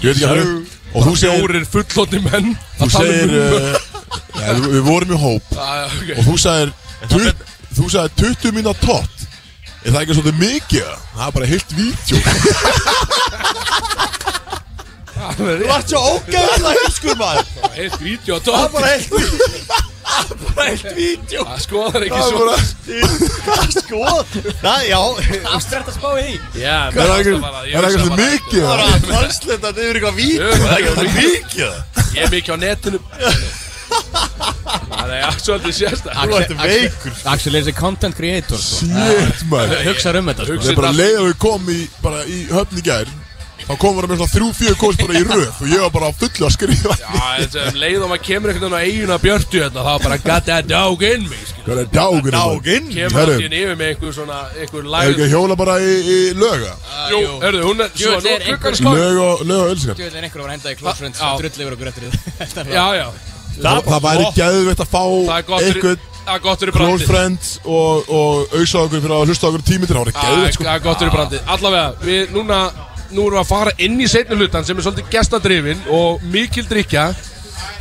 S2: Ég veit ekki að hverju Og þú segir,
S1: Fjórir fullotni menn
S2: þú
S1: að tala um
S2: segir,
S1: munnmök.
S2: uh, ja, við- við vorum í hóp
S1: Ah, ok.
S2: Og þú sagðir, tu- þú sagðir 20 mínúna tótt Er það ekki svolítið mikið? eða? Það er bara heilt
S1: [LAUGHS]
S2: vídeo
S5: Þú ert svo ógæðilega heimskur maður
S1: Eitt vídeo á
S5: Það er
S1: topp
S5: bara heilt Það er bara heilt vídeo
S1: Það skoðar ekki
S2: Það er
S1: svo
S2: bara
S5: Hvað [LAUGHS] sko? Það, já Afstrætt að spá í
S1: Já, mér
S2: Er það
S1: finnst
S2: ekki-
S1: bara- ég
S2: er það
S1: hugsa
S2: ekki
S1: bara-
S2: svolítið mikið?
S5: Það
S2: eða?
S5: er að translita þetta yfir eitthvað vídeo
S1: Jú,
S5: Það er ekki það mikið
S1: Ég er mikið á netinu Það er allt svolítið sérstæð
S5: Þú ert veikur
S3: Axel er þessi content creator sko.
S2: Shit, maður
S3: Hugsar um þetta sko.
S2: Það er bara leið að við komum í, bara í höfn í gær Þá komum við með svona þrjú, fjö kóls bara í röð Og ég var bara á fullu að skrifa
S1: Leið og maður kemur einhvern veginn á eiguna björtu hérna, Það er bara got that dog in me skilur.
S2: Hvað er dágurinn?
S5: Náginn
S1: Kemur
S2: Herru.
S1: allt í nefið með einhver svona Einhver
S2: Er
S1: læð
S2: ekki að hjóla bara í, í löga?
S1: Jú, hörðu, hún er Svo
S3: Jú,
S1: nú
S3: er
S1: er klukkan
S3: einhver-
S1: skóð
S2: Lög og, lög og ölsingar
S3: Ég veit að einhver var að henda í Close Friends
S1: Já.
S3: og drull yfir okkur eftir [LAUGHS] þetta
S1: Já, já
S2: Það, það væri geðveitt að fá
S1: Það er gott fyrir
S2: einhvern
S1: Það er gott fyrir brandið
S2: close friends og, og auðsa okkur fyrir að hlusta okkur tímið Það væri
S1: Það
S2: geðveitt
S1: er-
S2: sko
S1: það er gott fyrir brandið Allavega, við núna Nú erum við að fara inn í seinni hlutan sem er svolítið gestadrifin og mikil drikja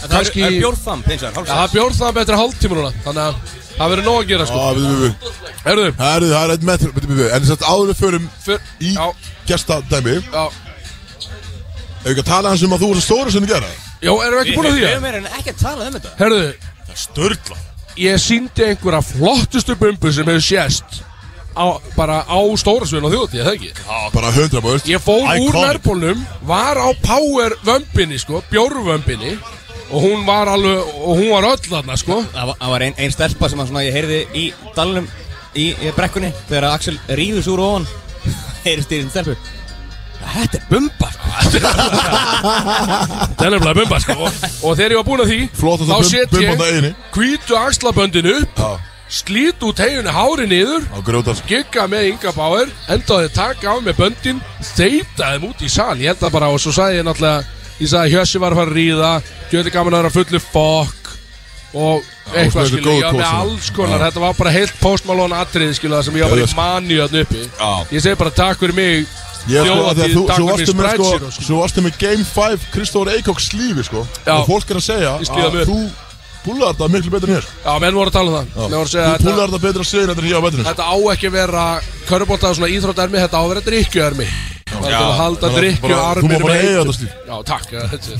S1: Kannski
S3: Það er
S1: Já,
S3: bjórþamp eins og hálf
S1: það bjórð það betra hálftíma núna Þannig að það verður nóg að gera sko
S2: Á, við- við- við-
S1: Herðu,
S2: Það eru- það er eitt metr bíddu, bíddu, En þess að áður við förum
S1: För-
S2: í
S1: já.
S2: gestadæmi Ef
S1: já
S2: við ekki að tala hans um að þú varst að stóra sem þið gera
S1: Já, erum við ekki búin að því?
S3: Við
S1: að?
S3: erum ekki að tala um þetta
S1: Herðu,
S5: Störla
S1: ég síndi einhverja flottustu bumbu sem hefur sést á, bara á stórasvinn og þjóti, það ekki?
S2: Bara 100 búist
S1: Ég fór úr
S5: Iconic.
S1: nærbólnum, var á power vömbinni, sko, bjórvömbinni og hún var alveg, og hún var öll þarna, sko
S3: Það var- það var ein, ein stelpa sem að svona, ég heyrði í dalunum í, í brekkunni þegar að Axel ríður súr ofan [LAUGHS] heyrðist í þessum stelpu Þetta er bumba
S1: [LAUGHS]
S3: sko.
S1: Það er nefnilega bumba, sko og, og þegar ég var búin að því,
S2: Flott að
S1: þá
S2: það
S1: set
S2: bumba það
S1: ég
S2: eini
S1: hvítu axlaböndin upp,
S2: Já,
S1: slít út heginu hári niður
S2: á grjótar
S1: gigga með Inga Bauer endaði taka af með böndin þeitaði út í sal, ég held að bara og svo sagði ég náttúrulega, ég sagði að Hjössi var að fara að ríða Gjöði gaman að vera fullu fokk og
S2: svona
S1: eitthvað
S2: eitthvað
S1: skilu,
S2: góð
S1: ég var með
S2: kósa.
S1: alls konar þetta var bara heilt postmálón atrið skilu það sem ég var bara
S2: Geðveikt,
S1: í mani þarna uppi
S2: Já.
S1: ég segi bara takk fyrir mig
S2: Ég sko að því að þú,
S1: þjóðatíð,
S2: svo
S1: takk
S2: varstu
S1: fyrir
S2: með
S1: mig
S2: sko,
S1: sprætsir
S2: svo varstu með Game 5 Kristóður Eikóks lífi sko
S1: Já.
S2: Og fólk er að segja
S1: Ég skýða mig upp.
S2: að þú púlar þetta miklu betur en hér
S1: já, menn voru að tala um það Menn voru að
S2: Þú
S1: segja að þetta,
S2: púlar þetta betur að segja þetta en hér á beturinn
S1: þetta á ekki að vera körbóltað svona íþróttarmi, þetta á að vera drikkjuarmi það er til að halda
S2: Þú má
S1: drikkjuarmi
S2: bara eiga þetta stíl
S1: Já, takk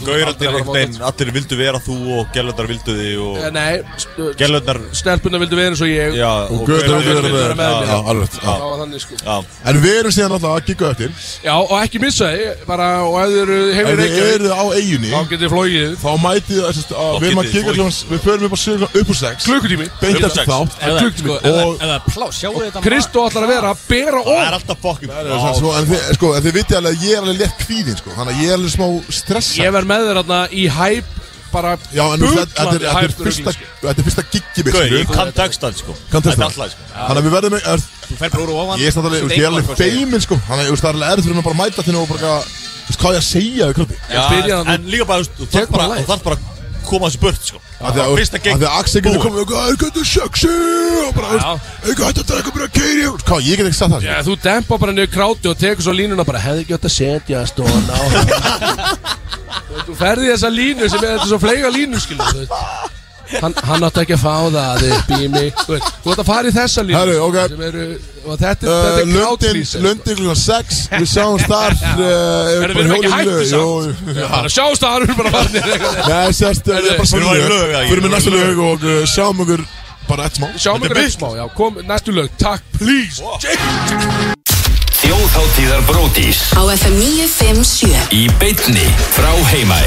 S5: Gaurarnir
S1: Aldrei að
S5: einhvern
S1: fara að
S5: veginn Allir vildu vera þú og gælöndar vildu þig og
S1: móta- Nei,
S5: Gælöndar
S1: stelpuna vildu vera eins og ég
S5: Já
S2: Og götur
S1: Gaur-
S2: vildu vera
S1: Gaur-
S2: með
S1: Gaur-
S2: Já, alveg rétt, já.
S1: Það var þannig sko
S5: Já
S2: En við erum síðan alltaf að gigga eftir
S1: Já, og ekki missa þið bara, og ef þið eru
S2: Ef
S1: hefur
S2: þið
S1: reykja
S2: eruð á eiginni
S1: þá getið flóið
S2: Þá mætið það sérst að
S5: Þá
S2: Við erum að
S5: getið þið
S2: gigga
S5: flogið.
S2: kljóðans Við förum upp á sirka upp úr sex
S1: klukkutími
S2: Beint
S5: Upp á
S2: eftir
S5: sex.
S2: þá
S3: Eða,
S1: klukkutími.
S3: sko, eða,
S2: Og-
S3: eða plás, sjáu þetta
S1: Kristó ætlar að vera að bera
S5: Það er
S1: og
S5: alltaf fucking
S2: Það er samt smá- En [LAUGHS] þið, sko, en þið vitið alveg að ég er alveg létt kvíðin sko Þannig að ég er alveg smá stressa
S1: ég verð með þér þarna í hæp bara
S2: Já, en þú veist, þetta er- þetta er
S1: hæp
S2: fyrsta
S1: sko.
S2: Þetta er fyrsta giggi mitt
S5: Gauð,
S2: skilur.
S5: ég kann textan sko
S2: Kann textan.
S5: Þetta er alltaf sko
S2: Þannig að við verðum er,
S3: Þú fer bara úr og ofan
S2: Ég er samt alveg, ég er alveg feiminn sko Þannig að þú veist, það er alveg erður fyrir mig bara að mæta til og bara eitthvað, Þú veist, hvað ég að segja við krabbi
S5: Já,
S1: byrjaði hann-
S5: En líka bara, þú veist, þú
S1: Tek
S5: þarf
S1: bara
S5: bara
S1: lagið.
S5: Þú þarf bara að koma þessu burt sko
S2: Þegar
S5: Fyrsta gegn
S2: Þegar Axel getur
S5: búið.
S2: komið og Það er gætið sexy Og bara, þú veist, eitthvað hættu að drekka mér að keiri Hvað, ég get ekki sagt það
S1: Já,
S2: sko.
S1: þú dempa bara niður kráti og tekur svo línuna bara hefði gjótt að setja stóna á hann." [LAUGHS] Þú ferði þessa línu sem er þetta er svo fleiga línu skilur þú veist. Hann, hann átti ekki að fá það upp í mig Þú veist, þú átt að fara í þessa línu
S2: Herru, ok.
S1: sem eru, og þetta, uh, þetta
S2: Uh,
S1: er
S2: Lundin,
S1: krátlýs
S2: Lundin klukkan 6 Við
S1: [LAUGHS]
S2: sjáum þar uh,
S1: Herru, við erum ekki hættu samt
S2: Jú,
S1: Við bara sjást að hann er bara farin í eitthvað.
S2: [LAUGHS] Nei, sérst,
S5: Við
S2: ég er bara
S5: erum
S2: saman
S5: í lög, já, ég
S2: Fyrir
S5: er
S2: með
S5: í
S2: næsta
S5: lög.
S2: lög sko. og uh, sjáum okkur Bara eitt smá
S1: Sjáum ykkur eitt smá, já, kom, næstu lög, takk, please
S7: Þjóðháttíðar Bródís
S8: Á FM 957
S7: Í beitni frá Heimæ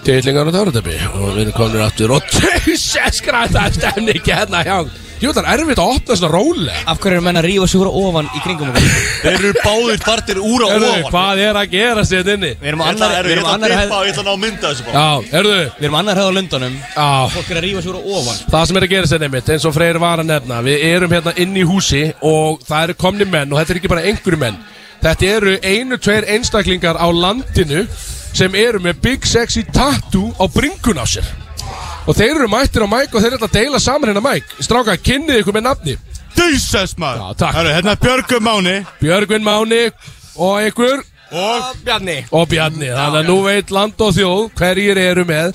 S1: Tillingar og Törutöpi og við erum komin aftur og tjóðseskræð [LAUGHS] það er stemningi hérna hjá Jú, það er erfitt að opna svona róleg
S3: Af hverju eru menn að rífa sig úr og ofan í kringum okkur
S5: Þeir eru báðir fartir úr á
S1: Herðu,
S5: ofan
S1: hvað er að gera sér inni?
S3: Við erum
S5: Ég
S3: á
S5: ætla
S3: annar
S5: að
S3: Við erum á annar
S5: dippa
S3: hæð
S5: og ég ætla að ná að mynda þessu bara
S1: Já, herðu,
S3: Við erum á annar hæð á Lundunum
S1: já
S3: Fólk er að rífa sig úr og ofan
S1: Það sem er að gera sér nefnitt, eins og Freyr var að nefna Við erum hérna inn í húsi og það eru komni menn og þetta er ekki bara einhverju menn Þetta eru einu, tveir einstaklingar á landinu sem eru með Big Sexy Tattoo á bringun á sér Og þeir eru mættir á mæk og þeir eru að deila saman hérna mæk Stráka, kynnið ykkur með nafni
S10: Jesus maður
S1: Já, takk.
S10: Herru, hérna er Björgum Máni
S1: Björgvin Máni og ykkur
S10: Og
S1: og Bjarni Þannig að nú veit land og þjóð hverjir eru með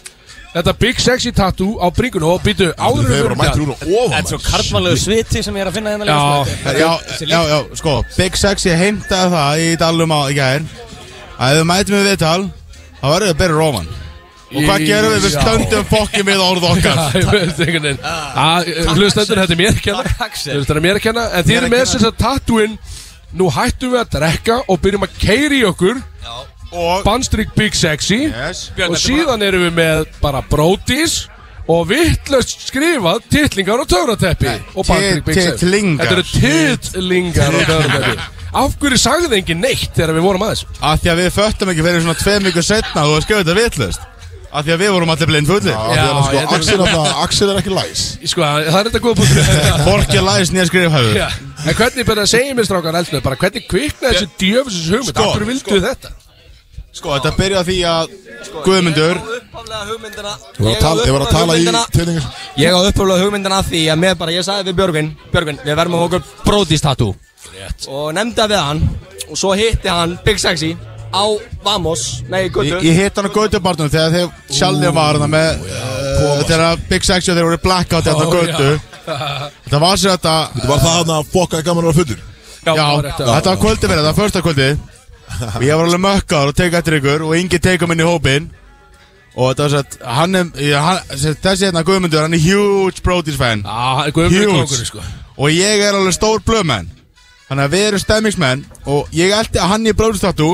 S1: Þetta Big Sexy Tattoo á bringunum Og býtu áður
S2: Þeir eru mættir úr og ofan
S3: Þetta er svo karlmannlegu sviti sem ég er að finna hérna líka, sko. Þetta er-
S10: já,
S3: þessi
S10: já, já, sko Big Sexy heimtaði það í dalum á í gær að ef við mætum við viðtal þá verður við berið róman og hvað gerum við við
S1: Já.
S10: stöndum fokkin við orð okkar
S1: [LAUGHS] Já, ég veist einhvern veginn. Að, eh, Hlustendur, þetta er mér að kenna Þetta er mér að kenna En þið
S10: Mér
S1: eru
S10: að
S1: með
S10: kenna.
S1: þess að tattooinn Nú hættum við að drekka og byrjum að keiri okkur
S10: og
S1: Bannstrik Big Sexy
S10: yes.
S1: Og síðan erum við með bara brótis Og vittlust skrifað Tittlingar og töfrateppi Og Bannstrik Big Sexy
S10: Tittlingar.
S1: Þetta eru tittlingar og töfrateppi Af hverju sagði enginn neitt þegar við vorum aðeins
S10: að því að við föttum ekki fyrir svona tveim vikur setna og þú hefur skjöðu þetta vitlust að því að við vorum allir blind
S2: Já,
S10: fullir
S2: já, sko,
S1: ég-
S2: Axel, þarna- Axel er ekki læs
S1: Sko, það er þetta góða punktur
S10: Borki læs nýja skrifhæfu
S1: Já. En hvernig bara segja mér strákar eldsnöð bara hvernig kviknaði þessi djöfisins hugmynd
S10: Sko,
S1: sko, Akkur vildu
S10: sko.
S1: þetta
S10: Sko, þetta byrja á því að Guðmundur
S3: upphaflega hugmyndina
S2: Ég var að tala, ég var að tala í tilingar
S3: Ég á upphaflega hugmyndina að því að mér bara, ég sagði við Björgvin Björgvin, við verðum að fá okkur brótistatú Og nefndi það við hann Og svo hitti hann Big Sexy á Vamos Nei,
S10: Ég,
S3: guttu
S10: ég hitt hann á Götubarnum þegar þeir sjálfnir var hann með uh, Þegar Big Sexy og þeir voru blackout hérna á Götu Þetta var sér þetta
S2: Þetta var það að fokkaði gaman að vera fullur
S10: Já,
S1: það var rétt,
S10: þetta var kvöldi verið, þetta var första kvöldi Og ég var alveg mökkaður og teka eftir ykkur Og Ingi teka minn í hópinn Og þetta var sér að hann er ég- hann- sem sagt, Þessi hérna Guðmundur, hann er huge Brody's fan
S1: Já, það er guðmur
S10: Huge.
S1: kókur sko.
S10: Og ég er alveg stór blöðmenn Þannig að við erum stemmingsmenn Og ég eldi að hann í blöðstatú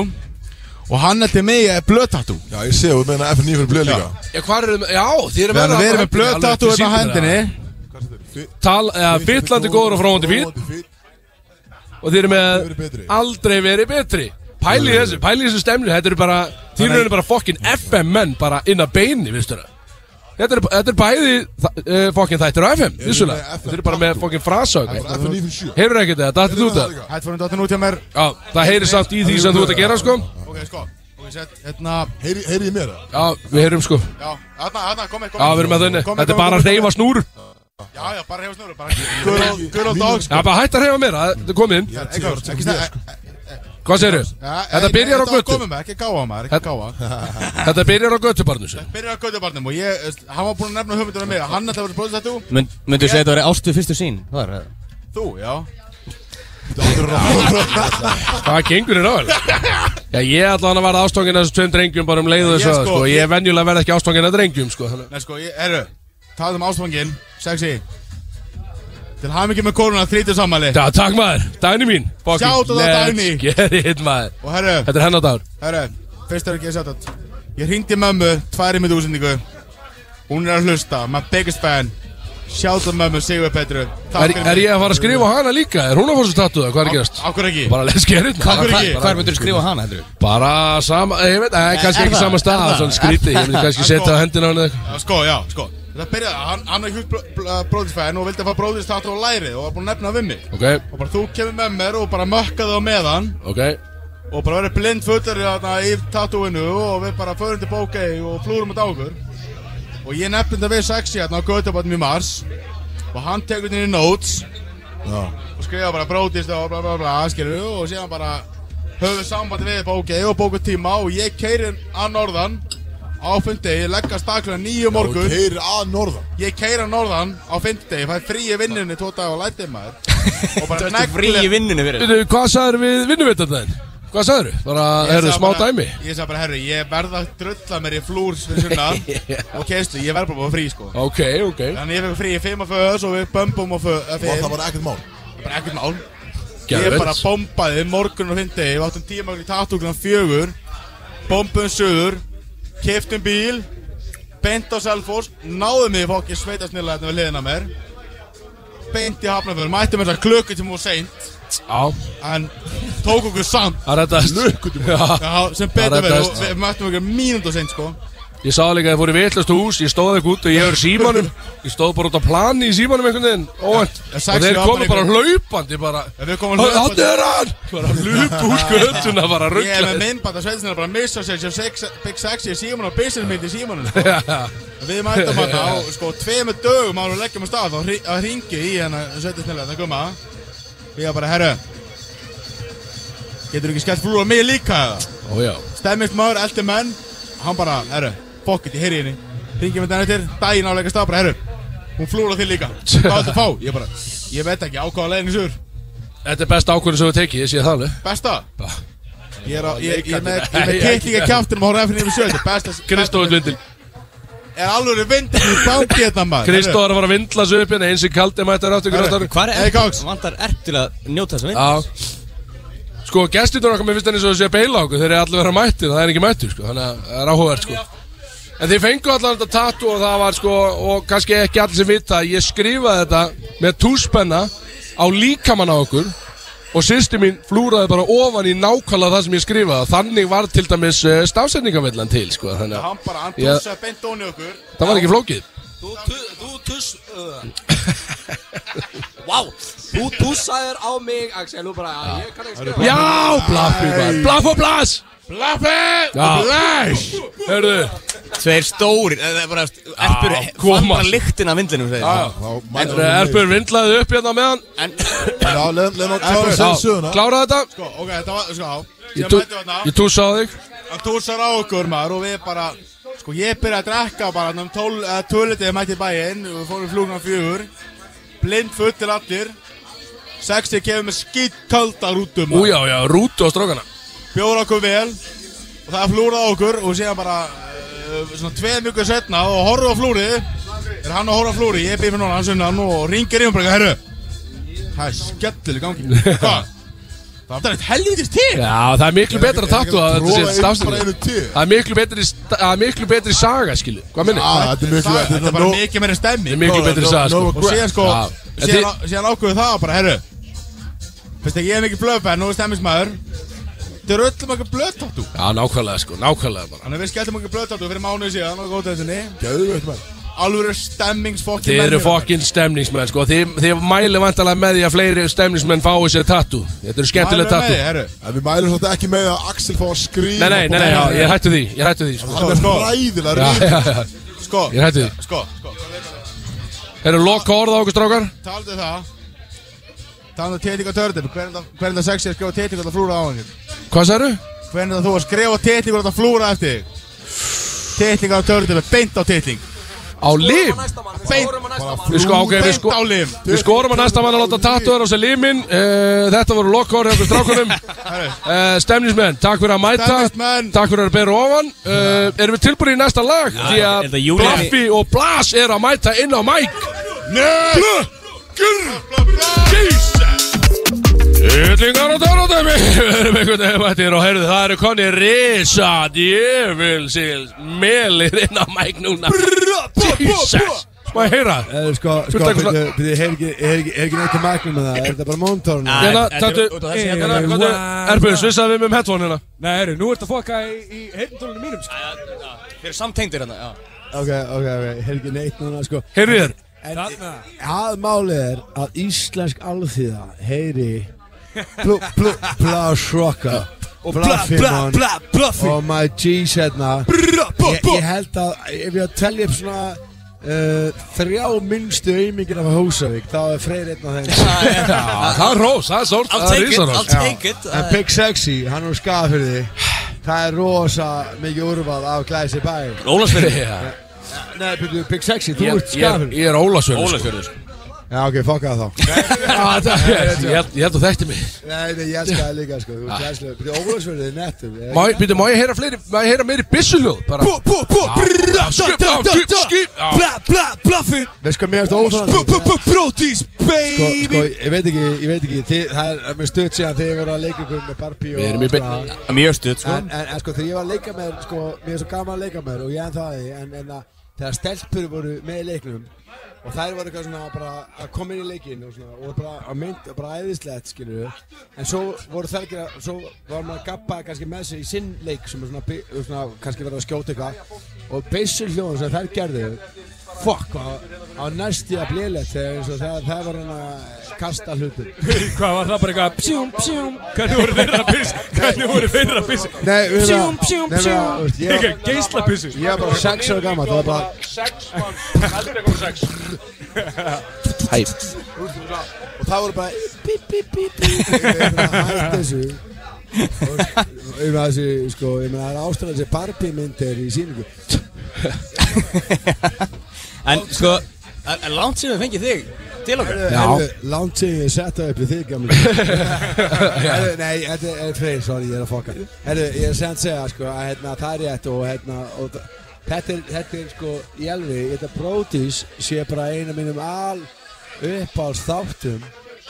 S10: Og hann eldi mig eh, í blöðtatú
S2: Já, ég sé, við meina FN9 fyrir blöð líka
S1: Já, hvar eru Já, þið eru
S10: Við erum verið með blöðtatú
S1: blöðtatu
S10: hérna á hendinni
S1: Tal, eða fyllandi góður og fróðandi fýt Og þið eru
S2: verið betri.
S1: með Aldrei verið betri Pæli þessu, pæli þessu stemni Þetta eru bara Þið eru bara fokkin FM menn Bara inn að beini, viðstu það Þetta eru- þetta er bæði uh, fokkin þættir á FM,
S2: með
S1: vissulega
S2: FM
S1: Þið eru bara með fokkin frasög
S2: FN9 fyrir 7
S1: Heyrur ekkert þetta, þetta er út að
S10: Hætt fórum dottin út hjá mér
S1: Já, það heyrir samt í því sem þú ert að gera sko
S10: Ok, sko Og ég sett hérna
S2: Heyri heyri ég mér það?
S1: Já, við heyrum sko
S10: Já, hérna, hérna, komið, komið
S1: Já, við erum með þenni Þetta er bara að reyfa snúr Já,
S10: Já, já, bara reyfa snurru Bara good old- good old dogs
S1: bara hætt að reyfa meira Þetta er komið inn
S2: Ég er
S10: Ekki,
S2: tíu ára
S10: ekki
S2: tíma
S10: snurru
S1: Hvað segirðu? Þetta byrjar á götu
S10: Komið með, ekki gáða maður, ekki gáða
S1: [LAUGHS] Þetta byrjar á göttubarnu sinni
S10: Byrjar á götubarnum og ég, veist, hann var búinn að nefna hugmyndunum mig Hann ætlaði að vera bróðið þetta
S3: Mynd, Myndu segja þetta verið ástu fyrstu sín Var,
S10: Þú, já
S1: [LAUGHS] Hvað gengur þér á þér? Já, ég ætla hann að vera ástóngin þessu tveim drengjum bara um leiðu
S10: Ég
S1: þessu að,
S10: sko-
S1: sko Ég er venjulega verð ekki ástóngin að drengjum sko þannig að-
S10: Nei, sko, ég, herru Talað um ástfangin, sexy Til hamingi með koruna, þrítið sammæli
S1: Já, takk maður Dæni mín Fucking
S10: Shout out
S1: let's
S10: Dagný.
S1: Get it maður
S10: Og herru,
S1: Þetta er hennar dagur
S10: herru, fyrst er ekki að setja þetta Ég hringdi í mömmu, tværi mitt úsendingu Hún er að hlusta, my biggest fan Shout out mömmu, Sigur Petru Takk
S1: er,
S10: fyrir
S1: er
S10: mig.
S1: ég að fara að skrifa á hana líka? Er hún að fóra svo tattu það? Hvað er að gerast?
S10: Á hverju ekki?
S1: Bara let's get it maður.
S10: Af hverju ekki?
S3: Hvar myndur skrifa hana, heldur við?
S1: Bara sama, ég veit, eh, kannski
S3: er
S1: ekki
S3: það?
S1: sama
S3: Er
S1: stað,
S3: það?
S1: svona skrítið, ég myndi kannski
S10: Er
S1: setja
S10: það?
S1: hendina á henni eða eitthvað.
S10: Já, Sko, já, sko Þetta byrjaði, hann, hann er hjútt bróðisfæðin og vildi að fá bróðis þáttur á lærið og var búinn að nefna við mig
S1: Ok,
S10: Og bara þú kemur með mér og bara mökkaði á meðan
S1: ok,
S10: og bara verið blind fötur þarna í tattooinu og við bara förum til bókei og flúrum út á okkur og ég nefndi þetta við sexi hérna á Götabotnum í mars og hann tekur þetta inn í notes
S2: Já.
S10: og skrifa bara brótist og bla bla bla skilur og síðan bara höfum við sambandi við bókei og bókum tíma og ég keirin að norðan á fyndegi, leggja staklega nýju um morgun
S2: Þú heyrir að norðan
S10: ég keira norðan á fyndegi, fæ frí í vinnunni tvo dag og lætið maður og bara
S3: Þetta er frí í
S10: neglir-
S3: vinnunni fyrir
S1: Veitu, hvað sagður við vinnuvitarðin? Hvað sagður við? Bara,
S10: Ég
S1: heyrðu,
S10: sagði
S1: smá
S10: bara-
S1: dæmi
S10: Ég sagði bara, herru, ég verð að drulla mér í flúrs fyrir sunna
S1: [LAUGHS]
S10: og keistu, ég verð bara að fá frí, sko
S1: Ok, ok
S10: Þannig ég fekk frí í 5 og föðs og við bömbum og föðs
S2: Og það
S10: Það
S2: var ekkert mál
S10: bara ekkert mál Ég
S1: Geðveikt.
S10: bara bombaði morgun og hindi Við áttum tíma í tattúklan fjögur Bombuðum suður Keftum bíl Bent á Selfors Náðum mig fókið sveita snilla þetta hérna við hliðina á mér Bent í hafnafjörn Mættum þess að klukku til múið seint
S1: Já,
S10: En tók okkur samt
S1: það rettast Já,
S10: Já, sem betur
S1: Það
S10: verið,
S1: reddaðist.
S10: og við mættum okkur mínúndu seint sko
S1: ég sá líka að ég fór í vitlastu hús Ég stóð ekki út og ég er símanum Ég stóð bara út á plani í símanum einhvern veginn Óvænt
S10: Já,
S1: Og
S10: sex
S1: þeir
S10: við
S1: komu
S10: ábæringu.
S1: bara hlaupandi bara
S10: En við komum
S1: Hvað
S10: hlaupandi-
S1: er hann? Bara hlupu úr skötuna,
S10: Ég
S1: bara
S10: er með
S1: rugglaði
S10: minnbætt að sveitinsinnar bara missa sér sem sex, Big Sexy í símanum og business mynd í símanum sko.
S1: Já,
S10: Við mættum
S1: [LAUGHS]
S10: hann á sko tveimur dögum ára og leggjum á stað og hri- að ringi í hérna hann sveitinsinnar þetta gumma Við erum bara, herru Getur ekki skellt flúr á mig líka eða?
S1: Ó já
S10: Stemmist maður, eldi menn Hann bara, herru, fokkitt, ég heyri henni ringjum þetta eftir, daginn áleika stað bara, herru, hún flúra þig
S1: [LAUGHS]
S10: líka, hvað ættu að fá? Ég bara, ég veit ekki, ákvaða leiðin í sur
S1: Þetta er besta ákvörðin sem við tekið, ég sé það alveg
S10: Besta? Ég er, á, ég, ég, er með, ég er
S1: Nei,
S10: með
S1: ekki
S10: kittinga
S1: það.
S10: kjáttinum og horf efnir yfir sjöðu, besta
S1: Kristóður vindil
S10: Er alveg vindin í banki þetta maður
S1: Kristóður var að vindla sig upp hérna eins og kaldi mættar áttu
S10: Herru,
S1: grátar
S10: hvar er Hey, Cox.
S1: Vantar erp til að njóta þess að vindla Sko, gestindur okkar, mér finnst hann eins og þessi að beila okkur Þeir eru allir vera mættir, það er ekki mættur sko Þannig að það er áhugavert sko En þeir fengu allan þetta tattu og það var sko Og kannski ekki allir sem vita að Ég skrifaði þetta með túspenna Á líkamann á okkur Og sýsti mín flúraði bara ofan í nákvæmlega það sem ég skrifaði Þannig var til dæmis uh, stafsetningavillan til sko Þannig að
S10: Hann bara, hann
S1: Ég-
S10: túsaði beint óni okkur
S1: það var ekki flókið
S3: Þú, tu, þú
S1: [LAUGHS]
S3: tuss Vá Þú tussaðir á mig Axel Þú bara ja. Ég kann ekki skrifa
S1: Já, blaffi bara Blaff og blas
S10: Blaffi
S1: Blas Hörðu
S11: Tveir stórir eh, það er bara, Erpur fann bara lyktin af vindlinum segir
S1: Já,
S11: hann.
S1: En Erpur vindlaði upp hérna meðan
S11: En
S2: Já, leiðum að
S1: Erpur,
S2: klára
S1: já,
S2: sér söguna
S1: Klára þetta
S10: Sko, ok, þetta var, sko, á
S1: Ég tú- Ég túsa á þig
S10: Hann túsar á okkur maður og við bara Sko ég byrja að drekka bara um Þannig að tölitið er mætti í bæinn og Við fórum flugna fjögur Blind fullir allir 60 kefum með skýtt kalda rútum
S1: Újá, já, rútu á strókana
S10: Bjóra okkur vel Og það flúraði okkur Og síðan bara uh, Svona tveið mjögur setna Og horfum á flúrið Er hann að horfa á flúrið Ég býr fyrir núna Hann sunnan og ringir í um bara Herru Það er skellil í gangi
S1: [LAUGHS]
S10: Hvað? Það er eitt helvitis til
S1: Já, það er miklu betra að tattu að þetta sé
S2: Bara einu
S1: stafsending
S2: til
S1: Það er miklu betri, sta- það er miklu betri saga, skilu Hvað minnir?
S2: Já, þetta er miklu- þetta er
S10: Þetta er bara mikið meira stemmi
S1: Þetta er miklu betri saga, sko.
S10: Og síðan sko
S1: Já.
S10: Síðan, á- síðan ákveðu það bara, herru Veist ekki, ég er mikið blöðfæð, nú er stemmismæður Þetta er öllum okkur blöðtáttu
S1: Já, nákvæmlega, sko, nákvæmlega bara
S10: Þannig að við skellum okkur blöðtáttu fyrir mánuði síðan og góðtöðinni
S2: Gæðveikt maður
S10: Alvöru stemmingsfokkin
S1: Þið eru fokkin stemningsmenn, sko Þið, þið mæli vantalega með því að fleiri stemningsmenn fái sér tattu Þetta eru skemmtileg tattu
S2: En við mælum svolítið ekki með að Axel fá að skrýma
S1: Nei, nei, nei, nei, já, ég hættu því, ég hættu því sko.
S2: Hann er ræðilega
S1: Já, já,
S2: ríkur
S1: já.
S10: Sko
S1: Ég hætti því.
S10: Sko, sko
S1: Eru loka orða á okkur strákar?
S10: Taldu það Taldu það tétíka törnum Hver er það- hver er það sexi að skrifa tétíka þetta flúra á hann
S1: Hvað særu?
S10: Hver er það þú að skrifa tétíka þetta flúra eftir þig? Tétíka törnum Beint á tétík
S1: Á lim?
S10: Beint
S1: Við sko, ok, við sko
S10: Beint á lim
S1: Við skorum að næsta mann að láta tattuður á sér limin uh, Þetta voru lokkhóri okkur
S10: [LAUGHS]
S1: strákunum uh, Stemnismenn, takk fyrir að mæta
S10: Stemningsmenn.
S1: Takk fyrir að bera ofan uh, Erum við tilbúin í næsta lag? Því
S11: er
S1: að
S11: þetta Júlí-
S1: Blaffi og Blas er að mæta inn á mæk Blökkur Jesus Yllingar og törnadæmi [LAUGHS] Við erum einhvern veginn mættir og heyrðu það eru konni Risa djöfilsil Melir inn á mæk núna Jesus Má ég heyra?
S12: Eh, Sko,
S1: Þú
S12: sko,
S1: ert eitthvað
S12: byrju, byrju, ég hef ekki, ég hef ekki, ég hef ekki neitt að magna með það, er þetta bara móntorn?
S1: Hérna, tættu Erpur, svissaðu við með um headphone-ina
S9: Nei, heru, nú ertu að fokka í, í heyrndólunum mínum sko.
S11: Þeir eru samtengdir hérna, já
S12: Ok, ok, ok, ég hef ekki neitt núna, sko.
S1: Heyrðu þér
S9: Þarna
S12: Aðmálið er að íslensk alþýða heyri blú, blú, blá sjokka.
S11: Og blá, blá, blá, bluffi.
S12: Og Oh my G's hérna.
S11: blá,
S12: Ég, ég held að, ef ég að telja upp svona uh, þrjá minnstu aumingir af Hósavík, þá er Freyr einn af
S11: [LAUGHS]
S12: þeim.
S1: Já, það er rós, það er stórt
S11: I'll
S1: það er
S11: take it,
S1: risarós.
S11: I'll take it
S12: En Big Sexy, hann er úr skafyrði. Það er rosa mikið úrval af glæsi bæ.
S11: Ólafsfjörður
S1: Já.
S12: Nei, byrju, Big Sexy, þú
S1: Ég-
S12: ert skafyrði.
S1: Ég ég er sko.
S12: sko.
S1: Ólasvörður
S12: [LAUGHS]
S11: Ólafsfjörður
S10: sko.
S12: Já, ok, fokka það þá.
S1: Ég held- ég held að þekkti mig
S12: Nei, nei, ég elska það líka, sko. Þú ert glæslega. Byrju, Ólagsverðið er nettum. ég-
S1: Má ég- Býttu, má ég heyra fleiri, má ég heyra meiri byssuljóð bara
S11: Bú, bú, bú, brrrra,
S1: skip,
S11: da,
S1: já,
S11: da,
S1: skip,
S11: da.
S1: skip, já.
S11: Blá, blá, bluffi
S12: Veist hvað mér erst óþáðan?
S11: Bú, bú, bú, brótis,
S12: Sko, sko,
S11: baby
S12: ég veit ekki, ég veit ekki, þið, það er mér stutt síðan þegar ég voru að leika ykkur með Barbie
S1: Við
S12: og...
S1: erum í beinni.
S12: svona.
S11: Mjög stuð, sko
S12: En, en, en sko, þegar ég var að leika með, þér, sko, mér er svo gaman að leika með þér og ég en það því, en, en að, þegar stelpur voru með í leiknum og þær voru eitthvað svona bara að koma inn í leikinn og svona, og bara að mynd, bara æðislegt, skilur en svo voru þær ekki að, svo var maður að gappa kannski með sér í sinn leik sem er svona, bi- svona kannski verið að skjóta eitthvað og beisul hljóðum sem þær gerðu, fuck, á, á næsti að blíðlegt þegar eins og þegar þær var hann að kasta hlutum.
S9: Hvað var það bara eitthvað Psjúm, psjúm Hvernig voru þeirra að
S13: [LAUGHS]
S9: pissi Hvernig voru þeirra að pissi
S12: Nei, við
S9: Psjúm, psjúm, psjúm
S12: Ég
S9: Ekki, geisla pissi
S12: ég var bara sex ára gammal, það var bara
S1: um
S9: [LAUGHS]
S12: og það voru bara bíp, bíp, bíp, bíp og ég meina, hætt þessu og ég meina þessi, sko, ég meina það er ástæðan þessi Barbie myndir í síningu
S11: En sko, en- en langt sem við fengið þig til okkar
S12: Já Lánt sig ég setta upp í þig gamli Herru, Nei, þetta er freyr, sorry, ég er að fokka Herru, ég er sem að segja sko að hérna, það er rétt og hérna og, þa- þetta, er, þetta er sko í alveg Þetta Brodís sé bara einu mínum al uppáls þáttum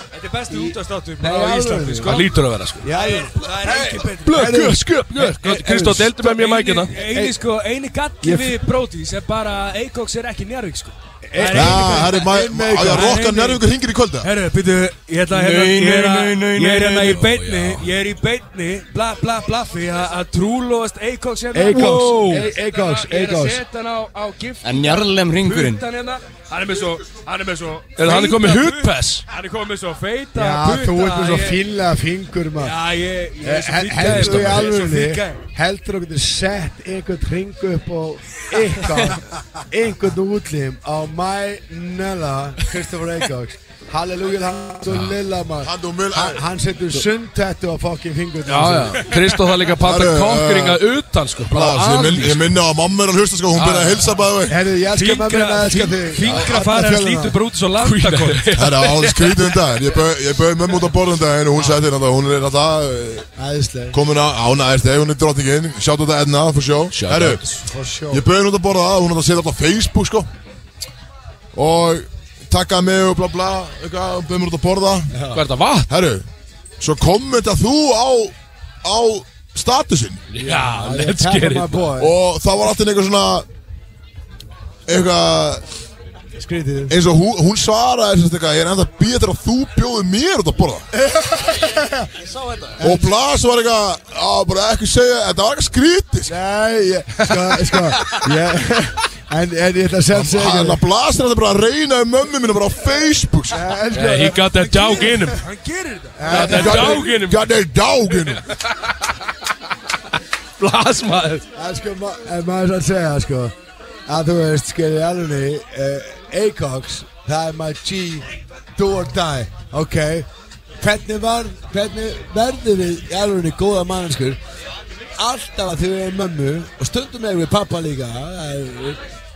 S13: Þetta er besti útastáttur
S12: Nei, í
S13: bara á Íslandi
S12: alvöru.
S13: sko
S1: Það lítur að vera sko
S12: Já, já
S13: Það er ekki betur
S1: Blöð, guð, sköp, guð Kristó, deildu með mér mækina
S13: Eini- Eini sko, eini galli
S1: Ég-
S13: við Brodís er bara að Eikoks er ekki njárvík sko
S2: Já, ah, herri, maður- á ég að rokka Njarðvíkur hringir í kvölda?
S13: Herru, byrju, ég ætla að hérna
S2: Nei,
S13: Ég er
S2: nei,
S13: hérna-
S2: nei,
S13: ég
S2: nei,
S13: er
S2: nei,
S13: hérna í
S2: nei,
S13: beinni Ég er í beinni, bla, bla, bla Því að að trúlóast Eikoks hérna
S12: Eikoks,
S13: Wow.
S12: E- Eikoks,
S13: Ég er að
S12: Eikoks.
S13: setja hann á, á gift
S11: En njarðlegum hringurinn.
S13: Puttan hérna. Hann er með svo, hann er með svo
S1: Er hann
S13: feita
S1: komið
S13: put-
S1: húdpass?
S13: Hann er komið með svo feita
S12: Já, þú ert með svo
S13: Ég-
S12: fíla fingur maður
S13: Já, ég, ég er svo fínn gæi,
S12: Heldur
S13: sko.
S12: þú í
S13: Ég er svo fínn
S12: alvörinni
S13: gæi.
S12: Heldur þú getur sett einhvern ring upp á ykkar einhvern útlim á my nella Kristoffer Eikóks Halleluja, hann og Lilla maður Hann- Hann setur sundtættu á fokkin fingur
S1: Já, já Kristó það líka panta
S2: Herru,
S1: kokkringa utan sko bara
S2: Blás, ég, minn,
S1: aðeins.
S2: ég minna á mamma er að hlusta sko, hún
S1: Já,
S2: byrjaði að
S1: já.
S2: hilsa bæði veginn.
S12: Herru, ég elska Fingra- mömmuna, ég elska þig.
S1: fingra fara hans lítur bara út eins og landakort.
S2: Herru, á þess skrítið um daginn, ég bauð- ég bauði mömmu út á borðum daginn og hún sagði þér að hún er alltaf
S12: Æðisleg
S2: komin að ána æðisleg, eh, hún er drottningin, sjátt þetta Edna, for sjó.
S12: Shout
S2: Herru,
S12: out. For sure.
S2: ég bauði henni út að borða það, hún er að setja alltaf á Facebook sko og takkaði mig og bla bla, eitthvað, hún bauði mér út að borða.
S1: Hvað er þetta, vatn?
S2: Herru, svo kommenta þú á, á statusinn.
S1: Já, let's get it
S2: Og það var alltaf einhver svona eitthvað
S12: Skrítið
S2: eins og hún, hún svaraði sem sagt eitthvað ég er enda betur að þú bjóði mér út að
S12: [LAUGHS]
S2: borða
S1: [LAUGHS]
S12: Ég sá þetta
S2: og Blas var eitthvað á, bara ekki segja þetta var eitthvað skrítið
S12: Nei, ég, sko, sko ég, en, en ég ætla að segja segja
S2: Hann að Blas er alltaf bara að reyna um mömmu mínu bara á Facebook sko.
S1: Yeah, eh, he got that dog in him
S13: Hann gerir þetta
S1: Got that dog in him
S2: Got that dog in him
S1: Blas maður
S12: En sko, ma en maður er að segja, sko að þú veist, sko, í alunni uh, Acox, það er my G do or die, ok hvernig var hvernig verður við í alunni góða mannskur alltaf að þau eru mömmu og stundum erum við pappa líka það er-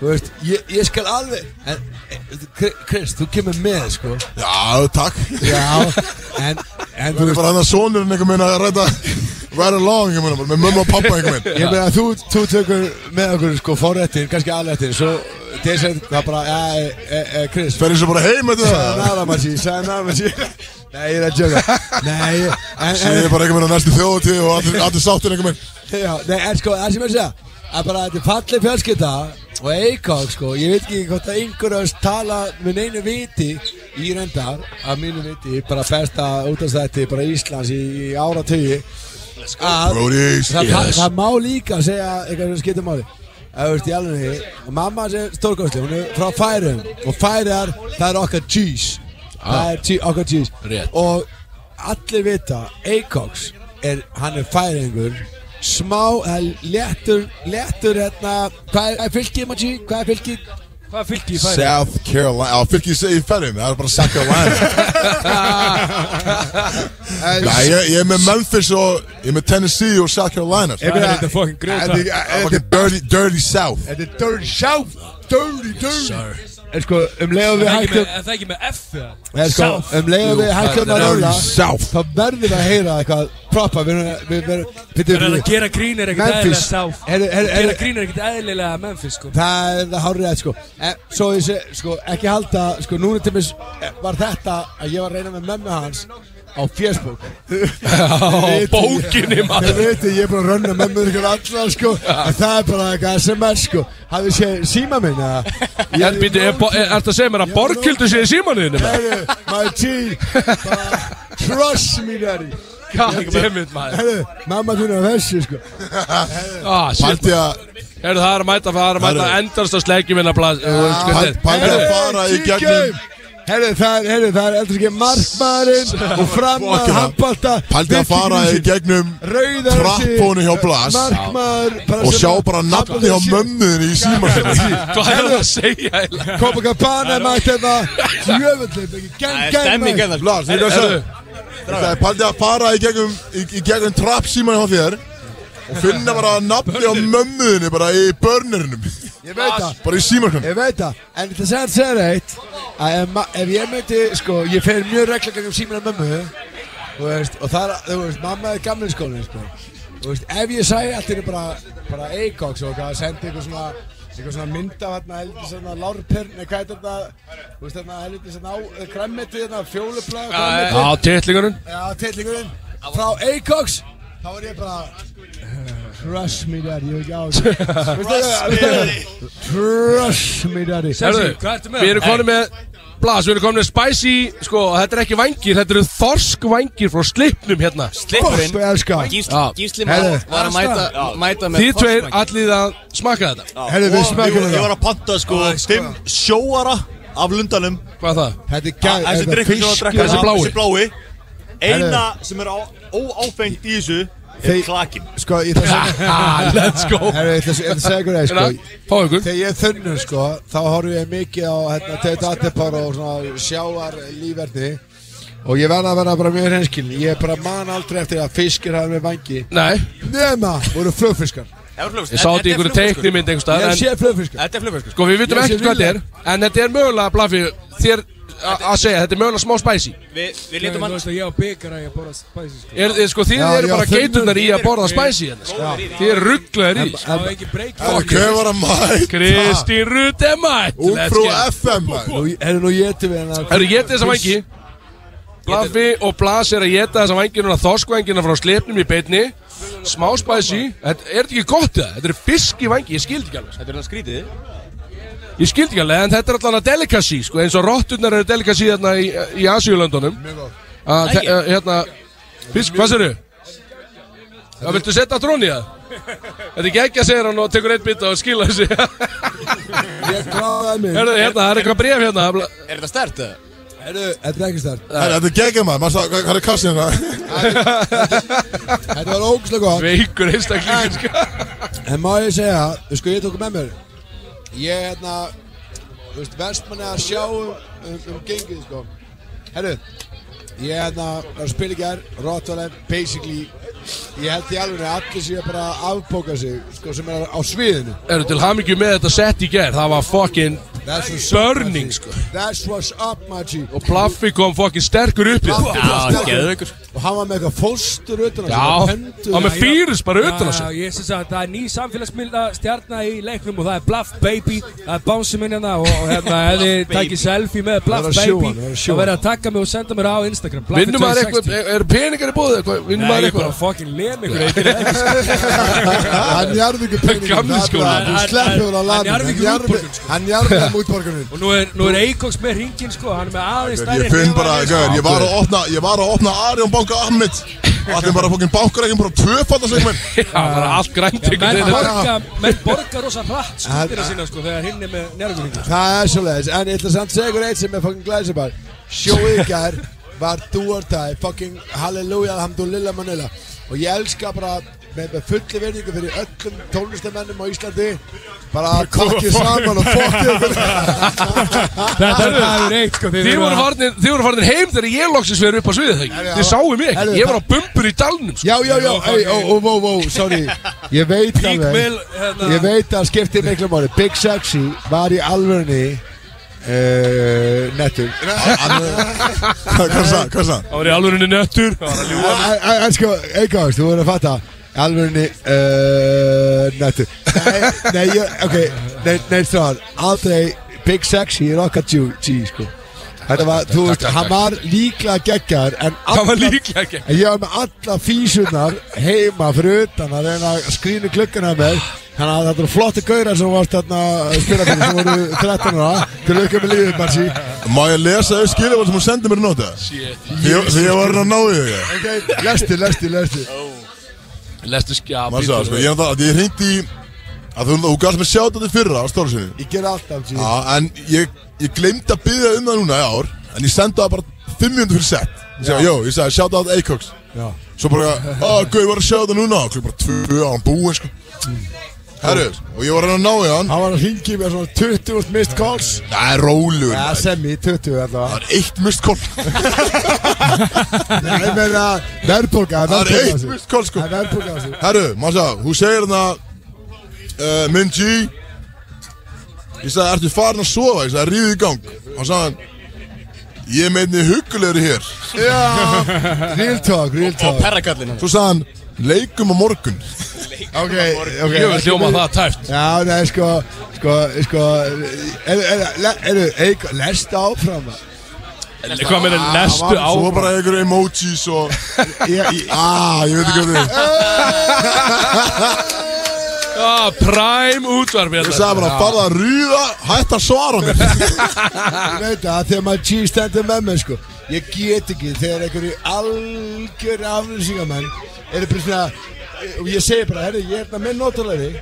S12: þú veist, ég, ég skal alveg en, eh, Krist, þú kemur með, sko
S2: Já, takk
S12: Já, en, en
S2: þú er bara hann að sonurinn einhvern veginn að ræta right along einhvern veginn bara með mömmu og pappa einhvern veginn
S12: Ég meina, þú, þú tökur með okkur sko forrættin, kannski alrættin Svo desert, það bara, ja, e, e, Chris
S2: Fer þessu bara heim, veitu það?
S12: Sæðanara maður sí, sæðanara maður sí Nei, ég er að jöka Nei, en,
S2: Sér ég bara einhvern veginn á næstu þjóðatíð og allir, allir sáttir einhvern veginn
S12: Já, nei, en sko, það sem ég að segja að bara þetta er fallið fjölskylda og Eikók, sko, ég veit ekki hvort að einhverjum hans tala með neinu viti í reyndar, að mínu viti bara besta útastætti, bara Íslands í, í áratögi að
S2: Brody's.
S12: það, það,
S2: Yes.
S12: það má líka segja eitthvað sem skiptir máli að þú veist í alveg mamma sem stórkostli, hún er frá færum og færar, það er okkar cheese það er tí, okkar cheese
S1: Rétt.
S12: og allir vita Acox er, hann er færingur smá, það er léttur léttur hérna, hvað er- hvað er fylgið Maggi? hvað er fylgið?
S13: Hvað er fylgið
S2: South Carolina, á fylgjið segi í ferðum, það er bara South
S12: [LAUGHS]
S2: Carolina Nei, ég, ég er með Memphis og, ég er með Tennessee og South Carolina sko.
S12: Ég meina- Þetta er fucking grjótart.
S2: Þetta er- eh, Þetta er dirty, dirty South
S12: Þetta er dirty south Dirty, dirty En sko, um leiðum við hættum
S13: Það er ekki með F
S12: En sko, um leiðum við hættum að róla
S2: South
S12: Þá verðum við að heyra eitthvað Propa, við erum við verðum
S13: Það er að gera grín er ekkert eðlilega
S12: Memphis
S13: sáf
S12: Heyrðu, heyrðu, heyrðu,
S13: Gera grín er ekkert eðlilega Memphis sko
S12: Það er það hárið að sko en, Svo ég sé, sko, ekki halda Sko, núna til mér var þetta Að ég var að reyna með mömmu hans Á Facebook
S1: Já, bókinni, maður.
S12: Þeir veitir, ég er bara að rönna mömmu ykkur allar sko En það er bara eitthvað SMS sko Hafið sé síma minn eða
S1: En býti, er þetta að segja mér að Borghildur sé í símanuðinu?
S12: Herru, my G bara, Trust me daddy
S1: God damn it, maður.
S12: Herru, mamma þín er þessi sko
S1: Ah, shit
S2: Pældi að
S1: Herru, það er að mæta, það er að mæta
S2: Herru.
S1: endast að sleggjum hérna blað
S2: Pældi að fara í gegnum
S12: Herru, það er, herru, það er eldur ekki markmaðurinn og frammaður
S2: Fucking
S12: handbalta
S2: Pældi að fara í gegnum
S12: Rauðar
S2: trappónu hjá Blas
S12: Markmaður bara
S2: og
S12: sem
S2: sjá
S12: að-
S2: bara nafni hjá mömmuðinu í símarsinu
S1: Hvað
S2: [LAUGHS]
S1: er það að segja? eiginlega?
S12: Copacabana mætt hérna Jöfnvöldleip, ekki gang, gang
S2: Stemming
S12: mætt.
S2: hérna Lars, þetta er að segja Þetta er paldið að fara í gegnum í, í gegnum trapp síman hjá þér og finna bara nafni á mömmuðinni bara í börnirinnum
S12: Ég veit það
S2: Bara í hérna. símarkunum
S12: Ég veit það En það segir segir eitt að ef, ma- ef ég myndi sko Ég fer mjög reglagan um símina mömmu Þú veist Og það er Þú veist Mamma er gamli skóli sko Þú veist Ef ég sæði allt er bara Bara Eikox og hvað Sendi eitthvað svona Eitthvað svona mynd af hérna heldur svona lárpern Nei hvað er þetta Þú veist þarna heldur svona á Græmmeti eh, þarna fjólublað grænmeti.
S1: Já, titlingurinn.
S12: Já tillingurinn Frá Eikox Þá er ég bara Trust me daddy
S1: [LAUGHS]
S12: Ég hef ekki á þessu.
S6: Trust me, daddy.
S12: Trust me daddy
S1: Herðu, við erum komin með Blas, við erum komin með spicy Sko, þetta er ekki vangir, þetta eru þorskvangir Frá slipnum hérna
S11: Slippurinn. Þorsk, elska. Gísl-
S1: Já.
S11: Gísli var-
S1: Herðu.
S11: var að mæta-
S1: Já.
S11: mæta með
S1: Þið tveir
S11: þorskvangir.
S1: allir að smaka þetta
S11: Herðu, við
S5: Og
S11: smakkum
S5: ég-
S11: þetta.
S5: Ég var að panta sko Fimm sjóara af lundanum
S1: Hvað það?
S12: Þetta er
S5: gæð Þessi
S12: þetta er
S5: drikkur sem var að drekka
S12: fiskur-
S5: Þessi blái Eina
S12: Herðu.
S5: sem er á- óáfengt í þessu Er
S12: Þeir-
S5: klakin
S12: Sko, ég þessu
S5: Let's go.
S12: Herru, ég ætla að segja ykkur
S5: Hérna,
S12: eitthvað
S1: Fá ykkur
S12: Þegar ég er þunnur, sko Þá horfum ég mikið á hérna, Teit Atepar og svona sjáar lífverði Og ég verða að vera bara mjög hreinskilin Ég bara man aldrei eftir að fiskir hafa með vangi
S1: Nei
S12: Nema, voru flugfiskar
S1: Ég sá þetta í einhverju teiknimynd einhvers staðar,
S12: Ég
S1: en-
S12: sé flugfiskar
S11: Þetta er flugfiskar
S1: Sko, við vitum
S12: Ég sé
S1: ekkert hvað þetta er En þetta er mögulega, Blafi, þér a- að segja Þetta er mögulega smá spicy
S11: Við, við
S13: Þú
S11: létum hann
S13: veist að ég á byggar að ég borða spæsi sko.
S1: er, er, Sko, þið
S13: Já,
S1: eru
S13: já,
S1: bara
S13: þunnur.
S1: geiturnar í
S13: Þið
S1: að
S13: eru
S1: borða
S13: góðir-
S1: spicy hérna sko.
S13: góðir í því.
S1: Þið eru rugglaður í sko.
S13: En-
S1: þessu.
S13: en- ekki break
S2: Hver var að mætt?
S1: Kristi Rutt er mætt Let's
S2: Ungfrú
S1: get it.
S2: FM
S12: Nú, Herru, nú getum við hennar
S1: Herru, getið þessa vangi Blaffi og Blas er að geta þessa vangi Núna þoskvangina frá slepnum í beinni Smá spicy Þetta er þetta ekki gott það Þetta er fisk í vangi, ég skildi ekki alveg
S11: Þetta er hann skrítið
S1: Ég skildi ekki alveg, en þetta er allan að delicacy sko, eins og rotturnar eru delicacy hérna í, í Asíulöndunum Að þe- að, Hérna, fisk, hvað serðu? Já, viltu setja trón í það? Þetta er ekki ekki að segja hann og tekur einn bita og skila þessi
S12: Ég gráði mig
S1: Herðu, hérna, það er eitthvað bref hérna bla-
S11: Er þetta stert?
S12: Herru, [LAUGHS] þetta er ekki stærkt
S2: Herra, Þetta er geggjum maður, maður sá, hvað hvað er kassin hérna?
S12: Þetta var ógustlega gott
S1: Veikur einstaklingur sko.
S12: En má ég segja, þú sko ég tók með mér Ég er hérna Þú veist, verst manni að sjá um, um, um gengið, sko Herru, ég er hérna var að spila í gær, Rottweiler, basically Ég held í alveg að allir séu bara að afbóka sig Sko, sem er á sviðinu
S1: Eru til hamingju með þetta sett í ger Það var fucking
S12: That's what's
S1: burning sko
S12: That's what's up, my G
S1: Og Blaffi kom fucking sterkur upp í
S12: Blaffi kom Já, sterkur.
S13: geðveikur. sko.
S12: Og hann var með eitthvað fóstur utan á sig,
S1: Já,
S12: og pöndu-
S1: hann með fýris bara
S13: Já,
S1: utan á sig.
S13: já, Ég syns að það er ný samfélagsmiðla stjarnar í leiknum og það er Bluff Baby Það er bánsi minn hérna og, og hérna ef þið takkir selfie með
S1: Það er að
S13: Bluff
S1: sjúga
S13: Baby
S1: hann, það er að
S13: þá
S1: sjúga
S13: verður að taka mig og senda mér á Instagram Bluffi
S1: Vinnum maður
S13: 260.
S1: eitthvað, eru peningar í búið eitthvað? Vinnum
S13: Nei,
S1: maður
S13: ég er bara
S1: eitthvað?
S13: að fucking lem ykkur ég get ekki.
S12: [LAUGHS] Hann jarði ekki peningum
S13: Gamli skólann.
S12: Þú sleppur
S13: Hann
S12: hann að
S13: jarði
S12: laðinu
S13: ekki útborgun
S12: Hann jarði það útborgunum
S13: Og nú er, nú er Eikoks með ringin sko, hann er með aðeins
S2: Ég finn bara,
S13: sko.
S2: gauður, ég var að opna, ég var að opna Arjón banka af mitt og allir bara fokkin bankarækjum bara tvöfald að segja minn
S1: Já, það er allt grænt
S13: Menn
S1: einhvern
S13: borga, menn borga rosa hratt
S12: Hann-
S13: stundir sína sko þegar hinn er með njárvíkingin
S12: Það er svolítið, en ég ætla samt að segja ykkur eitt sem er fucking glæsibar Sjóið ykkar var do or die, fucking halleluja, alhamdulillah, manila Og ég elska bara með, með fulli verðingu fyrir öllum tónlistamennum á Íslandi Bara kokkið saman og fokkið
S1: [LAUGHS]
S13: Þetta er dagur eitt sko
S1: Þið voru farnir, þið voru farnir heim þegar ég loksins verið upp á sviðið þegar Þið sáu mig ekki, ég var á bumbur í dalnum sko.
S12: Já, já, já, ei, ó, ó, ó, ó, sorry Ég veit
S1: Peak
S12: alveg
S1: Mill, hérna.
S12: Ég veit að skiptir miklu máli Big Sexy var í alvörni uh, Nettur
S2: Hvað sagði, hvað sagði?
S1: Það var í alvörinu nöttur
S12: En en sko, einhvers, þú verður að fatta Alvörni uh, Nettur Nei, nei, ég, ok Nei, nei, stráðan, aldrei Big Sexy er okkar G, G, sko Þetta var, þú veist, hann var líklega geggar
S1: Það var líklega ekki
S12: En ég var með alla físunar heima fyrir utan að reyna að skrýna klukkuna með Þannig að þetta eru flotti gaurar sem varst þarna að spila fyrir sem voru 13 ára Til aukja með lífið, Marci
S2: Má ég lesa þau skiljafal sem hún sendi mér í nóta? Því ég var hann að ná í þau
S12: Ok, lesti, lesti, lesti
S1: Lestu skjá
S2: Maður sagði, sko, ég er það, ég hringdi í að þú, þú gafst mér sjátt þetta fyrra á stóru sinni
S12: Ég ger alltaf, G
S2: Já, en ég, ég glemdi að byggja um það núna í ár En ég sendi það bara 500 fyrir sett Ég
S12: Já.
S2: sagði, jó, ég sagði, shout out Acox
S12: Já. Mm.
S2: Svo bara, að, gau, ég var að sjá þetta núna Og klukk bara tvö á hann búin, sko Herru, og ég var hann að ná í hann
S12: Hann var að ringi með svona 20 mist calls
S2: Það er rólugur
S12: Já, semi, 20 allavega Það
S2: er eitt mist
S12: [LAUGHS]
S2: call
S12: Nei, ég meina, verðbólka
S2: Það er eitt mist call sko
S12: Það er verðbólka á sig
S2: Herru, maður sá, hún segir hérna uh, Minn G Ég sagði, ertu farin að sofa? Ég sagði, ríðu í gang Hann sagði, ég meini huggulegur hér [LAUGHS]
S12: Já, real talk, real talk
S2: perrakallin Svo sagði hann, leikum á morgun
S12: Ok, ok
S1: Ég vil hljóma það tæft
S12: Já, nei, sko, sko, sko Eru, eru, le- eru, eru, lestu áfram
S1: Nei, Hvað með
S12: Ah,
S1: lestu á
S12: var-
S2: Svo bara einhverju emojis og Ah, ég veit ekki hvað þið
S1: Já, præm útvarf
S2: Ég sagði bara, farðu að rýða, hætt að svara [LAUGHS] mér
S12: Ég veit það, þegar maður G stendur með mér sko Ég get ekki þegar einhverju algjör aflýsingamenn eru bara svona og ég segi bara, herri, ég er það minn notalegri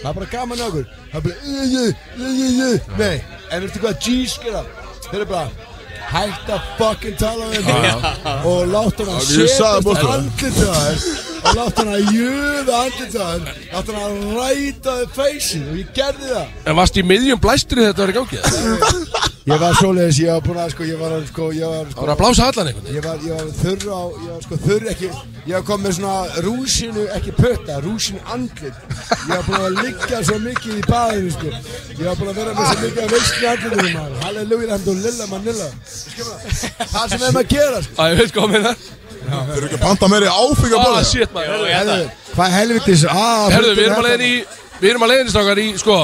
S12: það er bara gaman hjá okkur það er bara, uh, uh, uh, uh, uh. nei, en veistu hvað G skilja þeir eru bara, hætt að fucking tala um þetta
S2: [LAUGHS] Já.
S12: og láta hann
S2: Já,
S12: að
S2: ég sagði
S12: setjast
S2: bara það.
S12: andlit á þér og láta hann að jöða andlit á þér láta hann að ræta þér feysin og ég gerði það
S1: En varst í miðjum blæstri þetta var í gangi?
S12: Ég var svoleiðis, ég var búin að sko, ég var að sko, ég var sko
S1: Það var að blása allan einhvern
S12: Ég var, ég var þurr á, ég var sko þurr ekki Ég var komið með svona rúsinu, ekki pötta, rúsinu andlit Ég var búin að liggja svo mikið í baðinu sko Ég var búin að vera með svo mikið að veistlu andlitinu maður Halleluja, hann og lilla manilla Það sem er maður að gera sko
S1: Æ, ég veit hvað með það
S2: Þeir eru ekki að panta meiri áfengar
S1: Ah, shit maður Herðu,
S12: Herðu, hvað helvitis, ah, aaa
S1: Herðu, við erum að leiðin í Við erum að leiðin í strákar í, sko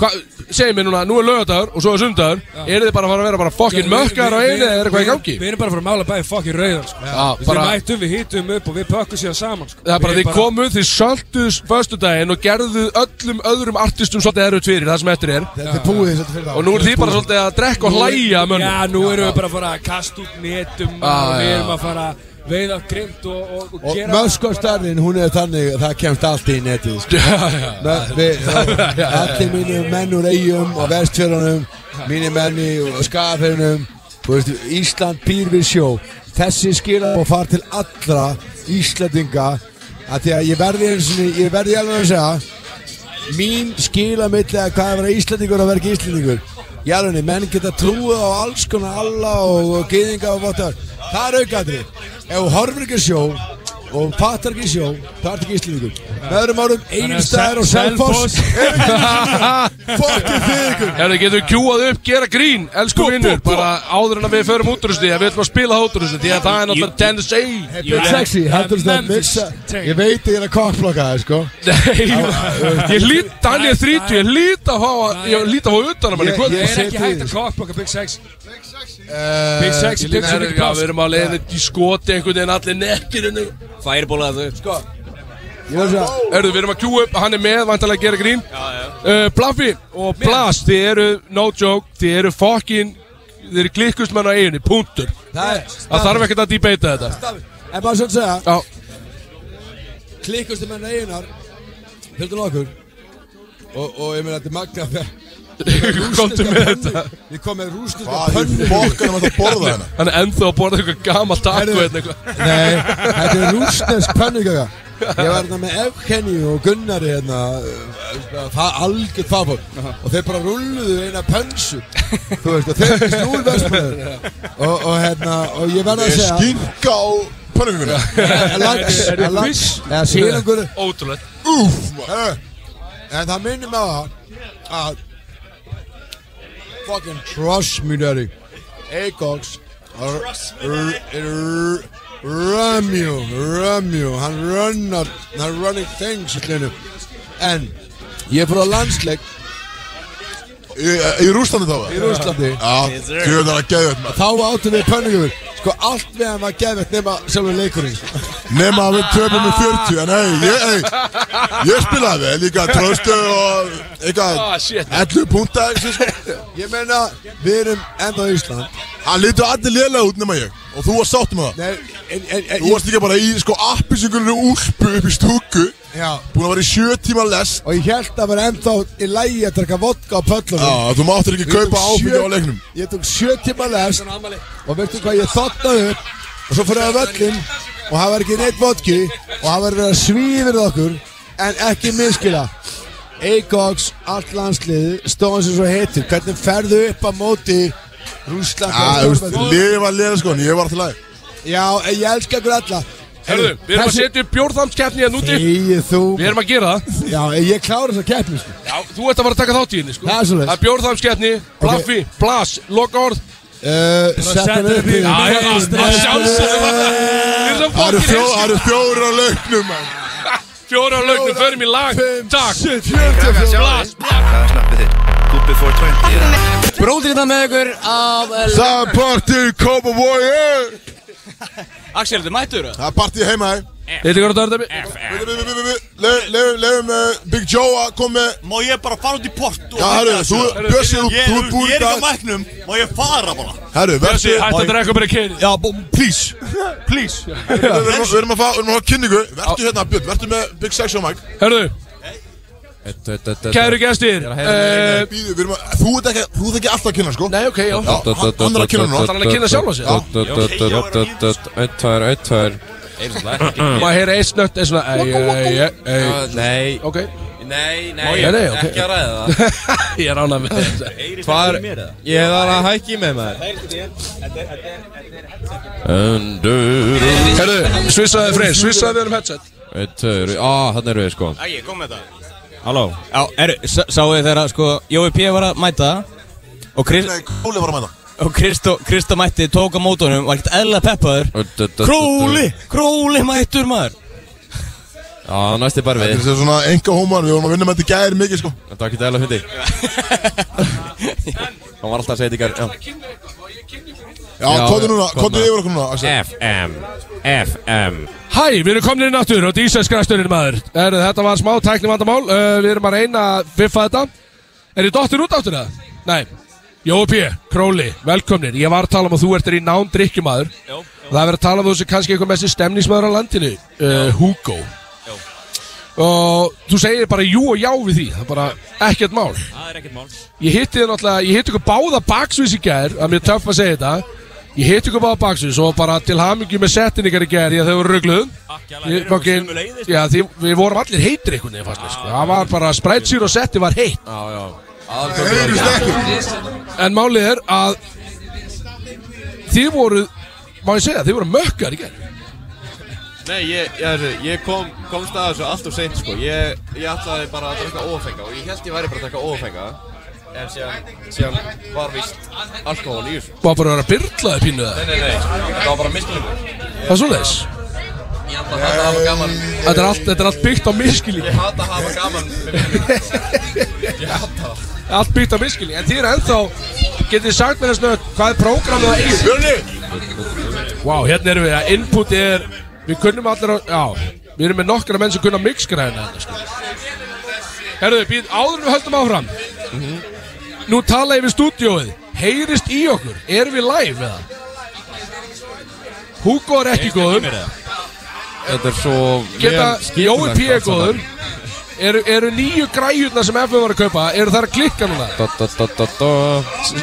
S1: hva, Segir mér núna, nú er lögadagur og svo er sundagur Eru þið bara að fara að vera
S13: Já,
S1: bara
S13: við-
S1: fokkin mökkar á
S13: við-
S1: einu
S13: við-
S1: eða er eitthvað í
S13: við-
S1: gangi?
S13: Við erum bara að fara að mála bæði fokkin rauðan sko.
S1: Já,
S13: Við
S1: bara-
S13: bara mættum, við hýttum upp og við pökkum síðan saman sko.
S1: Það er bara
S13: Við
S1: þið komuð, þið sölduð föstudaginn og gerðuð öllum öðrum artistum svolítið erut fyrir það sem eftir er
S12: Þetta er búið svolítið fyrir þá.
S1: Og nú er þið bara svolítið að drekka og
S13: Nú-
S1: hlæja að mönnum
S13: Já, nú erum við bara að fara að kasta út netum
S1: Já,
S13: og við
S1: já.
S13: erum að fara að veiða grimt og, og, og,
S12: Og
S13: gera
S12: möskostarinn, hún er þannig að það kemst allt í netið
S1: [LAUGHS]
S12: sko.
S1: Já, já.
S12: Mö-
S1: [LAUGHS]
S12: við-
S1: Já, já.
S12: Allir mínir menn úr eigum og vestfjörunum Mínir menn í skafirunum Ísland býr við sjó Þessi skilab og far til allra Íslandinga að Því að ég verði einu sinni, ég verði alveg að segja Mín skila milli að hvað er að vera Íslandingur og að vera ekki Íslandingur Jálunni, menn geta trúið á alls konar alla og, og geðinga og votar Það er aukaðri Ef þú horfir ekki á sjó og fattar ekki sjó, það er ekki íslendingur með öðrum árum,
S1: Þannig að
S12: Egilstaðir og
S1: Sel-
S12: Selfoss eru ekki
S1: [LAUGHS]
S12: Íslendingur. fucking þið ykkur
S1: Herðu, getum við kjúað upp, gera grín, elsku vinnur Bara áður en að við förum útrústi, að við ætlum að spila það útrústi Því að það er náttúrulega Tennessee hey,
S12: Big Sexy, heldur þú það mixa ég veit að ég er að kokkblokka það, sko
S1: Nei, ég lít, hann er 30, ég lít að fá, ég lít að fá utan að manni
S12: Ég-
S1: hvað-
S12: ég
S13: Það er ekki hægt að kokkblokka Big Sex
S12: Eh,
S13: Big Sex,
S1: Eh, Ég
S13: Big Sex
S1: lít-
S13: er
S1: Herru,
S13: ekki
S1: já,
S13: pláss
S1: Við erum að leiðin í skoti einhvern veginn allir nekkir Fireballa þau Sko Herru, við erum að kjúa upp, hann er með, vantarlega að gera grín uh, Blaffi og Blast, þið eru, no joke, þið eru fokkin Þið eru klikkust menn á eiginu, punktur
S12: Það er-
S1: Það þarf ekkert að debata þetta
S12: en bara svo að segja klikkustu menn eigunar heldur nokkur og, og ég meina þetta er magna þegar
S1: Komdu með þetta.
S12: Við komum með rúsnir
S2: Hvað í fokkanum ertu að borða hérna?
S1: Hann er ennþá að borða eitthvað gammal taco
S12: Herðu,
S1: hérna eitthvað.
S12: Nei, þetta er rúsnesk pönnugöga Ég var hérna með Evkenni og Gunnari hérna uh, fa- algjör fagból og þeir bara rulluðu eina pönsu þú veist, og þeir ekki snúl
S1: [LAUGHS]
S12: vestmöður og, og hérna, og ég verða að
S2: Ég
S12: segja
S2: skinka á pönnuguna
S12: Lags, lags, eða síðangur
S1: Ótrúlega
S12: Úf, maður En það minnir mig á það að fucking trust me daddy Acox Römjú, römjú Hann runnar, hann running things allt í einu. En ég fór á landsleik
S2: Í, í Rúslandi þá?
S12: Í Rússlandi.
S2: Já,
S12: Yes, sir.
S2: þú veit það að geða þetta
S12: Þá áttum við pönningur Sko allt við hann var gefið nema sjálfur leikurinn
S2: Nefna að við töfum með 40 En hei, ég, hei Ég spilaði vel líka
S12: [LAUGHS]
S2: tröstu og Eitthvað
S12: Ah, shit.
S2: 11 púnta sko.
S12: [LAUGHS] Ég meina, við erum enda í Ísland
S2: Hann lítur allir lélega út nema ég Og þú varst sáttum með það
S12: Nei, en, en, en,
S2: Þú varst líka bara í sko appisugurinu úlpu upp í stúku
S12: Já
S2: Búin að vera í sjö tíma lest
S12: Og ég held að vera ennþá í lægi að draka vodka á pöllunum
S2: Já, þú máttir ekki
S12: Ég tók
S2: kaupa áfengi
S12: sjö-
S2: á leiknum.
S12: Ég tók sjö tíma lest Og veistu hvað ég þotnaði upp Og svo fyrir að völlin Og það var ekki neitt vodki Og það var verið að svífir okkur En ekki miskila Eigox, allt landslið stóðan sem svo heitir, hvernig ferðu upp að móti Rúsland
S2: Já, þú veist, lifa liða sko, ég var alltaf læg
S12: Já, en ég elska ykkur alla
S1: Herðu, við erum að setja upp bjórþamskeppni hérna úti
S12: Þegið þú
S1: Við erum að gera það
S12: Já, en ég klára þess að keppni sko.
S1: Já, þú ert að fara að taka þátt í henni sko
S12: Það er svoleiðis.
S1: Það er bjórþamskeppni, plaffi, plas, lokaorð
S12: Uh,
S1: Settum
S12: upp í-
S1: Já, já, að sjálfsögðu var það Við erum
S2: Það eru
S1: fokkin
S2: fjó- það
S1: einstaklega.
S2: eru fjóra lauknum,
S1: [LAUGHS]
S2: mann
S1: Fjóra á laugnu, förum í lag Takk
S2: fjórir.
S1: Blast,
S14: Það er snappið þitt Good before 20
S11: Bróðir þetta með ykkur af eh,
S2: Það er partí, koma boy eh.
S11: Axel, þetta mættur það?
S2: Það er partí heima
S1: Þetta er hvað það
S2: Leifum eh, Big Joe að koma með
S5: Má ég bara fara út í port og-
S2: Já, herru, þú- Bjössi, þú-
S5: Ég-
S2: þú ert búinn
S5: Ég er
S2: í
S5: ekki
S2: dag.
S5: á mæknum Má ég fara bara
S2: Herru, verður
S1: hættu að drekka bara kynni
S5: Já, bú-
S12: [LAUGHS]
S5: please Please
S2: Við erum við erum að fá, við erum að fá kynningu Verður hérna, Björn, verður með Big Sexy og Mike
S1: Herðu Kæru gestir eh,
S2: Nei, býðu, við erum að- Þú ert ekki, þú ert ekki alltaf að kynna, sko
S1: Nei, ok, já
S2: hann hann er að kynna núna
S1: Ætlar hann að kynna sjálfan sig? Já.
S15: Eitt, tvær, eitt, tvær
S1: Má heyra eitt snött eða svona ei, ei, ei, ei.
S15: Ah, Nei
S1: Ok
S15: Nei,
S1: Má
S15: nei,
S1: ég- nei, ok.
S15: ekki að ræða það
S1: Ég er ánað með þetta
S15: Tvær, ég var að hækki með maður Endur
S1: Herðu, svissaði freyr, svissaði við um headset
S15: Eitt, tvær, á, hann eru við sko
S11: Æ, ég kom með þetta
S15: Halló
S11: Já, er, sáu þið þegar sko Jói P. var að mæta Og Krist
S2: Nei, Kóli var að mæta
S11: Og Kristó, Kristó mætti, tók á mótunum Var ekkert eðla peppaður Króli, króli mættur maður
S15: Já, næsti bara við
S2: Þetta er svona enga hómar, við vorum að vinna með þetta í gæri mikið, sko
S15: Þetta var ekki dæla
S2: [LAUGHS]
S15: hundi Hann var alltaf að segja þetta í gær, já.
S2: Já, komdu núna, komdu
S15: núna.
S2: yfir okkur núna, Axel.
S15: FM FM
S1: Hæ, við erum komin inn aftur og dísæskræsturinn maður Herðu, þetta var smá tækni vandamál uh, Við erum að reyna að biffa þetta Er þið dottir út aftur það? Nei Jói P, Króli, velkomnir Ég var að tala um að þú ert er í nán drikkjumadur
S6: Já, já.
S1: Það er verið að tala um að þú sem kannski eitthvað messi stemningsmaður á landinu uh, Hugo
S6: Já.
S1: Og þú segir bara jú og já við því Það er bara ekkert mál
S6: Það er ekkert mál
S1: Ég hitti þið náttúrulega, ég hitti ykkur báða baksvís í gær að mér er töff að segja þetta Ég hitti ykkur báða baksvís og bara til hamingju með settin ykkar í gær ég þau voru ruggluð Ég- fokkin- Já, því við vorum allir heitir einhvern veginn fannst mér sko Það var bara spreadsheet og setti var heitt
S15: Já, já
S1: En málið er að þið voru, má ég segja, þið voru mökkar í gær
S14: Nei, ég, ég, ég kom, komst að þessu allt og seint sko Ég, ég ætlaði bara að drekka ófenga Og ég held ég væri bara að drekka ófenga En síðan, síðan var víst alkohol í þessu
S1: Var bara að vera byrlaði pínu það
S14: Nei, nei, nei, það var bara mislingur
S1: Það er svoleiðis
S14: Ég ætla að hata að hafa gaman
S1: Þetta er allt, þetta er allt byggt á miskilík
S14: Ég hata að hafa gaman með vinum.
S1: [LAUGHS]
S14: Ég hata það
S1: Allt byggt á miskilík En þið eru ennþá, getið þið sagt mér þess nöð Hvað er prógramið það eigið? Björni! Vá, hérna erum við að input er Við kunnum allir að, já Við erum með nokkra menn sem kunna mixgræðina hérna, sko. Herðu, býð, áður en við höldum áfram Nú tala ég við stúdíóið Heyrist í okkur, erum við live eða? Hugo er ekki góður
S15: Þetta er svo
S1: Geta,
S15: vel
S1: Jói
S15: skipulagt
S1: P. er
S15: allt
S1: góður
S15: saman.
S1: Eru, eru nýju græjurna sem FM var að kaupa Eru þær að klikka núna?
S15: Da, da, da, da, da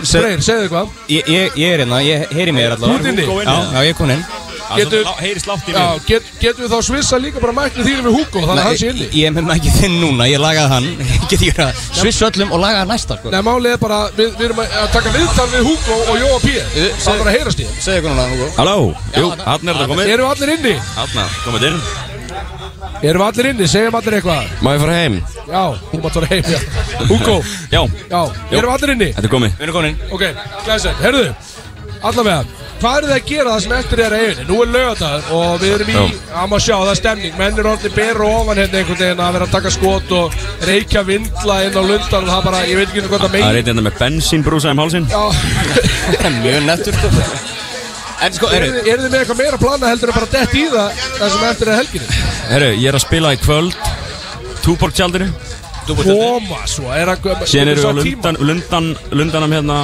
S1: Freyr, segðu eitthvað
S11: Ég, ég, ég er hérna, ég heyri mér
S1: Þú
S11: allavega
S1: ert inni?
S11: Já, já, ég er komin inn
S1: Getur-
S5: Heyri slátt í
S1: Já,
S5: mér
S1: get, getum við þá svissa líka bara mæknið þínum við Hugo Þannig að hann sé inni
S11: Ég er með mækið þinn núna, ég lagaði hann [LAUGHS] Ég get ekki verið að svissa öllum og lagaði næsta sko
S1: Nei, málið er bara, við, við erum að að taka viðtal við Hugo og Jóa P Það var að heyrast í þeim.
S11: Segðu eitthvað núna, Hugo
S14: Halló,
S11: jú,
S14: hann er það
S1: Eru allir inni?
S14: Hanna, komið inn
S1: Eru allir inni? Segjum allir eitthvað
S15: Má ég fara heim?
S1: Já, þú mátt fara heim, já Hugo,
S15: Já
S1: já, eru allir inni?
S15: Þetta er komið
S11: Við erum komin inn
S1: Ok, glæsir, herðu Allavega, hvað eru þið að gera það sem eftir er að eiginni? Nú er lögadagur og við erum í Það má sjá, það er stemning, menn eru orðin beru ofan hérna einhvern veginn að vera að taka skot og reykja vindla inn á lundan og það bara, ég veit ekki hvað það
S16: Það er
S1: meina
S16: eitthvað með bensínbrúsa um hálsin
S11: [LAUGHS] Mjög nettur sko En sko,
S1: Eru þið- eru þið með eitthvað meira að plana heldur en bara dett í það það sem eftir er helginni?
S16: Herru, ég er að spila í kvöld Túborg tjaldinu
S1: Koma svo, er að
S16: Síðan eru við
S1: geturðu
S16: á
S1: sagt tíma-
S16: lundan, lundan, lundanum hérna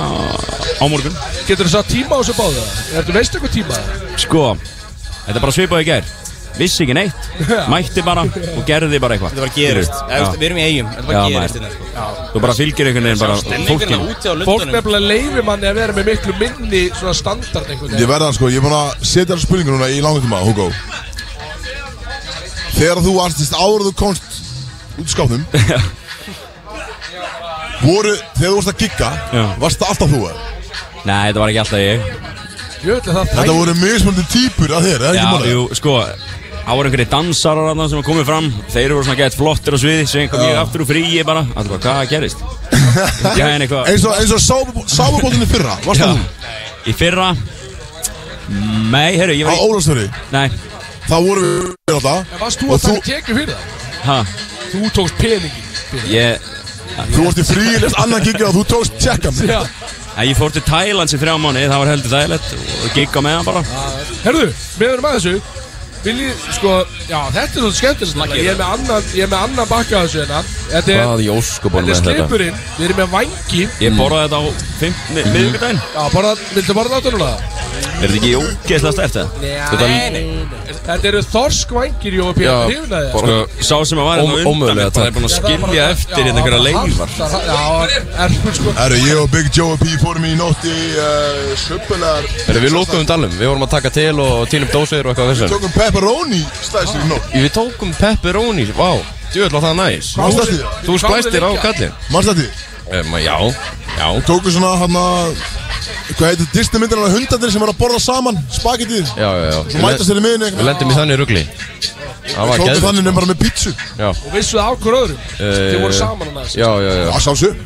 S16: á morgun
S1: Getur þú satt tíma á þessu báðu? Ertu veist eitthvað tíma?
S16: Sko, þetta er bara svipað í gær Vissi ekki neitt, mætti bara og gerði bara eitthvað
S11: Þetta bara gerist. Já, veist, við erum í Eyjum, þetta bara
S16: Já,
S11: gerist hérna,
S16: maður.
S11: sko. Já.
S16: Þú bara fylgir einhvern veginn bara fólkinu
S1: hérna Fólk nefnilega leifir manni að vera með miklu minni svona standard einhvern
S2: Ég verða það sko, ég er búin að setja þér spurningur núna í langan tíma, Hugo
S1: [LAUGHS]
S2: Þegar þú artist áður en þú komst út í skápnum Voru, þegar þú varst að gigga, varst það alltaf þú að?
S16: Nei, þetta var ekki alltaf ég
S1: Jöfnlega það
S2: Þetta voru mismunandi típur að þér, eða ekki
S16: Já,
S2: málega?
S16: jú, sko Það voru einhverju dansarar þarna sem komið fram Þeir voru svona gett flottir á sviði Svein kom ég aftur úr fríi bara Það var hvað
S2: [LAUGHS]
S16: gerist Gæðin eitthvað
S2: Eins og, eins og sáfubóttinni fyrra, varst það þú?
S16: Í fyrra Nei, herru, ég var
S2: Á Ólafsfjörði?
S16: Nei
S2: Það voru við alltaf
S1: Varst þú að taka tekið fyrir það?
S16: Hæ?
S1: Þú tókst peningi fyrir
S16: Ég
S2: Þú varst í fríi, lest annan gigga og þú tókst tjekka mig
S1: Já.
S16: Nei, Ég fór til Thailands í þrjá mánu Það var heldur þægilegt Og gigga með hann bara
S1: Herðu, við erum að þessu Viljið, sko, já, þetta er svolítið skemmtilegt Ég er með annan, ég er með annan bakka að þessu hérna Þetta er,
S15: Hvað í ósköpunum
S1: þetta er
S15: er þetta?
S1: slipurinn Við erum með vangi
S16: Ég borðaði þetta á fimm, mi- miðvikudaginn
S1: Já, borða, viltu borða þetta núna?
S16: Er þetta ekki ógeðslega stert það?
S1: Nei, nei Þetta eru þorskvængir, Jóa Pétur, hrifnaði þér.
S15: sko-
S16: bara, Sá sem að var
S1: Ó-
S16: hérna á undan
S1: ómögulega
S16: mér bara er búin að skilja eftir hérna einhverja leifar
S1: Já, er sko sko
S2: Herru, ég og Big Joe og P fórum í nótt í uh, Svöppunar
S15: Herru, við lókuðum dalum, við vorum að taka til og týnum dósir og eitthvað
S2: Við
S15: þessum
S2: tókum pepperoni slæsir í nótt
S15: Við tókum pepperoni, vá, djöðla það næs
S2: Manstu eftir því?
S15: Þú splæstir á kallin
S2: Manstu eftir því?
S15: um, Já, já
S2: Tókum svona hann að Hvað heitir Disney myndir hann að hundarnir sem er að borða saman Spagettið
S15: Já, já, já
S2: Svo mætast þeir í miðjunni eitthvað.
S15: Við lendum í þannig rugli Það var
S2: Tókum
S15: geðveikt,
S2: þannig
S15: sko.
S2: nefnir bara með pítsu
S15: Já eh,
S1: Og vissu það á hver öðrum Þið voru saman um hann
S15: Já, já, já
S2: Það sjálfsög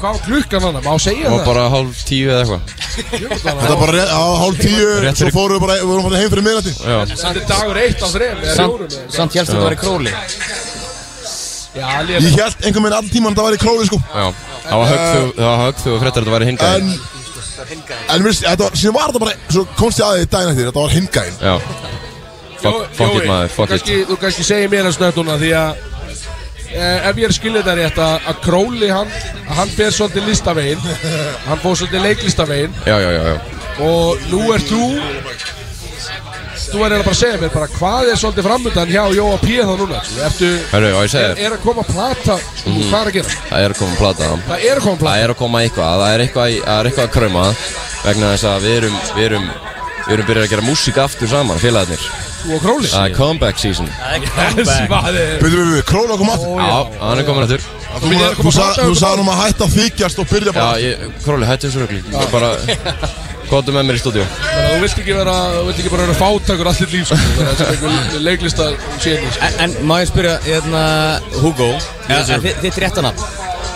S1: Hvað var klukkan hann? Má segja
S15: Það var
S1: það?
S15: bara hálf tíu eða eitthvað
S2: Þetta var bara rétt- á hálf tíu
S15: Rétt
S2: Svo
S15: fyrir-
S2: fórum við bara, við vorum bara heim fyrir miðnætti
S15: Já
S1: Þetta er dagur eitt á þrem eða
S2: Samt-
S1: fjórum, eða-
S2: samt hélstu
S1: Já.
S2: þetta væri króli.
S1: Já,
S2: Ég
S1: líka
S2: held einhvern veginn all tíman það væri króli sko
S15: Já, það var högg þú, það var högg þú og fréttar að þetta væri hingað
S2: En En mér, þetta var, síðan var þetta bara Svo komst ég að því daginn eftir, þetta var hingæðin
S15: Já Fuck, fuck it maður,
S1: Þú
S15: fuck it
S1: kannski, þú kannski segir mér að snöðuna því að eh, ef ég er skilja þetta rétt að, að Króli hann, að hann fer svolítið listavegin hann fór svolítið leiklistavegin
S15: Já, já, já, já
S1: og nú er þú þú er eiginlega bara að segja mér bara hvað er svolítið framöndan hjá Jóa P. þá núna eftir,
S15: Herru, og ég segi
S1: er,
S15: þér
S1: er að koma að plata mm.
S16: Mhm.
S1: hvað er að gera?
S15: Það er að koma plata
S1: Það er að koma plata
S15: Það er að koma eitthvað Það er eitthvað, í- það er eitthvað að krauma Vegna þess að við erum Við erum Við erum byrjað að gera músík aftur saman Félagarnir
S1: Þú og Króli?
S15: Það er comeback season
S2: Byrðu, byrðu, króla kom aftur
S15: Já, hann er komin aftur
S2: Þú var- Þú sa- þú sagði um að hætta að þykjast og
S15: Já,
S2: byrja bara
S15: ég, Króli, hættu þessu rögli Bara Kóttu með mér í stúdíu
S1: Þannig að þú vilt ekki vera þú vilt ekki bara vera fátakur allir líf sko, það er sem einhver leiklista séni sko.
S11: En má ég spyrja, hérna, Hugo ja,
S1: sir.
S11: þi- Þitt réttanab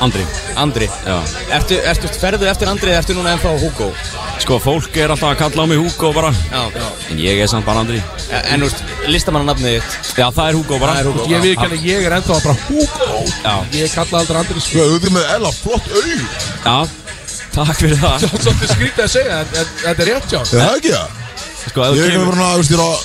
S16: Andri
S11: Andri
S16: Já
S11: Ertu, ertu, ferðu eftir Andri eða ertu núna ennþá Hugo?
S16: Sko, fólk er alltaf að kalla á mig Hugo bara
S11: Já, já
S16: En ég er samt bara Andri
S11: En þú veist, listamannanafnið þitt
S16: Já, það er Hugo bara
S11: Það er Hugo
S1: ég veit ekki að ég er ennþá bara Hugo
S16: Já
S1: ég kalla aldrei Andris
S2: Sko, Þú veist með Ella, flott auð
S1: [LAUGHS]
S16: Já, takk fyrir það
S1: Svo- Svolítið skrítið að segja en, en þetta er rétt hjá
S2: Er það ekki það?
S16: Sko, ef þú
S2: Ég er ekki
S16: kemur
S2: bara, þú veist, ég er að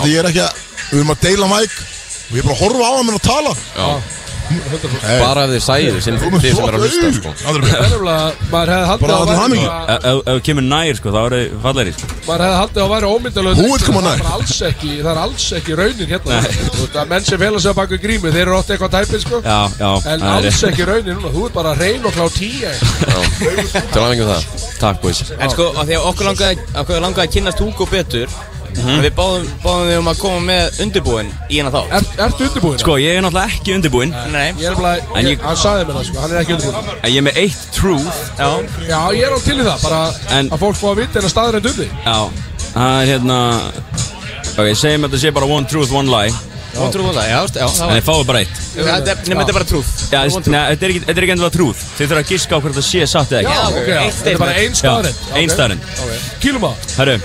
S2: Af því ég er ekki að Við erum að deila mæk Og ég er bara að horfa á hann minn að tala
S15: Já
S2: Hey.
S15: Bara ef þið sæðu sem
S2: Þú með
S15: þið sem er að
S2: flott
S15: hlusta
S2: auð.
S15: sko
S2: Andri minn.
S1: Það er alveg maður hefði haldið
S2: Bara
S1: að
S2: allir
S1: það væri
S2: hamingju.
S1: bara-
S16: Ef ef þú kemur nær, sko, þá eru þið fallegri sko.
S1: maður hefði haldið að það væri ómyndalöð
S16: Who would come on
S1: það er
S16: night?
S1: bara alls ekki það er alls ekki raunin hérna Þú veist að menn sem fela sig á baku grímu þeir eru oft eitthvað tæpið sko
S16: Já, já
S1: en
S16: það er
S1: alls
S16: rétt.
S1: ekki raunin núna þú ert bara reyn og sko. klá tíja
S15: Já, til aðeins það Takk, boys
S11: En sko, af því að okkur langaði, okkur langaði að kynnast Hugo betur
S16: Mhm.
S11: Við báðum, báðum þig um að koma með undirbúin í hennar þá
S1: er, Ertu undirbúin?
S16: Sko, ég er náttúrulega ekki undirbúinn
S11: Nei
S1: ég er bara
S16: En
S1: ég,
S16: ég-
S1: hann sagði mér það sko hann er ekki undirbúin
S16: En ég er með eitt truth
S11: Já
S1: já ég er á til í það bara
S16: En-
S1: að fólk fá að vita en að um staður en dundi
S16: Já, það er hérna Ok, segjum að þetta sé bara one truth, one lie
S11: One truth, one lie, já, já, það var-
S16: En þið fáið bara eitt
S11: Þetta er- Nei, þetta er bara trúð
S16: Já, þess- nei, þetta er ekki- þetta er ekki endilega truth Þið þurfa að giska á hvort það sé satt eða ekki
S11: Já, ok, já. Eitt
S1: þetta er bara ein staðurinn
S16: Já, ein staðurinn.
S1: kýlum á
S16: Herru,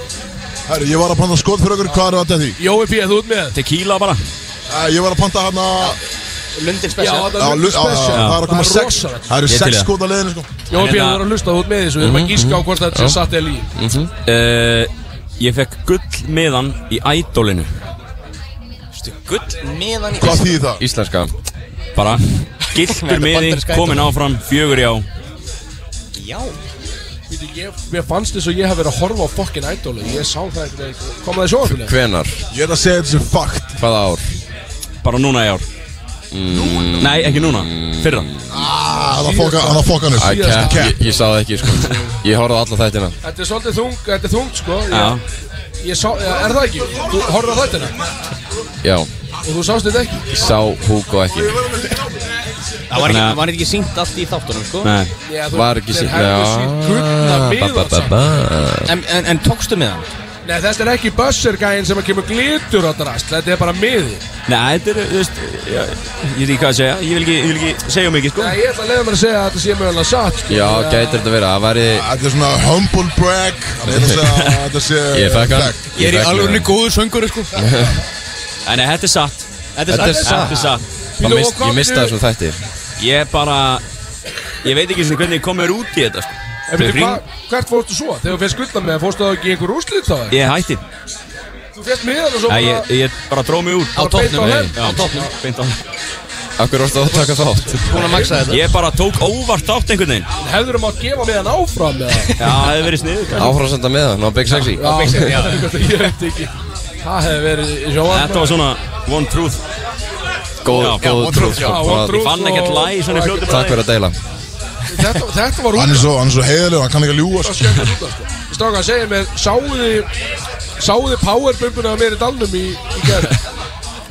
S2: Herru, ég var að panta skot fyrir okkur Hvað er þetta því?
S1: Jói P, þú ert með
S16: tequila bara
S2: Eh, Ég var að panta hann að
S11: Lundin
S1: Já,
S11: special
S1: þetta er
S2: Lundin
S1: special.
S2: Það er að koma
S1: Það er
S2: sex
S1: rosalegt.
S2: Það
S16: Ég
S2: eru
S16: til í
S2: sex
S16: það.
S2: skot að leiðinu sko
S1: Jói
S16: En
S1: P, þú
S16: hérna-
S1: er að hlusta þú ert með þessu við erum að gíska á hvort þetta
S16: Mhm, Já.
S1: sé satt eða líf
S16: uh, Ég fekk gull meðan í ædolinu
S11: Gull meðan í
S2: Hvað þýðir það?
S15: Íslenska
S16: Bara, gildur meði,
S11: bandaríska
S16: komin
S11: Idol.
S16: áfram, fjögur já
S11: Já
S1: Veitu, ég, mér fannst þess að ég hef verið að horfa á fokkin ædólu Ég sá það eitthvað Kom það í sjónvarpinu?
S15: Hvenar?
S2: Ég er að segja þetta sem fakt
S15: Hvaða ár?
S16: Bara núna í ár
S15: Mm,
S16: Nei, ekki núna, fyrra
S15: Ah,
S1: Ah,
S2: Það fokka hann upp
S15: I can't, ég, ég sá það ekki sko Ég horfði á alla þættina
S1: Þetta er svolítið þung, þetta er þungt sko
S15: Já.
S1: ég, ég sá, ja, Er það ekki? Þú horfður á þetta
S15: Já,
S1: Og þú sást þetta ekki
S15: sá Hugo ekki
S17: Það var
S16: Þannig
S17: ekki,
S16: að-
S17: var ekki syngt allt í þáttunum, sko
S16: Nei.
S15: Var ekki
S1: þeir
S15: sér
S1: hefðu sýnt gullna miða
S15: miðan
S17: En, en, en tókstu með hann?
S1: Nei, þetta er ekki buzzer-gæin sem að kemur glitur á drast Þetta er bara miði
S16: Nei, þetta er, þú veist, ég, ég veit ekki hvað að segja, ég vil ekki, ég vil ekki segja mikið, sko.
S1: Nei, ég ætla að leiða mér að segja að þetta sé mögulega satt sko.
S15: Já,
S1: Þannig að-
S15: gætir þetta verið, það væri
S2: Þetta er svona humble brag Það meina að segja
S15: [LAUGHS]
S2: að þetta sé
S15: Ég fekk hann.
S2: Fekk.
S15: Ég er í alvörunni
S11: góður söngur, sko
S16: En nei, þetta er satt.
S11: Þetta er satt.
S16: Þetta er satt.
S15: Það mist- Ég mista þessum þætti
S16: Ég bara, ég veit ekki svona hvernig ég kom mér út í þetta, sko.
S1: En
S16: Þau
S1: veitu
S16: hring-
S1: hvað, hvert fórstu svo? Þegar þú fyrst gullna með, fórstu þá ekki í einhver úrslit þá? eða?
S16: Ég hætti.
S1: Þú fyrst miðan og svo
S16: Nei,
S1: bara
S16: ég, ég bara dróð mig út.
S1: Á Bara beint toppnum, á hel.
S16: Já,
S1: á toppnum.
S16: Beint á hel.
S15: Akkur orðið að taka þátt
S16: Búin að maksa þetta. Ég bara tók óvart átt einhvern veginn.
S1: Hefðurum átt gefa miðan áfram eða? [LAUGHS]
S16: Já, það hefði verið sniður.
S15: Áfram senda miðan á Big Sexy
S1: Já, ég veit ekki Það hefði verið í sjóan
S16: Þetta var svona one truth.
S15: Góð,
S16: Já, já,
S15: góð
S16: one
S15: trúð
S16: truth, já, one truth Ég fann og- ekkert lag í svona fljótu bragði.
S15: Takk fyrir að deila
S1: Þetta, þetta var
S2: Hann er svo, hann er svo heiðalegu, hann kann ekki að ljúa
S1: Það skemmt út af sko Stráka, segja mér, sáuði Sáuði powerbumpuna af mér í dalnum í, í gerð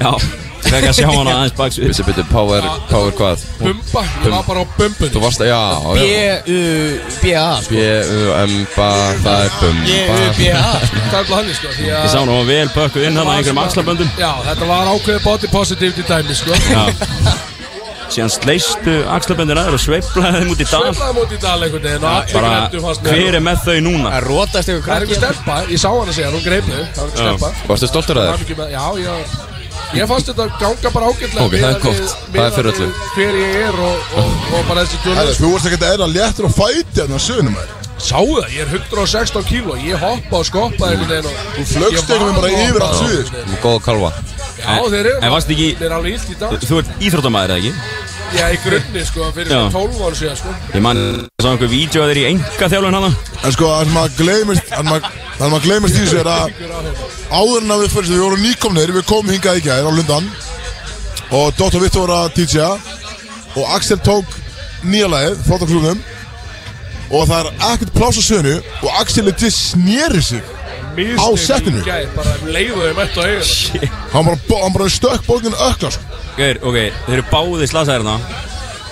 S16: Já, ég fekk að sjá hana aðeins baksvið.
S15: Bitti, bitti, power, power hvað?
S1: Bumba, ég var bara á bumbunni
S15: Þú varst, já, já
S1: Uh,
S17: B-U-B-A
S15: B-U-M-B-A, það er bumba
S1: Það er bara hann sko því
S16: Ég
S1: að
S16: sá hún var vel bökkuð inn hann að einhverjum axlaböndum.
S1: Já, þetta var ákveðið body positivity dæmi sko
S16: Já. Síðan sleistu axlaböndir aður og sveiflaði þeim út í dal.
S1: Sveiflaði múti í dal einhvern veginn og allir
S16: Bara,
S1: grættu fast
S16: hver er með þau núna?
S17: Það rótast ykkur
S1: Það er einhver stelpa, ég sá hana segja, hún greip mig Það var einhver
S16: Já.
S1: stelpa
S15: Varstu stoltur af þér?
S1: Hamingju með- Já, ég, ég fannst þetta ganga bara ágætlega
S15: Ok, það er
S1: miðað við-
S15: gott. Það er fyrir
S1: miðað við
S15: öllu.
S1: Hver ég er og, og, og bara þessi
S2: Herra,
S1: djúlega
S2: Þú vorst ekkert eðla léttur á fæti Þannig að sögum þér
S1: Sáu það, ég er 116 kíló, ég hoppa og skoppa einhvern veginn og Þú
S2: flaugst einhvern veginn bara yfir allt sviðið, sko.
S15: Góð kalva
S1: Já, þeir eru
S16: En varst ekki,
S1: Þeir eru alveg illt í dag
S16: þú ert íþróttamaður eða ekki?
S1: Já, í grunni, sko, fyrir
S16: Já.
S1: svona 12 ára síðan, sko
S16: Ég man, ég sá einhver vídeo að þeir í enga þjálfun hana
S2: En sko, það sem að gleymist Það sem að- það sem að gleymist í þessu er að Áður en að við fyrir Við vorum nýkomnir, við komum hingað í gær á Lundan Og Dr. Vittu var að DJ-a Og Axel tók nýja lagið, Þóttaklúðum Og það er ekkert pláss á sögnu Og Axel er til snýri sig Á
S1: Mistök í
S2: settinu
S1: gær, Bara um leiðu þau mætt á eiga
S2: Hann bara, bo- hann bara stökk bólginu ökla sko.
S16: Gauður, ok, þeir eru báði slasaðir hérna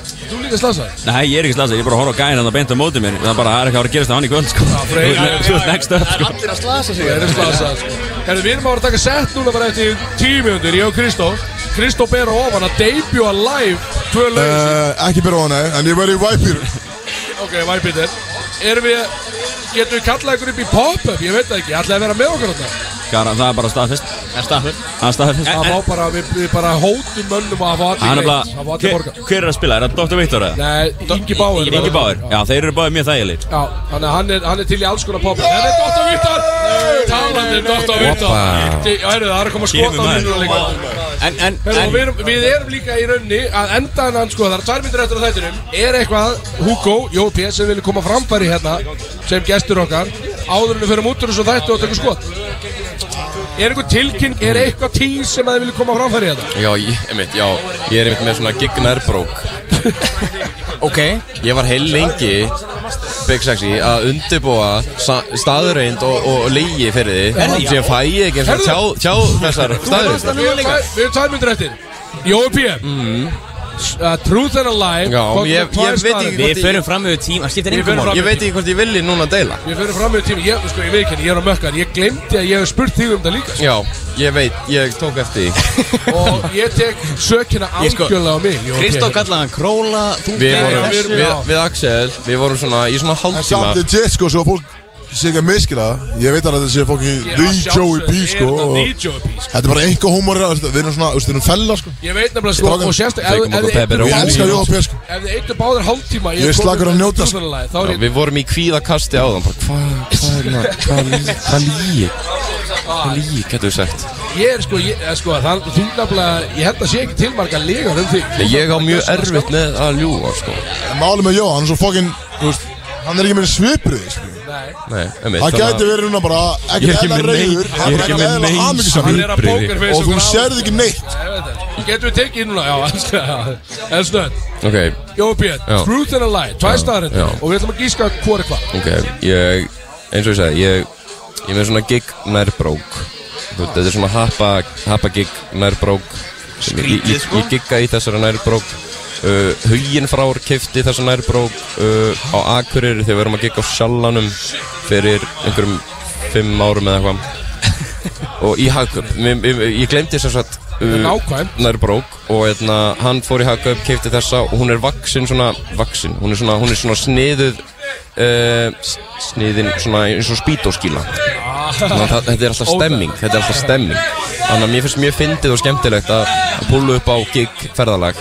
S1: Þú líka slasaði?
S16: Nei, ég er ekki slasaðir, ég er bara að horfa á gæðin hann að beinta móti mér Það er bara, það er ekki að fara að gerast það hann í kvöld, sko Þú ert ne- Þú ert next up, sko
S17: Allir að slasa sig
S1: Það er slasaði, sko Herðu, við erum að vera að taka sett núna bara eftir 10 minútur, ég og Kristó Kristó ber á ofan að debuta live Tvö lög,
S2: uh, Ekki byrja á hann, nei, en ég verði í væpir
S1: ok, væpitir Erum við, getum við kallað ykkur upp í pop-up, ég veit það ekki, ætlaði að vera með okkur á
S16: Gara, það er bara staðfest
S17: Það er staðfur
S16: Það er staðfest
S1: Það má bara, við, við bara hótum mönnum að hafa
S16: Hann
S1: allir
S16: er
S1: greitt, hafa
S16: bara,
S1: allir
S16: hver,
S1: borgað
S16: hver er að spila? Er það Dr. Viktor eða?
S1: Nei, Ingi Báir
S16: Ingi Báður, já, þeir eru báðið mjög þægilegir
S1: Já, þannig að hann er, hann er til í alls konar pop Það er Dr. Vittar Talandi um Dr. Vittar
S16: Oppa.
S1: Þi- Já, heyrðu, það er að koma
S16: Kemur
S1: skot á
S16: maður.
S1: mínuna líka
S17: En, en,
S1: Heyrðu, og
S17: en
S1: við, erum, við erum líka í raunni að enda hann sko, það er tvær myndir eftir á þættinum er eitthvað Hugo, Jópi, sem vilja koma framfæri hérna sem gestur okkar áður en við förum út úr þessu þættu og tekur skot Er eitthvað tilkynning, er eitthvað tíl sem að þið vilja koma framfæri hérna?
S15: Já, ég, einmitt, já, ég er einmitt með svona gig nærbrók
S17: Ok
S15: Ég var heil lengi, Big Sexy, að undirbúa sa- staðreind og, og leigi fyrir því
S1: Herðu, já.
S15: Því að fæ ég ekki eins og tjá,
S1: Herðu.
S15: tjá þessar
S1: Við
S15: staðreind
S1: erum tvær- við erum tvær myndir eftir Jópi, uh, Truth and a Lie
S15: Mm. Já,
S1: kom
S15: ég-
S1: með
S15: ég veit ekki
S1: tvær staðreyndir.
S15: hvort ég- Við förum
S17: fram yfir tíma, skiptir
S1: Við förum
S15: Ég
S1: fram yfir
S15: veit ekki hvort ég vilji núna að deila
S1: Við fyrir fram með tíma, ég, sko, ég veit ekki, ég er á mökkar, ég glemdi að ég hef spurt þig um það
S15: [LAUGHS]
S1: líka
S15: Já, ég veit, ég tók eftir því
S1: Og ég tek sökina
S17: Ég sko-
S1: algjörlega á mig Jó,
S17: Kristó
S1: ok.
S17: kallaði hann Króla Þú
S15: Við
S17: gerðir
S15: vorum,
S17: þessu.
S15: við, við Axel, við vorum svona í svona
S2: En samt
S15: hálftíma
S2: er jet sko, svo fólk sé ekki að miskila það. Ég veit alveg að þetta sé fólki
S1: Ég er að
S2: The Joey
S1: sjálfsögðu,
S2: B
S1: ég er
S2: sko
S1: þetta
S2: og-
S1: The Joey B, sko.
S2: Þetta er bara einhver húmor Við erum svona, þú veist, við erum fella sko
S1: Ég veit nefnilega sko,
S2: Strákar,
S1: og sérstak
S15: fengum okkur pepperoni. Ég elska Jóa P, sko.
S1: Ef þið eittu báðir hálftíma
S15: Ég er slakur að njóta, sko.
S1: sko
S15: Já,
S1: Þá er ég,
S15: Við vorum í kvíðakasti á þann Hvað hva er það, hvað lí- hvað líi, hvað líi, getur við sagt
S1: ég er sko, ég, eh, sko það, þú nefnilega, ég held að sé ekki tilmarga legar um þig
S15: Nei, Ég á mjög erfitt með að ljúa, sko
S2: En Málið með Jó, hann er svo fokkin þú veist, Hann er ekki með sviprið sko.
S15: Nei, einmitt þannig
S2: Það
S15: að-
S2: gæti verið núna bara
S15: Ég er
S2: Ekkert
S15: ekki
S2: eðla
S15: með neinn-
S2: reyður
S15: ég er ekki með neinn
S1: Hann er að pókerface
S2: Og þú sérð ekki neitt
S1: Getum við tekið núna, já, elsku, já, elsku
S15: Ok,
S1: Jó, Björn,
S15: Já.
S1: Truth and a Lie, tvær
S15: Já,
S1: staðarindir
S15: já.
S1: Og við ætlum að gíska hvor er hvað
S15: ok, ég, eins og ég segi, ég, ég er með svona gig nærbrók Þú veit, Þetta er svona happa, happa gig nærbrók Skrítið, sko Ég gigga í þessara nærbrók uh, Hugin frár kefti þessa nærbrók uh, á Akureyri þegar við erum að gigga á sjallanum fyrir einhverjum fimm árum eða eitthvað og í Hagkaup Mér- ég, ég glemdi þess að
S1: Nákvæmt.
S15: nærbrók og hérna, hann fór í Hagkaup kefti þessa og hún er vaksin svona vaksin, hún er svona, hún er svona sniðuð uh, sniðin svona eins og spítóskíla Þannig að það- þetta er alltaf stemming þetta er alltaf stemming þannig að mér finnst mjög fyndið og skemmtilegt að að púlu upp á gig ferðalag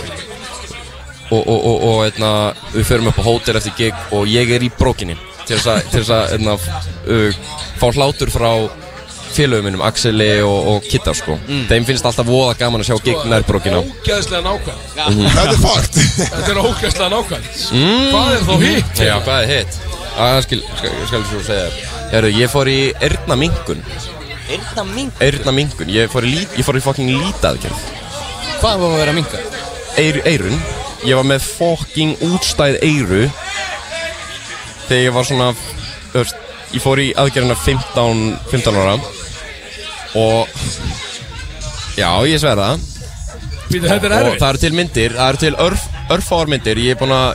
S15: og, og, og, og eitna, við förum upp á hótel eftir gig og ég er í brókinni til þess að, til þess að eitna, uh, fá hlátur frá félögum minnum, Axeli og, og Kitta sko. þeim finnst alltaf voða gaman að sjá gig
S1: Sko,
S15: nær brókina
S1: Ógæðslega nákvæmt
S15: Mhm. Þetta er
S1: fakt Þetta er ógæðslega nákvæmt
S15: Mm.
S1: Hvað er þá hitt?
S15: Já, hvað er hitt? Að Það skil, skal, skal svo segja Herru, ég fór í erna minkun
S17: Eyrna mink
S15: Erna minkun, ég fór í, lí, ég fór í fucking lítaðgerð
S17: Hvað var að vera að minka?
S15: Eir, Eirun Ég var með fucking útstæð eiru Þegar ég var svona þú veist, Ég fór í aðgerðina 15, 15 ára Og Já, ég sverða
S1: Býtu, þetta er erfitt.
S15: Það eru til myndir, það eru til örf, örfáar myndir Ég er búin að